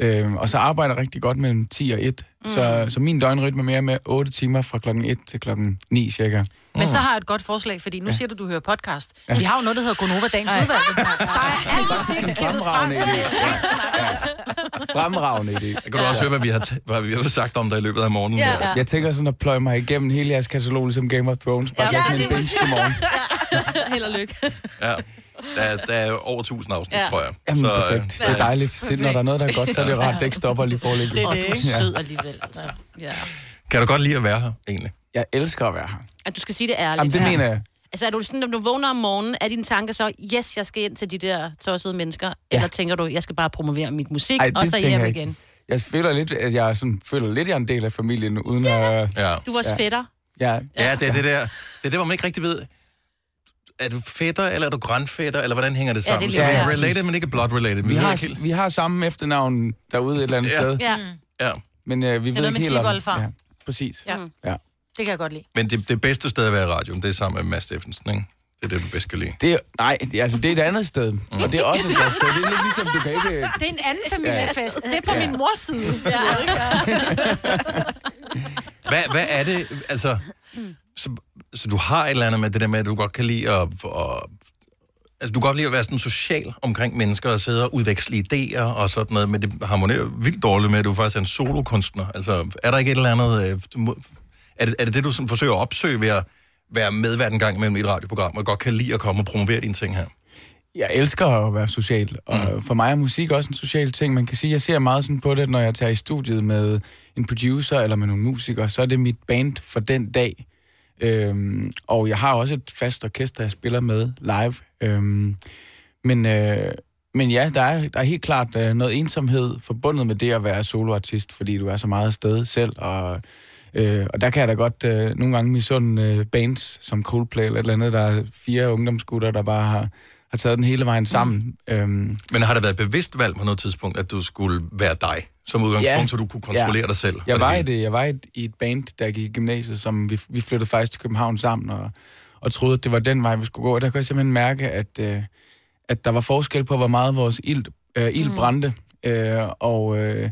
[SPEAKER 2] Øhm, og så arbejder jeg rigtig godt mellem 10 og 1. Mm. Så, så min døgnrytme er mere med 8 timer fra klokken 1 til klokken 9 cirka.
[SPEAKER 3] Men så har jeg et godt forslag, fordi nu
[SPEAKER 2] Ja.
[SPEAKER 3] siger du, du hører podcast.
[SPEAKER 2] Ja.
[SPEAKER 3] Vi har jo noget, der hedder Gonova Dagens
[SPEAKER 2] Ej.
[SPEAKER 3] Udvalg. Der er al
[SPEAKER 2] faktisk en
[SPEAKER 3] musikken klippet fra,
[SPEAKER 2] fremragende
[SPEAKER 3] så det
[SPEAKER 2] idé.
[SPEAKER 3] er ikke snakkes.
[SPEAKER 2] Fremragende idé. Jeg
[SPEAKER 1] kan du også høre, hvad vi har, hvad vi har sagt om dig i løbet af morgenen.
[SPEAKER 2] Ja. Jeg tænker sådan at pløje mig igennem hele jeres katalog, ligesom Game of Thrones, bare ja, sådan en binge i morgen.
[SPEAKER 4] Ja. Held og lykke.
[SPEAKER 1] Ja. Der, er- der er over 1000 afsnit,
[SPEAKER 4] Ja.
[SPEAKER 1] tror jeg.
[SPEAKER 2] Jamen,
[SPEAKER 1] øh,
[SPEAKER 2] Mm, perfekt. Det er dejligt. Det, når der er noget, der er godt, så er det rart, det ikke stopper lige forlægget.
[SPEAKER 4] Åh, du er sød alligevel. Altså. Ja.
[SPEAKER 1] Kan du godt lide at være her, egentlig?
[SPEAKER 2] Jeg elsker at være her.
[SPEAKER 4] At du skal sige det ærligt.
[SPEAKER 2] Jamen, det
[SPEAKER 4] Ja.
[SPEAKER 2] mener jeg.
[SPEAKER 4] Altså er du sådan, når du vågner om morgenen, er dine tanker så, yes, jeg skal ind til de der tossede mennesker, ja. eller tænker du, jeg skal bare promovere mit musik, Ej, og så
[SPEAKER 2] tænker
[SPEAKER 4] hjem
[SPEAKER 2] jeg ikke.
[SPEAKER 4] igen?
[SPEAKER 2] Jeg føler lidt, at jeg sådan, føler lidt, at jeg er en del af familien, uden at...
[SPEAKER 1] Ja.
[SPEAKER 4] Du er vores
[SPEAKER 2] ja.
[SPEAKER 4] fætter.
[SPEAKER 2] Ja.
[SPEAKER 1] Ja, det er det der, det er det, hvor man ikke rigtig ved, er du fætter, eller er du grandfætter, eller hvordan hænger det
[SPEAKER 2] Ja, det er
[SPEAKER 1] sammen?
[SPEAKER 2] lidt
[SPEAKER 1] så det er
[SPEAKER 2] svært.
[SPEAKER 1] related, men ikke blood related.
[SPEAKER 2] Vi,
[SPEAKER 1] ved
[SPEAKER 2] har,
[SPEAKER 1] ikke helt-
[SPEAKER 2] vi har samme efternavn derude et eller andet
[SPEAKER 1] Ja.
[SPEAKER 2] sted.
[SPEAKER 3] Ja.
[SPEAKER 1] Ja.
[SPEAKER 2] Men øh, vi
[SPEAKER 3] er
[SPEAKER 2] ved
[SPEAKER 3] noget
[SPEAKER 2] ikke
[SPEAKER 3] med
[SPEAKER 2] helt om...
[SPEAKER 3] tipoldefar.
[SPEAKER 2] præcis.
[SPEAKER 3] Ja.
[SPEAKER 2] Ja.
[SPEAKER 3] Det kan jeg godt lide.
[SPEAKER 1] Men det, det bedste sted at være i radioen, det er sammen med Mads Steffensen, ikke? Det er det, du bedst kan lide.
[SPEAKER 2] Det, er- nej, det, er- altså, det er et andet sted, mm. og det er også et godt sted. Det er lidt ligesom, du kan ikke...
[SPEAKER 3] Det er en anden familiefest. Det er på
[SPEAKER 2] Ja.
[SPEAKER 3] min mors side. Ja.
[SPEAKER 1] Hvad, hvad er det, altså... Så, så du har et eller andet med det der med, at du godt kan lide at... at altså, du kan godt lide at være sådan social omkring mennesker og sidde og udveksle idéer og sådan noget, men det harmonerer vildt dårligt med, at du faktisk er en solokunstner. Altså, er der ikke et eller andet... øh, du må- Er det, er det det, du sådan forsøger at opsøge ved at være medvært en gang imellem i et radioprogram, og godt kan lide at komme og promovere dine ting her?
[SPEAKER 2] jeg elsker at være social, og mm. for mig er musik også en social ting. Man kan sige, jeg ser meget sådan på det, når jeg tager i studiet med en producer eller med nogle musikere, så er det mit band for den dag. Øhm, og jeg har også et fast orkester, jeg spiller med live. Øhm, men, øh, men ja, der er, der er helt klart øh, noget ensomhed forbundet med det at være soloartist, fordi du er så meget afsted selv, og, øh, og der kan jeg da godt øh, nogle gange misunde øh, bands som Coldplay eller et eller andet. Der er fire ungdomsgutter, der bare har, har taget den hele vejen sammen. Mm. Øhm,
[SPEAKER 1] Men har det været et bevidst valg på noget tidspunkt, at du skulle være dig som udgangspunkt, ja. så du kunne kontrollere ja. dig selv?
[SPEAKER 2] Jeg
[SPEAKER 1] og
[SPEAKER 2] var, i
[SPEAKER 1] hele?
[SPEAKER 2] det, jeg var i et, i et band, der gik i gymnasiet, som vi, vi flyttede faktisk til København sammen, og, og troede, at det var den vej, vi skulle gå. Og der kunne jeg simpelthen mærke, at, øh, at der var forskel på, hvor meget vores ild, øh, ild
[SPEAKER 15] Mm.
[SPEAKER 2] brændte. Øh, og øh,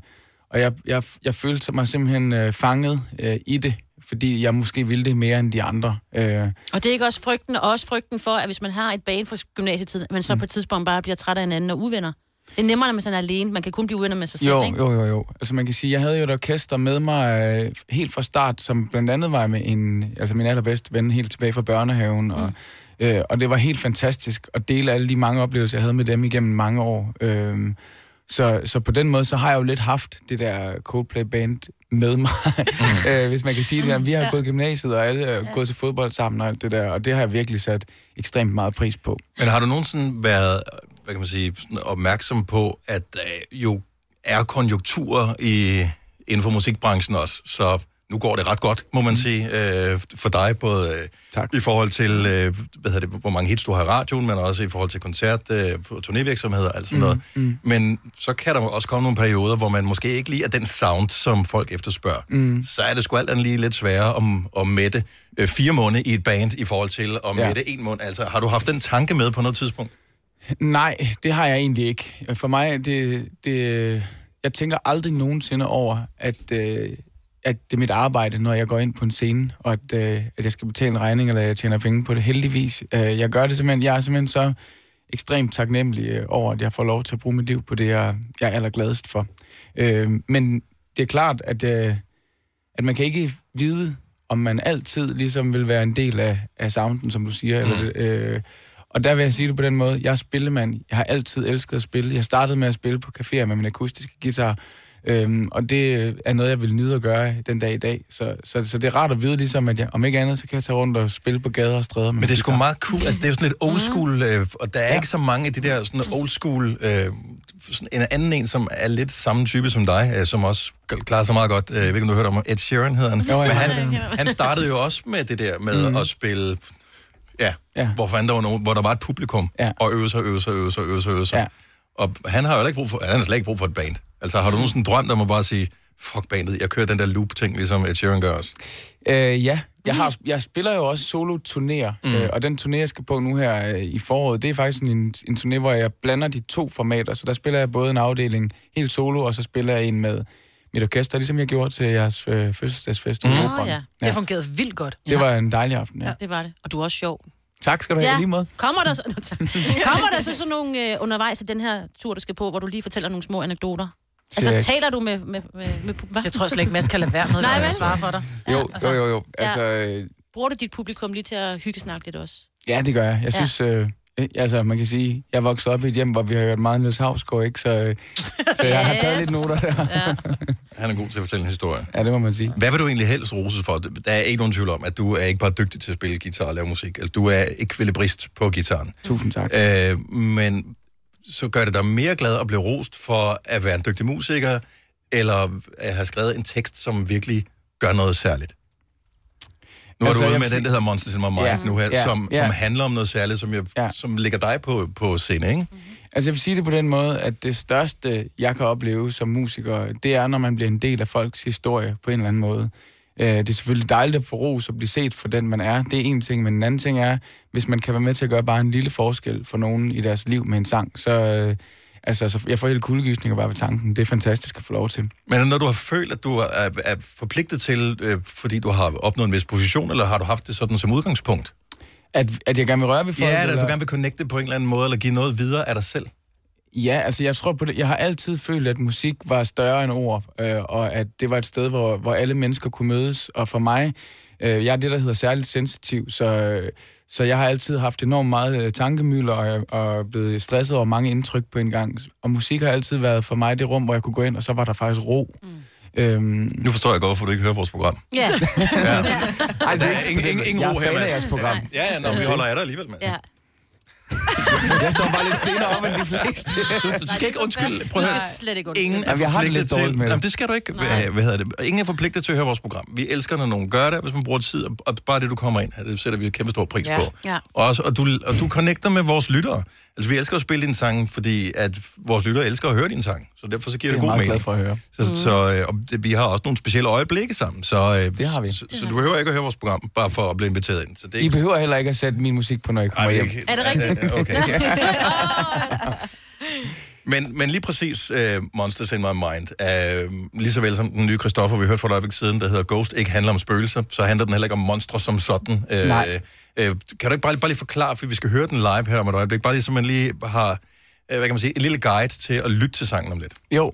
[SPEAKER 2] og jeg, jeg, jeg følte mig simpelthen øh, fanget øh, i det, fordi jeg måske ville det mere end de andre. Øh,
[SPEAKER 4] Og det er ikke også frygten, og også frygten for, at hvis man har et bane fra gymnasietiden, at man så mm. på et tidspunkt bare bliver træt af hinanden og uvenner. Det er nemmere, når man sådan er alene. Man kan kun blive uvenner med sig selv,
[SPEAKER 2] jo,
[SPEAKER 4] ikke?
[SPEAKER 2] jo, jo, jo. Altså man kan sige, jeg havde jo et orkester med mig øh, helt fra start, som blandt andet var med en, altså min allerbedste ven helt tilbage fra børnehaven, og, øh, og det var helt fantastisk at dele alle de mange oplevelser, jeg havde med dem igennem mange år. Øh, så, så på den måde, så har jeg jo lidt haft det der Coldplay-band med mig, mm. øh, hvis man kan sige det. der. Vi har
[SPEAKER 15] Ja.
[SPEAKER 2] ja. gået i gymnasiet, og alle er gået til fodbold sammen og alt det der, og det har jeg virkelig sat ekstremt meget pris på.
[SPEAKER 1] Men har du nogensinde været hvad kan man sige, sådan opmærksom på, at øh, jo er konjunkturer i, inden for musikbranchen også, så nu går det ret godt, må man sige, øh, for dig, både øh, i forhold til, øh, hvad hedder det, hvor mange hits du har i radioen, men også i forhold til koncert- øh, og turnévirksomheder og alt sådan noget. Mm. Men så kan der også komme nogle perioder, hvor man måske ikke lige er den sound, som folk efterspørger.
[SPEAKER 2] Mm.
[SPEAKER 1] Så er det sgu alt andet lige lidt sværere om, om mætte øh, fire måneder i et band i forhold til om ja.
[SPEAKER 2] Ja.
[SPEAKER 1] mætte en måned. Altså, har du haft den tanke med på noget tidspunkt?
[SPEAKER 2] Nej, det har jeg egentlig ikke. For mig, det, det, jeg tænker aldrig nogensinde over, at, øh, at det er mit arbejde, når jeg går ind på en scene, og at, øh, at jeg skal betale en regning, eller jeg tjener penge på det. Heldigvis. Øh, jeg gør det simpelthen. Jeg er simpelthen så ekstremt taknemmelig øh, over, at jeg får lov til at bruge mit liv på det, jeg, jeg er allergladest for. Øh, men det er klart, at, øh, at man kan ikke vide, om man altid ligesom vil være en del af, af sounden, som du siger, mm. eller, øh, og der vil jeg sige det på den måde, jeg er spillemand. Jeg har altid elsket at spille. Jeg startede med at spille på caféer med min akustiske guitar, øhm, og det er noget, jeg vil nyde at gøre den dag i dag. Så, så, så det er rart at vide, ligesom, at jeg, om ikke andet, så kan jeg tage rundt og spille på gader og stræder.
[SPEAKER 1] Men det er sgu meget cool. Altså, det er jo sådan lidt old school, øh, og der er ja. ikke så mange af de der sådan old school... Øh, sådan en anden en, som er lidt samme type som dig, øh, som også k- klarer sig meget godt. Øh, Jeg ved ikke, om du har hørt om ham. Ed Sheeran, hedder han.
[SPEAKER 2] Jo, ja.
[SPEAKER 1] Men han, han startede jo også med det der med mm. at spille... Ja, ja. Hvor, fanden der var nogen, hvor der var et publikum, ja. og øve sig, øve sig, øve Mm. sig, øve sig, øve sig. Ja. Og han har jo heller ikke brug for, han har slet ikke brug for et band. Altså, har du nogensinde drømt om at bare sige, fuck bandet, jeg kører den der loop-ting, ligesom Ed Sheeran gør også.
[SPEAKER 2] Øh, ja, jeg,
[SPEAKER 4] Mm.
[SPEAKER 2] har, jeg spiller jo også solo-turnéer, mm. øh, og den turné, jeg skal på nu her øh, i foråret, det er faktisk en, en turné, hvor jeg blander de to formater, så der spiller jeg både en afdeling helt solo, og så spiller jeg en med mit orkester, ligesom jeg gjorde til jeres øh, fødselsdagsfest.
[SPEAKER 3] Mm.
[SPEAKER 2] i
[SPEAKER 4] Nå
[SPEAKER 2] Operaen.
[SPEAKER 4] ja, det fungerede vildt godt.
[SPEAKER 2] Det var en dejlig aften, ja.
[SPEAKER 4] Ja, det var det. Og du er også sjov.
[SPEAKER 2] Tak skal du have, ja. lige måde.
[SPEAKER 4] Kommer der så, Nå, tak. kommer der så sådan nogle øh, undervejs af den her tur, du skal på, hvor du lige fortæller nogle små anekdoter?
[SPEAKER 2] Check.
[SPEAKER 4] Altså, taler du med... med, med, med hvad?
[SPEAKER 3] Jeg tror slet ikke, Mads kan lade være med,
[SPEAKER 4] Nej,
[SPEAKER 3] hvad
[SPEAKER 4] vel?
[SPEAKER 3] jeg svarer for dig.
[SPEAKER 2] Jo, jo, jo, jo.
[SPEAKER 4] Ja.
[SPEAKER 2] Altså, øh,
[SPEAKER 4] Bruger du dit publikum lige til at hygge snakke lidt også?
[SPEAKER 2] Ja, det gør jeg. Jeg
[SPEAKER 4] Ja.
[SPEAKER 2] synes, øh, øh, altså man kan sige, jeg voksede op i et hjem, hvor vi har hørt meget Niels Havsgaard, ikke? Så, øh, så jeg har taget lidt noter der.
[SPEAKER 4] Ja.
[SPEAKER 1] Han er god til at fortælle en historie.
[SPEAKER 2] Ja, det må man sige.
[SPEAKER 1] Hvad vil du egentlig helst roses for? Der er ikke nogen tvivl om, at du er ikke bare dygtig til at spille guitar og lave musik. Altså, du er ekvilibrist på gitaren.
[SPEAKER 2] Tusind tak.
[SPEAKER 1] Øh, men så gør det dig mere glad at blive rost for at være en dygtig musiker, eller at have skrevet en tekst, som virkelig gør noget særligt. Nu er
[SPEAKER 2] Altså,
[SPEAKER 1] altså, du
[SPEAKER 2] jeg
[SPEAKER 1] ude med
[SPEAKER 2] vil
[SPEAKER 1] den,
[SPEAKER 2] sige-
[SPEAKER 1] der hedder Monsters in My Mind
[SPEAKER 2] Ja.
[SPEAKER 1] nu her,
[SPEAKER 2] Ja.
[SPEAKER 1] som,
[SPEAKER 2] Ja.
[SPEAKER 1] som handler om noget særligt, som, jeg, som ligger dig på, på scene, ikke?
[SPEAKER 2] Altså jeg vil sige det på den måde, at det største, jeg kan opleve som musiker, det er, når man bliver en del af folks historie på en eller anden måde. Øh, Det er selvfølgelig dejligt at få ros og blive set for den, man er. Det er en ting, men en anden ting er, hvis man kan være med til at gøre bare en lille forskel for nogen i deres liv med en sang, så, øh, altså, så jeg får helt kuldegysninger bare ved tanken. Det er fantastisk at få lov til.
[SPEAKER 1] Men når du har følt, at du er, er forpligtet til, øh, fordi du har opnået en vis position, eller har du haft det sådan som udgangspunkt?
[SPEAKER 2] At, at jeg gerne vil røre ved folk?
[SPEAKER 1] Ja, eller
[SPEAKER 2] eller?
[SPEAKER 1] du gerne vil connecte på en eller anden måde, eller give noget videre af dig selv.
[SPEAKER 2] Ja, altså jeg tror på det. Jeg har altid følt, at musik var større end ord, øh, og at det var et sted, hvor, hvor alle mennesker kunne mødes. Og for mig, øh, jeg er det, der hedder særligt sensitiv, så, øh, så jeg har altid haft enormt meget øh, tankemylder og, og blevet stresset over mange indtryk på en gang. Og musik har altid været for mig det rum, hvor jeg kunne gå ind, og så var der faktisk ro. Mm. Øhm,
[SPEAKER 1] Nu forstår jeg godt, hvorfor du ikke hører vores program.
[SPEAKER 4] Ja.
[SPEAKER 1] Ja.
[SPEAKER 2] Ej,
[SPEAKER 1] der er ingen, ingen, ingen
[SPEAKER 2] jeg
[SPEAKER 1] ro
[SPEAKER 2] er
[SPEAKER 1] her,
[SPEAKER 2] fan af
[SPEAKER 1] Mads.
[SPEAKER 2] jeres program.
[SPEAKER 1] Ja, ja, nå, men vi holder af dig alligevel, mand.
[SPEAKER 4] Ja.
[SPEAKER 2] Jeg står bare lidt senere op end de fleste.
[SPEAKER 1] Du, du skal ikke undskylde. Prøv at
[SPEAKER 4] Du
[SPEAKER 1] høre.
[SPEAKER 4] skal slet ikke undskylde.
[SPEAKER 1] Ingen er
[SPEAKER 2] Jamen, jeg har det
[SPEAKER 1] forpligtet
[SPEAKER 2] lidt dårligt
[SPEAKER 1] til...
[SPEAKER 2] med det.
[SPEAKER 1] Jamen, det skal du ikke. Hvad, hvad hedder det? Ingen er forpligtet til at høre vores program. Vi elsker, når nogen gør det, hvis man bruger tid. og- Og bare det, du kommer ind, det sætter vi kæmpe stor pris
[SPEAKER 4] Ja.
[SPEAKER 1] på.
[SPEAKER 4] Ja.
[SPEAKER 1] Og, også, og, du, og du connecter med vores lyttere. Altså, vi elsker at spille dine sange, fordi at vores lyttere elsker at høre dine sange. Så derfor så giver
[SPEAKER 2] Det
[SPEAKER 1] det,
[SPEAKER 2] er jeg meget
[SPEAKER 1] god mening.
[SPEAKER 2] glad for at høre.
[SPEAKER 1] Så, mm. så øh, og det, vi har også nogle specielle øjeblikke sammen. Så, øh, det har vi. Så, så du behøver ikke at høre vores program, bare for at blive inviteret ind. Så det er
[SPEAKER 2] I
[SPEAKER 1] ikke...
[SPEAKER 2] behøver heller ikke at sætte min musik på, når I kommer
[SPEAKER 1] Ej,
[SPEAKER 2] hjem.
[SPEAKER 1] det ikke-
[SPEAKER 4] Er det rigtigt? altså.
[SPEAKER 1] Ja, Okay. Men, men lige præcis uh, Monsters in My Mind, uh, lige så vel som den nye Christoffer, vi hørte for et øjeblik siden, der hedder Ghost, ikke handler om spøgelser, så handler den heller ikke om monstre som sådan. Uh,
[SPEAKER 2] Nej.
[SPEAKER 1] Uh, kan du ikke bare, bare lige forklare, for vi skal høre den live her om et øjeblik, bare lige så man lige har, uh, hvad kan man sige, en lille guide til at lytte til sangen om lidt.
[SPEAKER 2] Jo,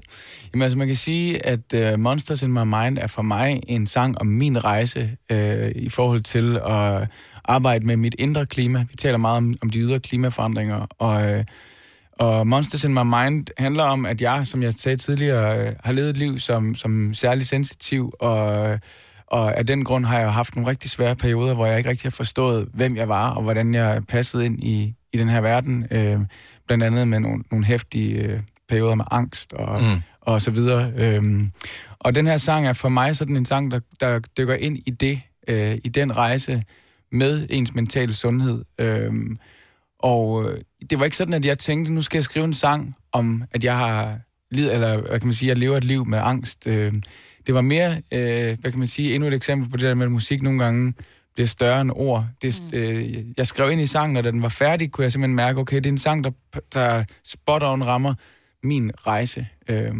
[SPEAKER 2] Jamen, altså man kan sige, at uh, Monsters in My Mind er for mig en sang om min rejse uh, i forhold til at arbejde med mit indre klima. Vi taler meget om, om de ydre klimaforandringer, og, uh, og Monsters in My Mind handler om, at jeg, som jeg sagde tidligere, uh, har levet et liv som, som særlig sensitiv, og, og af den grund har jeg haft nogle rigtig svære perioder, hvor jeg ikke rigtig har forstået, hvem jeg var, og hvordan jeg passede ind i, i den her verden. Øh, blandt andet med nogle, nogle hæftige øh, perioder med angst og,
[SPEAKER 1] Mm.
[SPEAKER 2] mm. og så videre. Øh, og den her sang er for mig sådan en sang, der, der dykker ind i det, øh, i den rejse med ens mentale sundhed. Øh, og øh, det var ikke sådan, at jeg tænkte, nu skal jeg skrive en sang om, at jeg har lid, eller hvad kan man sige, jeg lever et liv med angst. Øh, det var mere, øh, hvad kan man sige, endnu et eksempel på det der med, at musik nogle gange bliver større end ord. Det, øh, jeg skrev ind i sangen, og da den var færdig, kunne jeg simpelthen mærke, okay, det er en sang, der, der spot on rammer min rejse. Øh,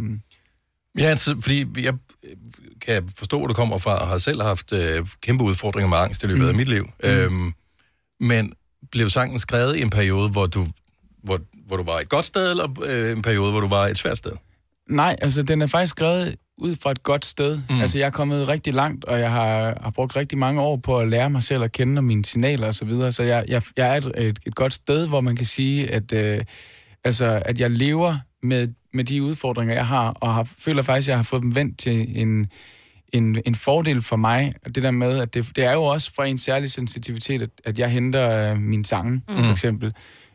[SPEAKER 1] Ja, altså, fordi jeg øh, kan forstå, hvor du kommer fra, og har selv haft øh, kæmpe udfordringer med angst i løbet mm. af mit liv. Mm. Øhm, men blev sangen skrevet i en periode, hvor du, hvor, hvor du var et godt sted, eller øh, en periode, hvor du var et svært sted?
[SPEAKER 2] Nej, altså den er faktisk skrevet ud fra et godt sted.
[SPEAKER 1] Mm.
[SPEAKER 2] Mm. Altså jeg er kommet rigtig langt, og jeg har, har brugt rigtig mange år på at lære mig selv at kende og mine signaler osv. Så, videre. så jeg, jeg, jeg er et, et, et godt sted, hvor man kan sige, at, øh, altså, at jeg lever med, med de udfordringer, jeg har, og har, føler faktisk, at jeg har fået dem vendt til en, en, en fordel for mig. Og Det der med, at det, det er jo også fra en særlig sensitivitet, at, at jeg henter øh, mine sange, mm. for eksempel.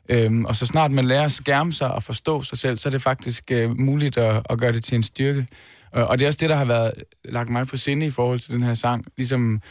[SPEAKER 2] Øhm, og så snart man lærer at skærme sig og forstå sig selv, så er det faktisk øh, muligt at, at gøre det til en Øh, styrke. Og, og det er også det, der har været lagt mig på sinde i forhold til den her sang. Ligesom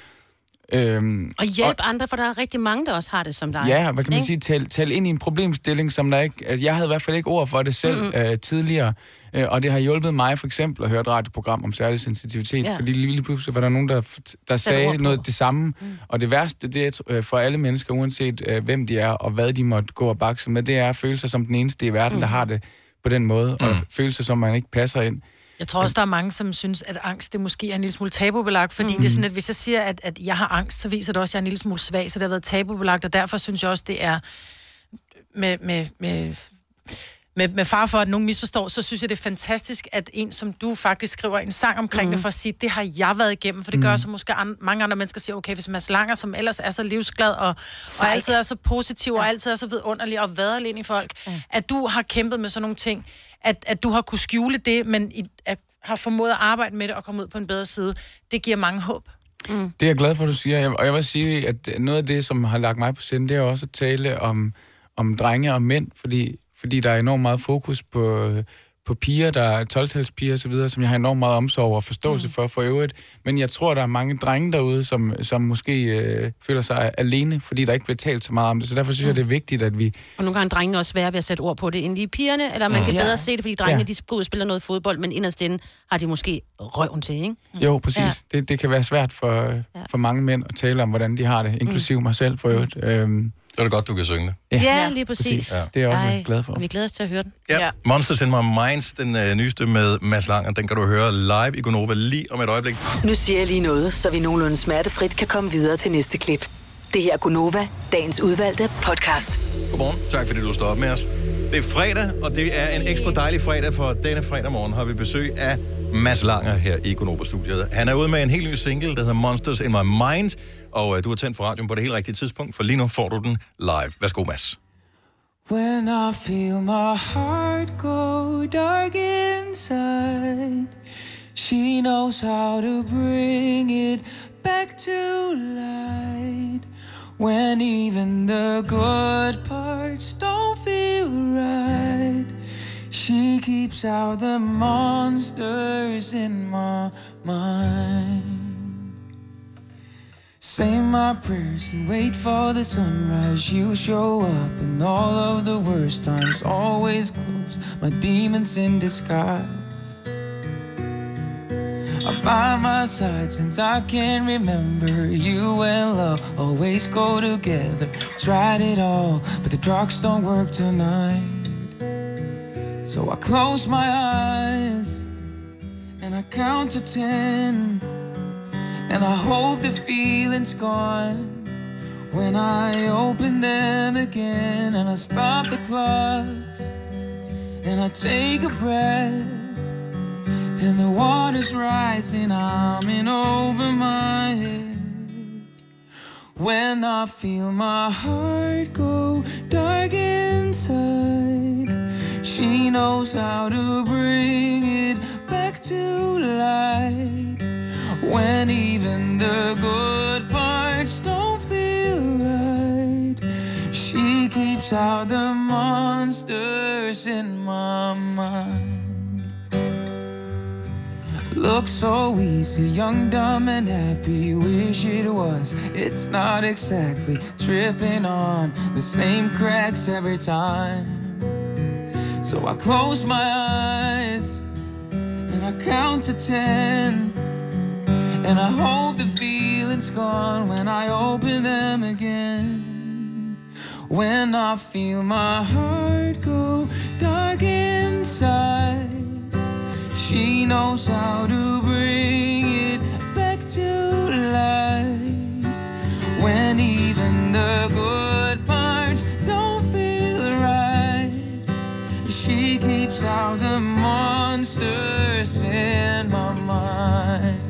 [SPEAKER 2] Øhm,
[SPEAKER 4] Og hjælp og... andre, for der er rigtig mange, der også har det som dig.
[SPEAKER 2] Ja, hvad kan man
[SPEAKER 4] Ikke?
[SPEAKER 2] sige? Tal, tal ind i en problemstilling, som der ikke... Altså, jeg havde i hvert fald ikke ord for det selv
[SPEAKER 4] Mm.
[SPEAKER 2] mm. øh, tidligere, øh, og det har hjulpet mig for eksempel at høre et radioprogram om særlig sensitivitet,
[SPEAKER 4] Ja.
[SPEAKER 2] ja. fordi lige pludselig var der nogen, der, fort- der
[SPEAKER 4] ord
[SPEAKER 2] sagde
[SPEAKER 4] på.
[SPEAKER 2] noget det samme, mm. og det værste, det er tr- øh, for alle mennesker, uanset øh, hvem de er og hvad de måtte gå og bakse med, det er at føle sig som den eneste i verden,
[SPEAKER 3] Mm.
[SPEAKER 2] mm. der har det på den måde, mm. og føle sig som, man ikke passer ind.
[SPEAKER 3] Jeg tror også, der er mange, som synes, at angst det måske er en lille smule tabubelagt, fordi mm.
[SPEAKER 2] Mm.
[SPEAKER 3] det er sådan, at hvis jeg siger, at, at jeg har angst, så viser det også, at jeg er en lille smule svag, så det har været tabubelagt, og derfor synes jeg også, det er med, med, med, med, med far for, at nogen misforstår, så synes jeg, det er fantastisk, at en som du faktisk skriver en sang omkring mm. det, for at sige, det har jeg været igennem, for det gør
[SPEAKER 4] Mm.
[SPEAKER 3] så måske an, mange andre mennesker siger, okay, hvis Mads Langer, som ellers er så livsglad, og, og
[SPEAKER 4] Sej.
[SPEAKER 3] altid er så positiv, og altid er så vidunderlig, og vader ind i folk, at du har kæmpet med sådan nogle ting, at, at du har kunne skjule det, men i, at, har formået at arbejde med det og komme ud på en bedre side, det giver mange håb. Mm.
[SPEAKER 2] Det er jeg glad for, at du siger. Jeg- Og jeg vil sige, at noget af det, som har lagt mig på sinde, det er også at tale om, om drenge og mænd, fordi, fordi der er enormt meget fokus på, på piger, der er 12-talspiger osv., som jeg har enormt meget omsorg og forståelse mm. for for øvrigt. Men jeg tror, der er mange drenge derude, som, som måske øh, føler sig alene, fordi der ikke bliver talt så meget om det. Så derfor synes mm. jeg, det er vigtigt, at vi...
[SPEAKER 4] Og nogle gange er drengene også svære ved at sætte ord på det, end lige pigerne, eller man
[SPEAKER 2] Mm.
[SPEAKER 4] kan
[SPEAKER 2] Ja.
[SPEAKER 4] bedre se det, fordi drengene,
[SPEAKER 2] Ja.
[SPEAKER 4] de går ud og spiller noget fodbold, men inderst inde har de måske røven til, ikke?
[SPEAKER 2] Jo, præcis.
[SPEAKER 4] Ja.
[SPEAKER 2] Mm. Ja. Det, det kan være svært for, ja. for mange mænd at tale om, hvordan de har det, inklusive mm. mig selv for øvrigt. Øhm,
[SPEAKER 1] så er det godt, du kan synge det.
[SPEAKER 4] Ja, ja lige præcis.
[SPEAKER 1] Ja.
[SPEAKER 2] Det er jeg også
[SPEAKER 4] Ej,
[SPEAKER 2] Ej. glad for.
[SPEAKER 4] og Vi glæder os til at høre den.
[SPEAKER 1] Ja. ja. Monsters in My Minds, den øh, nyeste med Mads Langer, den kan du høre live i Gonova lige om et øjeblik.
[SPEAKER 14] Nu siger jeg lige noget, så vi nogenlunde smertefrit kan komme videre til næste klip. Det her er Gunova, dagens udvalgte podcast.
[SPEAKER 1] Godmorgen. Tak fordi du står op med os. Det er fredag, og det er en ekstra dejlig fredag, for denne fredag morgen har vi besøg af Mads Langer her i Gonova-studiet. Han er ude med en helt ny single, der hedder Monsters in My Mind, og øh, du har tændt for radioen på det helt rigtige tidspunkt, for lige nu får du den live. Værsgo, Mads.
[SPEAKER 15] When I feel my heart go dark inside, she knows how to bring it back to light. When even the good parts don't feel right, she keeps out the monsters in my mind. Say my prayers and wait for the sunrise. You show up in all of the worst times, always close. My demons in disguise are by my side since I can remember. You and love always go together. Tried it all, but the drugs don't work tonight. So I close my eyes and I count to ten. And I hope the feeling's gone when I open them again. And I stop the clocks and I take a breath. And the water's rising, I'm in over my head. When I feel my heart go dark inside, she knows how to bring it back to light. When even the good parts don't feel right, she keeps out the monsters in my mind. Looks so easy, young, dumb, and happy. Wish it was, it's not exactly tripping on. The same cracks every time. So I close my eyes and I count to ten. And I hope the feeling's gone when I open them again. When I feel my heart go dark inside, she knows how to bring it back to light. When even the good parts don't feel right, she keeps out the monsters in my mind.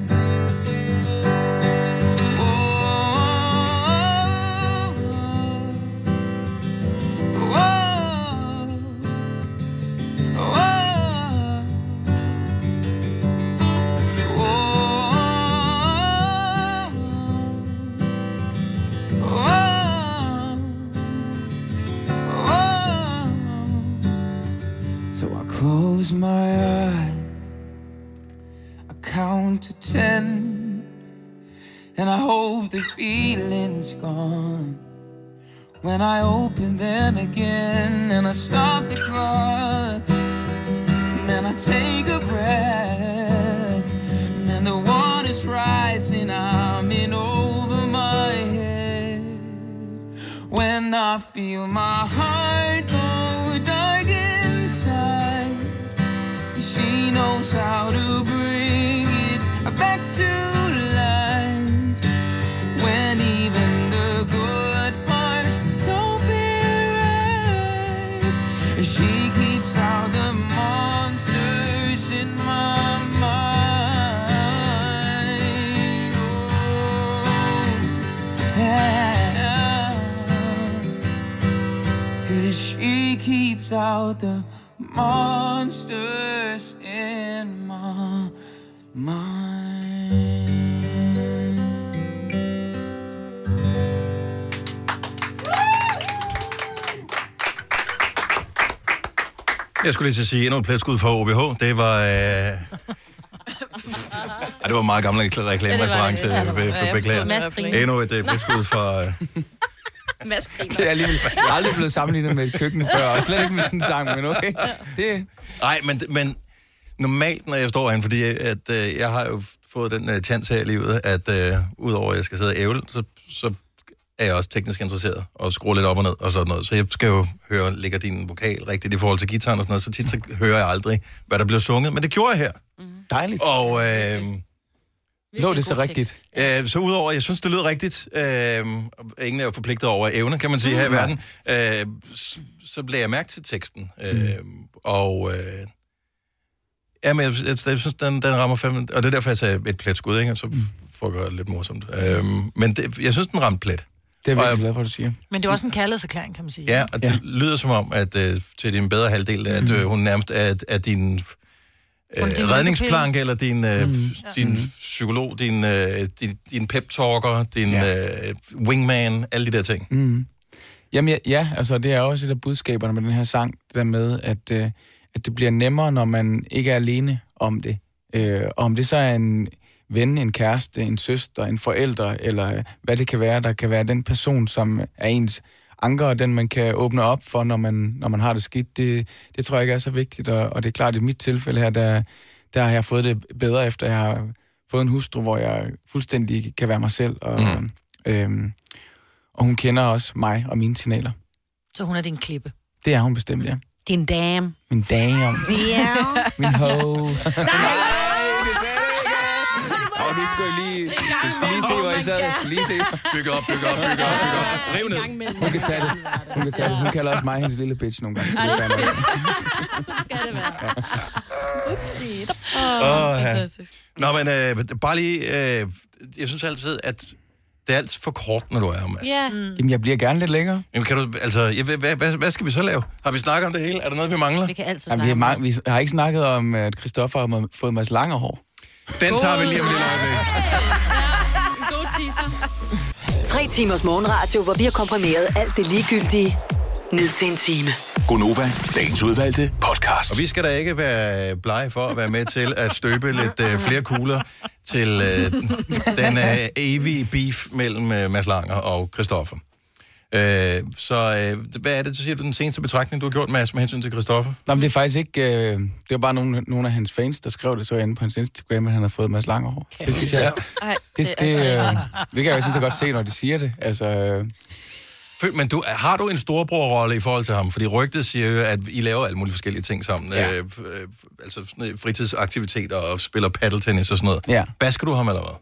[SPEAKER 15] Oh. So I close my eyes, I count to ten, and I hope the feeling's gone. When I open them again and I stop the clocks, man, I take a breath, man, the water's rising, I'm in over my head. When I feel my heart go dark inside, she knows how to bring it back to life. When even the good parts don't feel right, she keeps out the monsters in my mind. Oh, yeah. 'Cause she keeps out the monsters in my mind.
[SPEAKER 1] Jeg skulle lige til at sige endnu et pletskud for OBH. Det var... Øh... Ej, det var en meget gammel rekl- reklamereference.
[SPEAKER 4] Ja, det var det.
[SPEAKER 1] Be-
[SPEAKER 4] Ja, jeg
[SPEAKER 1] be-
[SPEAKER 4] forstod det i hvert
[SPEAKER 1] Beklager.
[SPEAKER 4] fald.
[SPEAKER 1] Endnu et øh, pletskud for... Øh...
[SPEAKER 4] Mads griner.
[SPEAKER 2] Det er alligevel jeg er aldrig blevet sammenlignet med et køkken før, og slet ikke med sådan en sang, men okay. Det...
[SPEAKER 1] Nej, men, men normalt, når jeg står herinde, fordi at, øh, jeg har jo fået den øh, chance her i livet, at øh, udover at jeg skal sidde og ævle, så, så er jeg også teknisk interesseret og skruer lidt op og ned og sådan noget. Så jeg skal jo høre, ligger din vokal rigtigt i forhold til gitaren og sådan noget, så tit så hører jeg aldrig, hvad der bliver sunget. Men det gjorde jeg her. Mm.
[SPEAKER 2] Dejligt.
[SPEAKER 1] Og øh,
[SPEAKER 2] Lå det så rigtigt?
[SPEAKER 1] øh, så udover, jeg synes, det lød rigtigt. Øh, og ingen er jo forpligtet over evner, kan man
[SPEAKER 2] Mm.
[SPEAKER 1] sige, her i verden. Øh, s- så lagde jeg mærke til teksten. Øh,
[SPEAKER 2] Mm.
[SPEAKER 1] og... Øh, Ja, men jeg, jeg, jeg synes, den, den rammer fem... Og det er derfor, jeg sagde et plet skud, ikke? Og Så
[SPEAKER 2] Mm.
[SPEAKER 1] får jeg det lidt morsomt. Øhm, men det, jeg synes, den ramte plet.
[SPEAKER 2] Det er jeg virkelig glad for, at du siger.
[SPEAKER 16] Men det er også en kærlighedserklæring, kan man sige.
[SPEAKER 1] Ja, og det ja. lyder som om, at øh, til din bedre halvdel, at øh, hun nærmest er, er din øh,
[SPEAKER 16] Hun er din
[SPEAKER 1] redningsplanke,
[SPEAKER 16] lykkepille.
[SPEAKER 1] eller din, øh,
[SPEAKER 16] Mm.
[SPEAKER 1] mm. din psykolog, din, øh, din, din pep-talker, din ja. øh, wingman, alle de der ting.
[SPEAKER 2] Mm. Jamen ja, ja, altså det er også et af budskaberne med den her sang, det der med, at, øh, at det bliver nemmere, når man ikke er alene om det. Øh, og om det så er en ven, en kæreste, en søster, en forælder, eller øh, hvad det kan være, der kan være den person, som er ens anker, og den man kan åbne op for, når man, når man har det skidt, det, det tror jeg ikke er så vigtigt. Og, og det er klart, i mit tilfælde her, der, der har jeg fået det bedre, efter jeg har fået en hustru, hvor jeg fuldstændig kan være mig selv. Og, mm. øhm, og hun kender også mig og mine signaler.
[SPEAKER 16] Så hun er din klippe.
[SPEAKER 2] Det er hun bestemt, ja.
[SPEAKER 4] Din dame.
[SPEAKER 2] Min damn.
[SPEAKER 4] Ja.
[SPEAKER 2] Min ho. Og vi skulle lige, vi skulle lige se, hvor I sad. Jeg skulle lige se.
[SPEAKER 1] Bygge op, bygge op, bygge op, bygge op. Riv ned.
[SPEAKER 2] Hun kan tage det. Hun kan tage det. Hun kalder også mig hendes lille bitch nogle gange. Så det er noget.
[SPEAKER 10] Oopsie.
[SPEAKER 1] Åh, ja. Nå, men øh, bare lige... Øh, jeg synes altid, at det er alt for kort, når du er her, Mads.
[SPEAKER 10] Yeah. Mm.
[SPEAKER 2] Jamen, jeg bliver gerne lidt længere.
[SPEAKER 1] Jamen, kan du, altså, jeg, ved- hvad, hvad, hvad, skal vi så lave? Har vi snakket om det hele? Er der noget, vi mangler?
[SPEAKER 4] Vi kan altid
[SPEAKER 2] Jamen, vi, har, ma- vi har ikke snakket om, at Christoffer har må- fået Mads lange hår.
[SPEAKER 1] Den tager vi lige om lidt øjeblik.
[SPEAKER 14] God teaser. Tre timers morgenradio, hvor vi har komprimeret alt det ligegyldige ned til en time.
[SPEAKER 6] Gonova, dagens udvalgte podcast.
[SPEAKER 1] Og vi skal da ikke være blege for at være med til at støbe lidt øh, flere kugler til øh, den øh, evige beef mellem øh, Mads Langer og Christoffer. Øh, så øh, hvad er det, så siger du, den seneste betragtning, du har gjort, Mads, med hensyn til Christoffer?
[SPEAKER 2] Nå, men det er faktisk ikke... Øh, det var bare nogle, nogle af hans fans, der skrev det så inde på hans Instagram, at han har fået Mads lange hår. Det synes jeg...
[SPEAKER 5] Ej,
[SPEAKER 2] Det, det, øh, det kan jeg jo sådan set godt se, når de siger det. Altså, øh,
[SPEAKER 1] Fø- Men du, har du en storbrorrolle i forhold til ham? Fordi rygtet siger jo, at I laver alle mulige forskellige ting sammen. Ja. Øh, f- øh, f- altså sådan noget fritidsaktiviteter og spiller paddeltennis og sådan noget.
[SPEAKER 2] Ja.
[SPEAKER 1] Basker du ham eller hvad?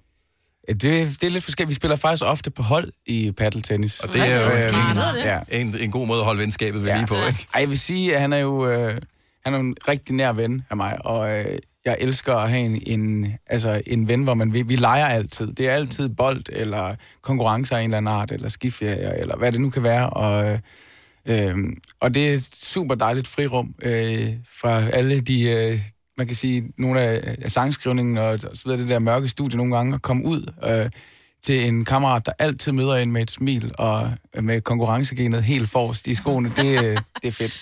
[SPEAKER 2] det, Øh, det er lidt forskelligt. Vi spiller faktisk ofte på hold i paddeltennis.
[SPEAKER 1] Og det er jo
[SPEAKER 2] smart. Ja.
[SPEAKER 1] øh, en, en god måde at holde venskabet ved ja. lige på, ikke?
[SPEAKER 2] Ej, jeg vil sige, at han er jo øh, han er jo en rigtig nær ven af mig, og øh, jeg elsker at have en, en, altså, en ven, hvor man vi, vi leger altid. Det er altid bold, eller konkurrencer af en eller anden art, eller skiferier, eller hvad det nu kan være, og, øh, øh, og det er et super dejligt frirum øh, fra alle de... Øh, man kan sige, nogle af, af sangskrivningen og, og så videre, det der mørke studie nogle gange, at komme ud øh, til en kammerat, der altid møder en med et smil og med konkurrencegenet helt forrest i skoene, det, øh, det er fedt.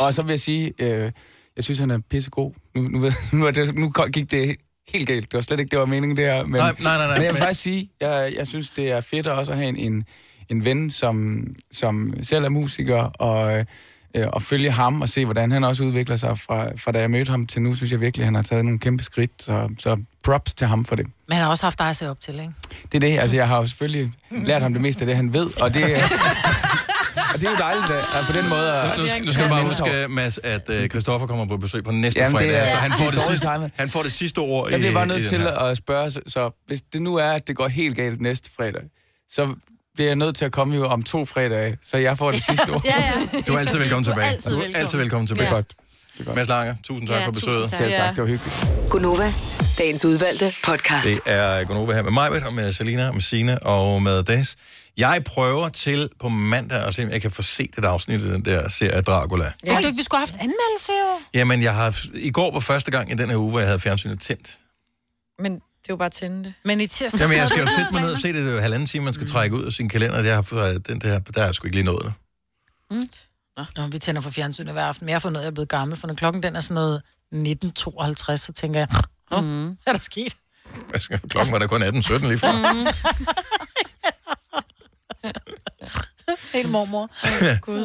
[SPEAKER 2] Og så vil jeg sige, øh, jeg synes, han er pissegod. Nu, nu, ved, nu, er det, nu gik det helt galt. Det var slet ikke, det var meningen, det her. Men,
[SPEAKER 1] Nej, nej, nej, nej,
[SPEAKER 2] men jeg vil
[SPEAKER 1] men-
[SPEAKER 2] faktisk sige, jeg, jeg synes, det er fedt at også have en, en, en ven, som, som selv er musiker, og, øh, og følge ham og se, hvordan han også udvikler sig fra, fra da jeg mødte ham til nu, synes jeg virkelig, han har taget nogle kæmpe skridt, så, så props til ham for det.
[SPEAKER 3] Men han har også haft dig at se op til, ikke?
[SPEAKER 2] Det er det, altså jeg har jo selvfølgelig lært ham det meste af det, han ved, og det, øh, og det er jo dejligt at, at på den måde... At,
[SPEAKER 1] Nu skal, nu skal du bare huske, Mads, at øh, Christoffer kommer på besøg på næste
[SPEAKER 2] Jamen,
[SPEAKER 1] Jamen,
[SPEAKER 2] det
[SPEAKER 1] fredag,
[SPEAKER 2] er-
[SPEAKER 1] så han får,
[SPEAKER 2] det er
[SPEAKER 1] det
[SPEAKER 2] dårligt
[SPEAKER 1] sidste, han får det sidste ord
[SPEAKER 2] Jeg
[SPEAKER 1] i
[SPEAKER 2] bliver bare
[SPEAKER 1] i
[SPEAKER 2] nødt
[SPEAKER 1] den
[SPEAKER 2] til
[SPEAKER 1] her.
[SPEAKER 2] at spørge, så, så hvis det nu er, at det går helt galt næste fredag, så bliver jeg nødt til at komme jo om to fredage, så jeg får det sidste ord.
[SPEAKER 1] Ja, ja. Du er altid velkommen tilbage.
[SPEAKER 14] altid
[SPEAKER 1] Du er
[SPEAKER 14] velkommen.
[SPEAKER 1] altid velkommen tilbage.
[SPEAKER 14] Ja.
[SPEAKER 1] Det er godt. Mads Langer, tusind tak
[SPEAKER 14] Ja,
[SPEAKER 1] for
[SPEAKER 14] tusind
[SPEAKER 1] besøget.
[SPEAKER 14] tak. Selv tak, det var
[SPEAKER 2] hyggeligt.
[SPEAKER 14] Gunova, dagens udvalgte podcast.
[SPEAKER 1] Det er Gunova her med mig, og med Selina, og med Sine og med Das. Jeg prøver til på mandag at se, om jeg kan få set et afsnit af den der serie af Dracula.
[SPEAKER 3] Ja. Tænkte du ikke, vi skulle have haft en anmeldelse, jo?
[SPEAKER 1] Jamen, jeg har, i går var første gang i den her uge, hvor jeg havde fjernsynet tændt.
[SPEAKER 5] Men det er jo bare at tænde det.
[SPEAKER 3] Men i tirsdag...
[SPEAKER 1] Jamen, jeg skal jo sætte mig ned og se det, det er jo halvanden time, man skal trække ud af sin kalender. Jeg har, fået- øh, den der, der har jeg sgu ikke lige nået det.
[SPEAKER 3] Mm. Nå. Nå, vi tænder for fjernsynet hver aften. Men jeg har fundet ud af, at jeg er blevet gammel, for når klokken den er sådan noget 19.52, så tænker jeg, oh, mm. er der sket?
[SPEAKER 1] Jeg skal, klokken var da kun 18.17 lige fra.
[SPEAKER 3] Mm. Mhm. Helt mormor.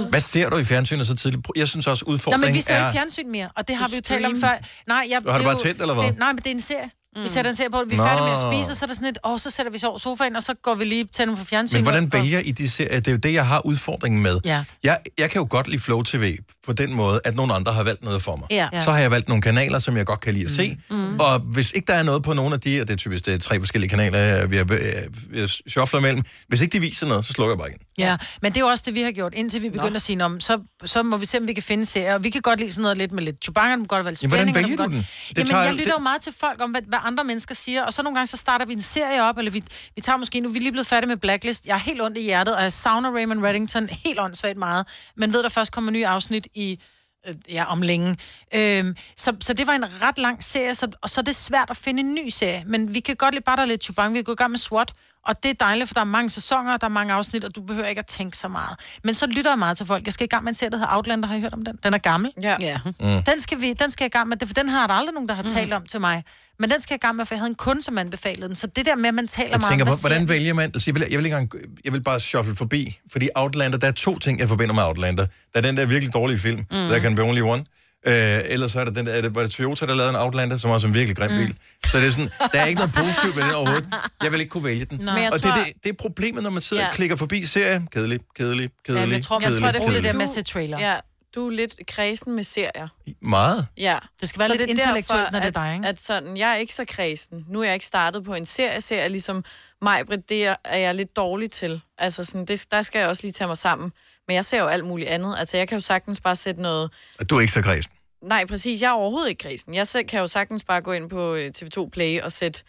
[SPEAKER 1] Hvad ser du i fjernsynet så tidligt? Jeg synes også,
[SPEAKER 3] Nå,
[SPEAKER 1] udfordringen
[SPEAKER 3] men vi ser
[SPEAKER 1] er...
[SPEAKER 3] ikke fjernsyn mere, og det har vi jo talt om
[SPEAKER 1] Stream.
[SPEAKER 3] før. Nej, jeg,
[SPEAKER 1] Du har det
[SPEAKER 3] er
[SPEAKER 1] bare
[SPEAKER 3] jo-
[SPEAKER 1] tændt, eller hvad?
[SPEAKER 3] Det, nej, men det er en serie. Mm. Vi sætter en serie på, vi er
[SPEAKER 1] Nå.
[SPEAKER 3] færdige med at spise, og så er der sådan et, og så sætter vi os over sofaen, og så går vi lige tænder for fjernsynet.
[SPEAKER 1] Men hvordan vælger I de serier? Det er jo det, jeg har udfordringen med.
[SPEAKER 3] Ja.
[SPEAKER 1] Jeg, jeg kan jo godt lide Flow TV på den måde, at nogle andre har valgt noget for mig.
[SPEAKER 3] Ja.
[SPEAKER 1] Så har jeg valgt nogle kanaler, som jeg godt kan lide at se. Mm. Og hvis ikke der er noget på nogle af de, og det er typisk det er tre forskellige kanaler, øh, vi har shuffler mellem, hvis ikke de viser noget, så slukker jeg bare igen.
[SPEAKER 3] Ja, men det er jo også det, vi har gjort, indtil vi begyndte at sige, om, så, så må vi se, om vi kan finde serier. Og Vi kan godt lide sådan noget lidt med lidt chubanger, den må godt være lidt
[SPEAKER 1] Jamen, hvordan
[SPEAKER 3] spænding. og
[SPEAKER 1] vælger
[SPEAKER 3] må
[SPEAKER 1] du
[SPEAKER 3] godt...
[SPEAKER 1] den? Det
[SPEAKER 3] Jamen,
[SPEAKER 1] tager-
[SPEAKER 3] jeg lytter jo
[SPEAKER 1] det-
[SPEAKER 3] meget til folk om, hvad, hvad, andre mennesker siger, og så nogle gange, så starter vi en serie op, eller vi, vi tager måske, nu er vi lige blevet færdige med Blacklist, jeg er helt ondt i hjertet, og jeg savner Raymond Reddington helt åndssvagt meget, men ved, der først kommer nye afsnit i øh, ja, om længe. Øhm, så, så det var en ret lang serie, så, og så er det svært at finde en ny serie, men vi kan godt lide bare der er lidt chubang, vi kan gå i gang med SWAT, og det er dejligt, for der er mange sæsoner, og der er mange afsnit, og du behøver ikke at tænke så meget. Men så lytter jeg meget til folk. Jeg skal i gang med en serie, der hedder Outlander. Har I hørt om den? Den er gammel.
[SPEAKER 5] Ja.
[SPEAKER 3] ja. Den, skal vi, den skal jeg i gang med, det- for den har der aldrig nogen, der har mm. talt om til mig. Men den skal jeg i gang med, for jeg havde en kunde, som anbefalede den. Så det der med, at man taler
[SPEAKER 1] Jeg
[SPEAKER 3] meget
[SPEAKER 1] tænker,
[SPEAKER 3] om,
[SPEAKER 1] hvor-
[SPEAKER 3] hvad
[SPEAKER 1] hvordan
[SPEAKER 3] ser-
[SPEAKER 1] vælger man? Altså, jeg, vil, jeg, vil ikke engang, jeg vil bare shuffle forbi, fordi Outlander, der er to ting, jeg forbinder med Outlander. Der er den der virkelig dårlige film, mm. There Can Be Only One. Øh, ellers så er der den der, er det, var det Toyota, der lavede en Outlander, som også er en virkelig grim mm. bil. Så det er sådan, der er ikke noget positivt ved den overhovedet. Jeg vil ikke kunne vælge den.
[SPEAKER 3] Nej. Men jeg
[SPEAKER 1] Og det, er
[SPEAKER 3] tror-
[SPEAKER 1] det, det er problemet, når man sidder ja.
[SPEAKER 5] Ja.
[SPEAKER 1] og klikker forbi serier. Kedelig, kedelig, kedelig,
[SPEAKER 5] jeg tror,
[SPEAKER 1] kedelig,
[SPEAKER 5] jeg tror, det er det
[SPEAKER 1] kedelig.
[SPEAKER 5] der
[SPEAKER 3] med at se trailer.
[SPEAKER 5] Ja, du er lidt kredsen med serier.
[SPEAKER 1] Meget.
[SPEAKER 5] Ja.
[SPEAKER 3] Det skal være lidt
[SPEAKER 5] er
[SPEAKER 3] intellektuelt, når det er
[SPEAKER 5] at,
[SPEAKER 3] dig, ikke?
[SPEAKER 5] At sådan, jeg er ikke så kredsen. Nu er jeg ikke startet på en serie, serie ligesom mig, Britt, det er, er jeg lidt dårlig til. Altså sådan, det, der skal jeg også lige tage mig sammen. Men jeg ser jo alt muligt andet. Altså, jeg kan jo sagtens bare sætte noget...
[SPEAKER 1] Og Du er ikke så kredsen.
[SPEAKER 5] Nej, præcis, jeg er overhovedet ikke kredsen. Jeg selv kan jo sagtens bare gå ind på øh, TV2 Play og sætte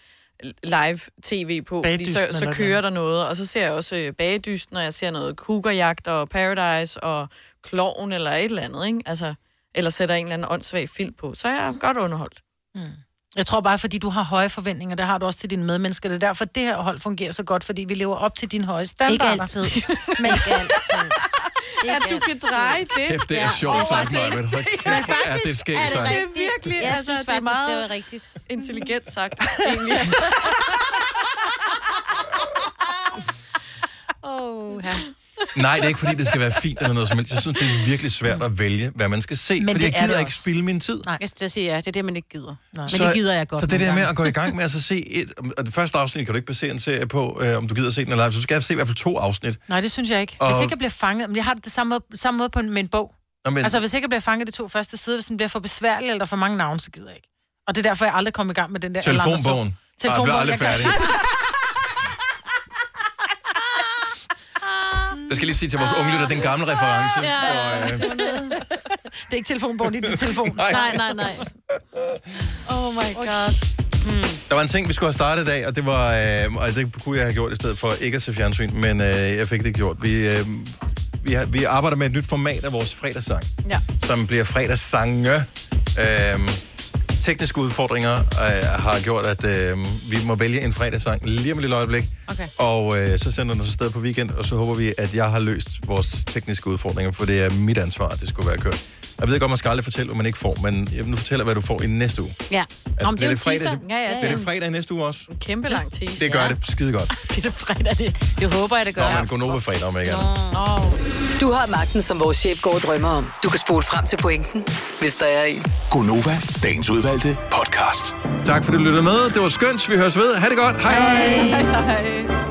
[SPEAKER 5] live tv på, fordi
[SPEAKER 3] Bagedysten
[SPEAKER 5] så,
[SPEAKER 3] eller
[SPEAKER 5] så
[SPEAKER 3] noget.
[SPEAKER 5] kører der noget, og så ser jeg også øh, bagedysten, og jeg ser noget kugerjagt og Paradise og Kloven eller et eller andet, ikke? Altså, eller sætter en eller anden åndssvag film på, så er jeg godt underholdt.
[SPEAKER 3] Jeg tror bare, Mm. fordi du har høje forventninger, det har du også til dine medmennesker. Det er derfor, det her hold fungerer så godt, fordi vi lever op til dine høje standarder.
[SPEAKER 4] altid.
[SPEAKER 3] Men
[SPEAKER 5] At du kan dreje det.
[SPEAKER 1] Kæft, det er sjovt sagt, Maja. Men
[SPEAKER 5] faktisk
[SPEAKER 1] er det skægt sagt.
[SPEAKER 5] Det er virkelig,
[SPEAKER 4] Jeg synes faktisk, det var rigtigt.
[SPEAKER 5] intelligent sagt, egentlig.
[SPEAKER 4] Oh, ja.
[SPEAKER 1] Nej, det er ikke, fordi det skal være fint eller noget som helst. Jeg synes, det er virkelig svært at vælge, hvad man skal se.
[SPEAKER 4] Men
[SPEAKER 1] Men fordi
[SPEAKER 4] det
[SPEAKER 1] jeg
[SPEAKER 4] er
[SPEAKER 1] gider
[SPEAKER 4] det
[SPEAKER 1] ikke
[SPEAKER 4] også.
[SPEAKER 1] spilde min tid.
[SPEAKER 3] Nej,
[SPEAKER 4] jeg skulle sige, ja, det er det, man ikke gider. Nej. Men
[SPEAKER 1] Så-
[SPEAKER 4] det gider jeg godt.
[SPEAKER 1] Så det
[SPEAKER 4] nogle
[SPEAKER 1] der med
[SPEAKER 4] gange.
[SPEAKER 1] at gå i gang med at så se et, og det første afsnit kan du ikke basere en serie på, øh, om du gider at se den eller ej, så du skal se i hvert fald to afsnit.
[SPEAKER 3] Nej, det synes jeg ikke. Hvis
[SPEAKER 1] Og-
[SPEAKER 3] ikke jeg bliver fanget, men jeg har det det samme måde, samme måde på en, med en bog.
[SPEAKER 1] Nå, men-
[SPEAKER 3] Altså, hvis ikke jeg bliver fanget i de to første sider, hvis den bliver for besværlig eller der er for mange navne, så gider jeg ikke. Og det er derfor, jeg aldrig kom i gang med den der... alle andre så-
[SPEAKER 1] Telefonbogen. Ej, jeg bliver
[SPEAKER 3] Telefonbogen,
[SPEAKER 1] aldrig
[SPEAKER 3] jeg
[SPEAKER 1] færdig. Jeg skal lige sige til vores
[SPEAKER 4] Ah.
[SPEAKER 1] unge lytter, den gamle reference.
[SPEAKER 3] Ja, ja,
[SPEAKER 1] Og,
[SPEAKER 3] ja.
[SPEAKER 1] øh,
[SPEAKER 3] Det er ikke telefonbogen, det er din telefon.
[SPEAKER 1] Nej. Nej, nej,
[SPEAKER 4] nej.
[SPEAKER 3] Oh my god.
[SPEAKER 1] øh, der var en ting, vi skulle have startet i dag, og det, var, øh, og det kunne jeg have gjort i stedet for ikke at se fjernsyn, men øh, jeg fik det ikke gjort. Vi, øh, vi, har, vi arbejder med et nyt format af vores fredagssang.
[SPEAKER 5] Ja.
[SPEAKER 1] som bliver fredagssange. Øhm, tekniske udfordringer øh, har gjort, at øh, vi må vælge en fredagssang lige om et lille øjeblik.
[SPEAKER 17] Okay.
[SPEAKER 1] Og øh, så sender den os afsted på weekend, og så håber vi, at jeg har løst vores tekniske udfordringer, for det er mit ansvar, at det skulle være kørt. Jeg ved godt, man skal aldrig fortælle, hvad man ikke får, men jeg nu fortæller, hvad du får i næste uge.
[SPEAKER 4] Ja.
[SPEAKER 1] At
[SPEAKER 4] Om det er jo
[SPEAKER 1] Altså, det fredag,
[SPEAKER 4] teaser.
[SPEAKER 1] det- bliver det fredag i næste uge også?
[SPEAKER 5] En kæmpe lang teaser.
[SPEAKER 1] Det gør det skide godt.
[SPEAKER 4] Bliver det fredag? Det, det håber jeg, det
[SPEAKER 1] Nå,
[SPEAKER 4] gør.
[SPEAKER 1] man går over fredag om ikke andet.
[SPEAKER 14] Du har magten, som vores chef går og drømmer om. Du kan spole frem til pointen, hvis der er en.
[SPEAKER 6] Gonova, dagens udvalgte podcast.
[SPEAKER 1] Tak fordi du lyttede med. Det var skønt. Vi høres ved. Ha' det godt. Hej hej.
[SPEAKER 14] Hej.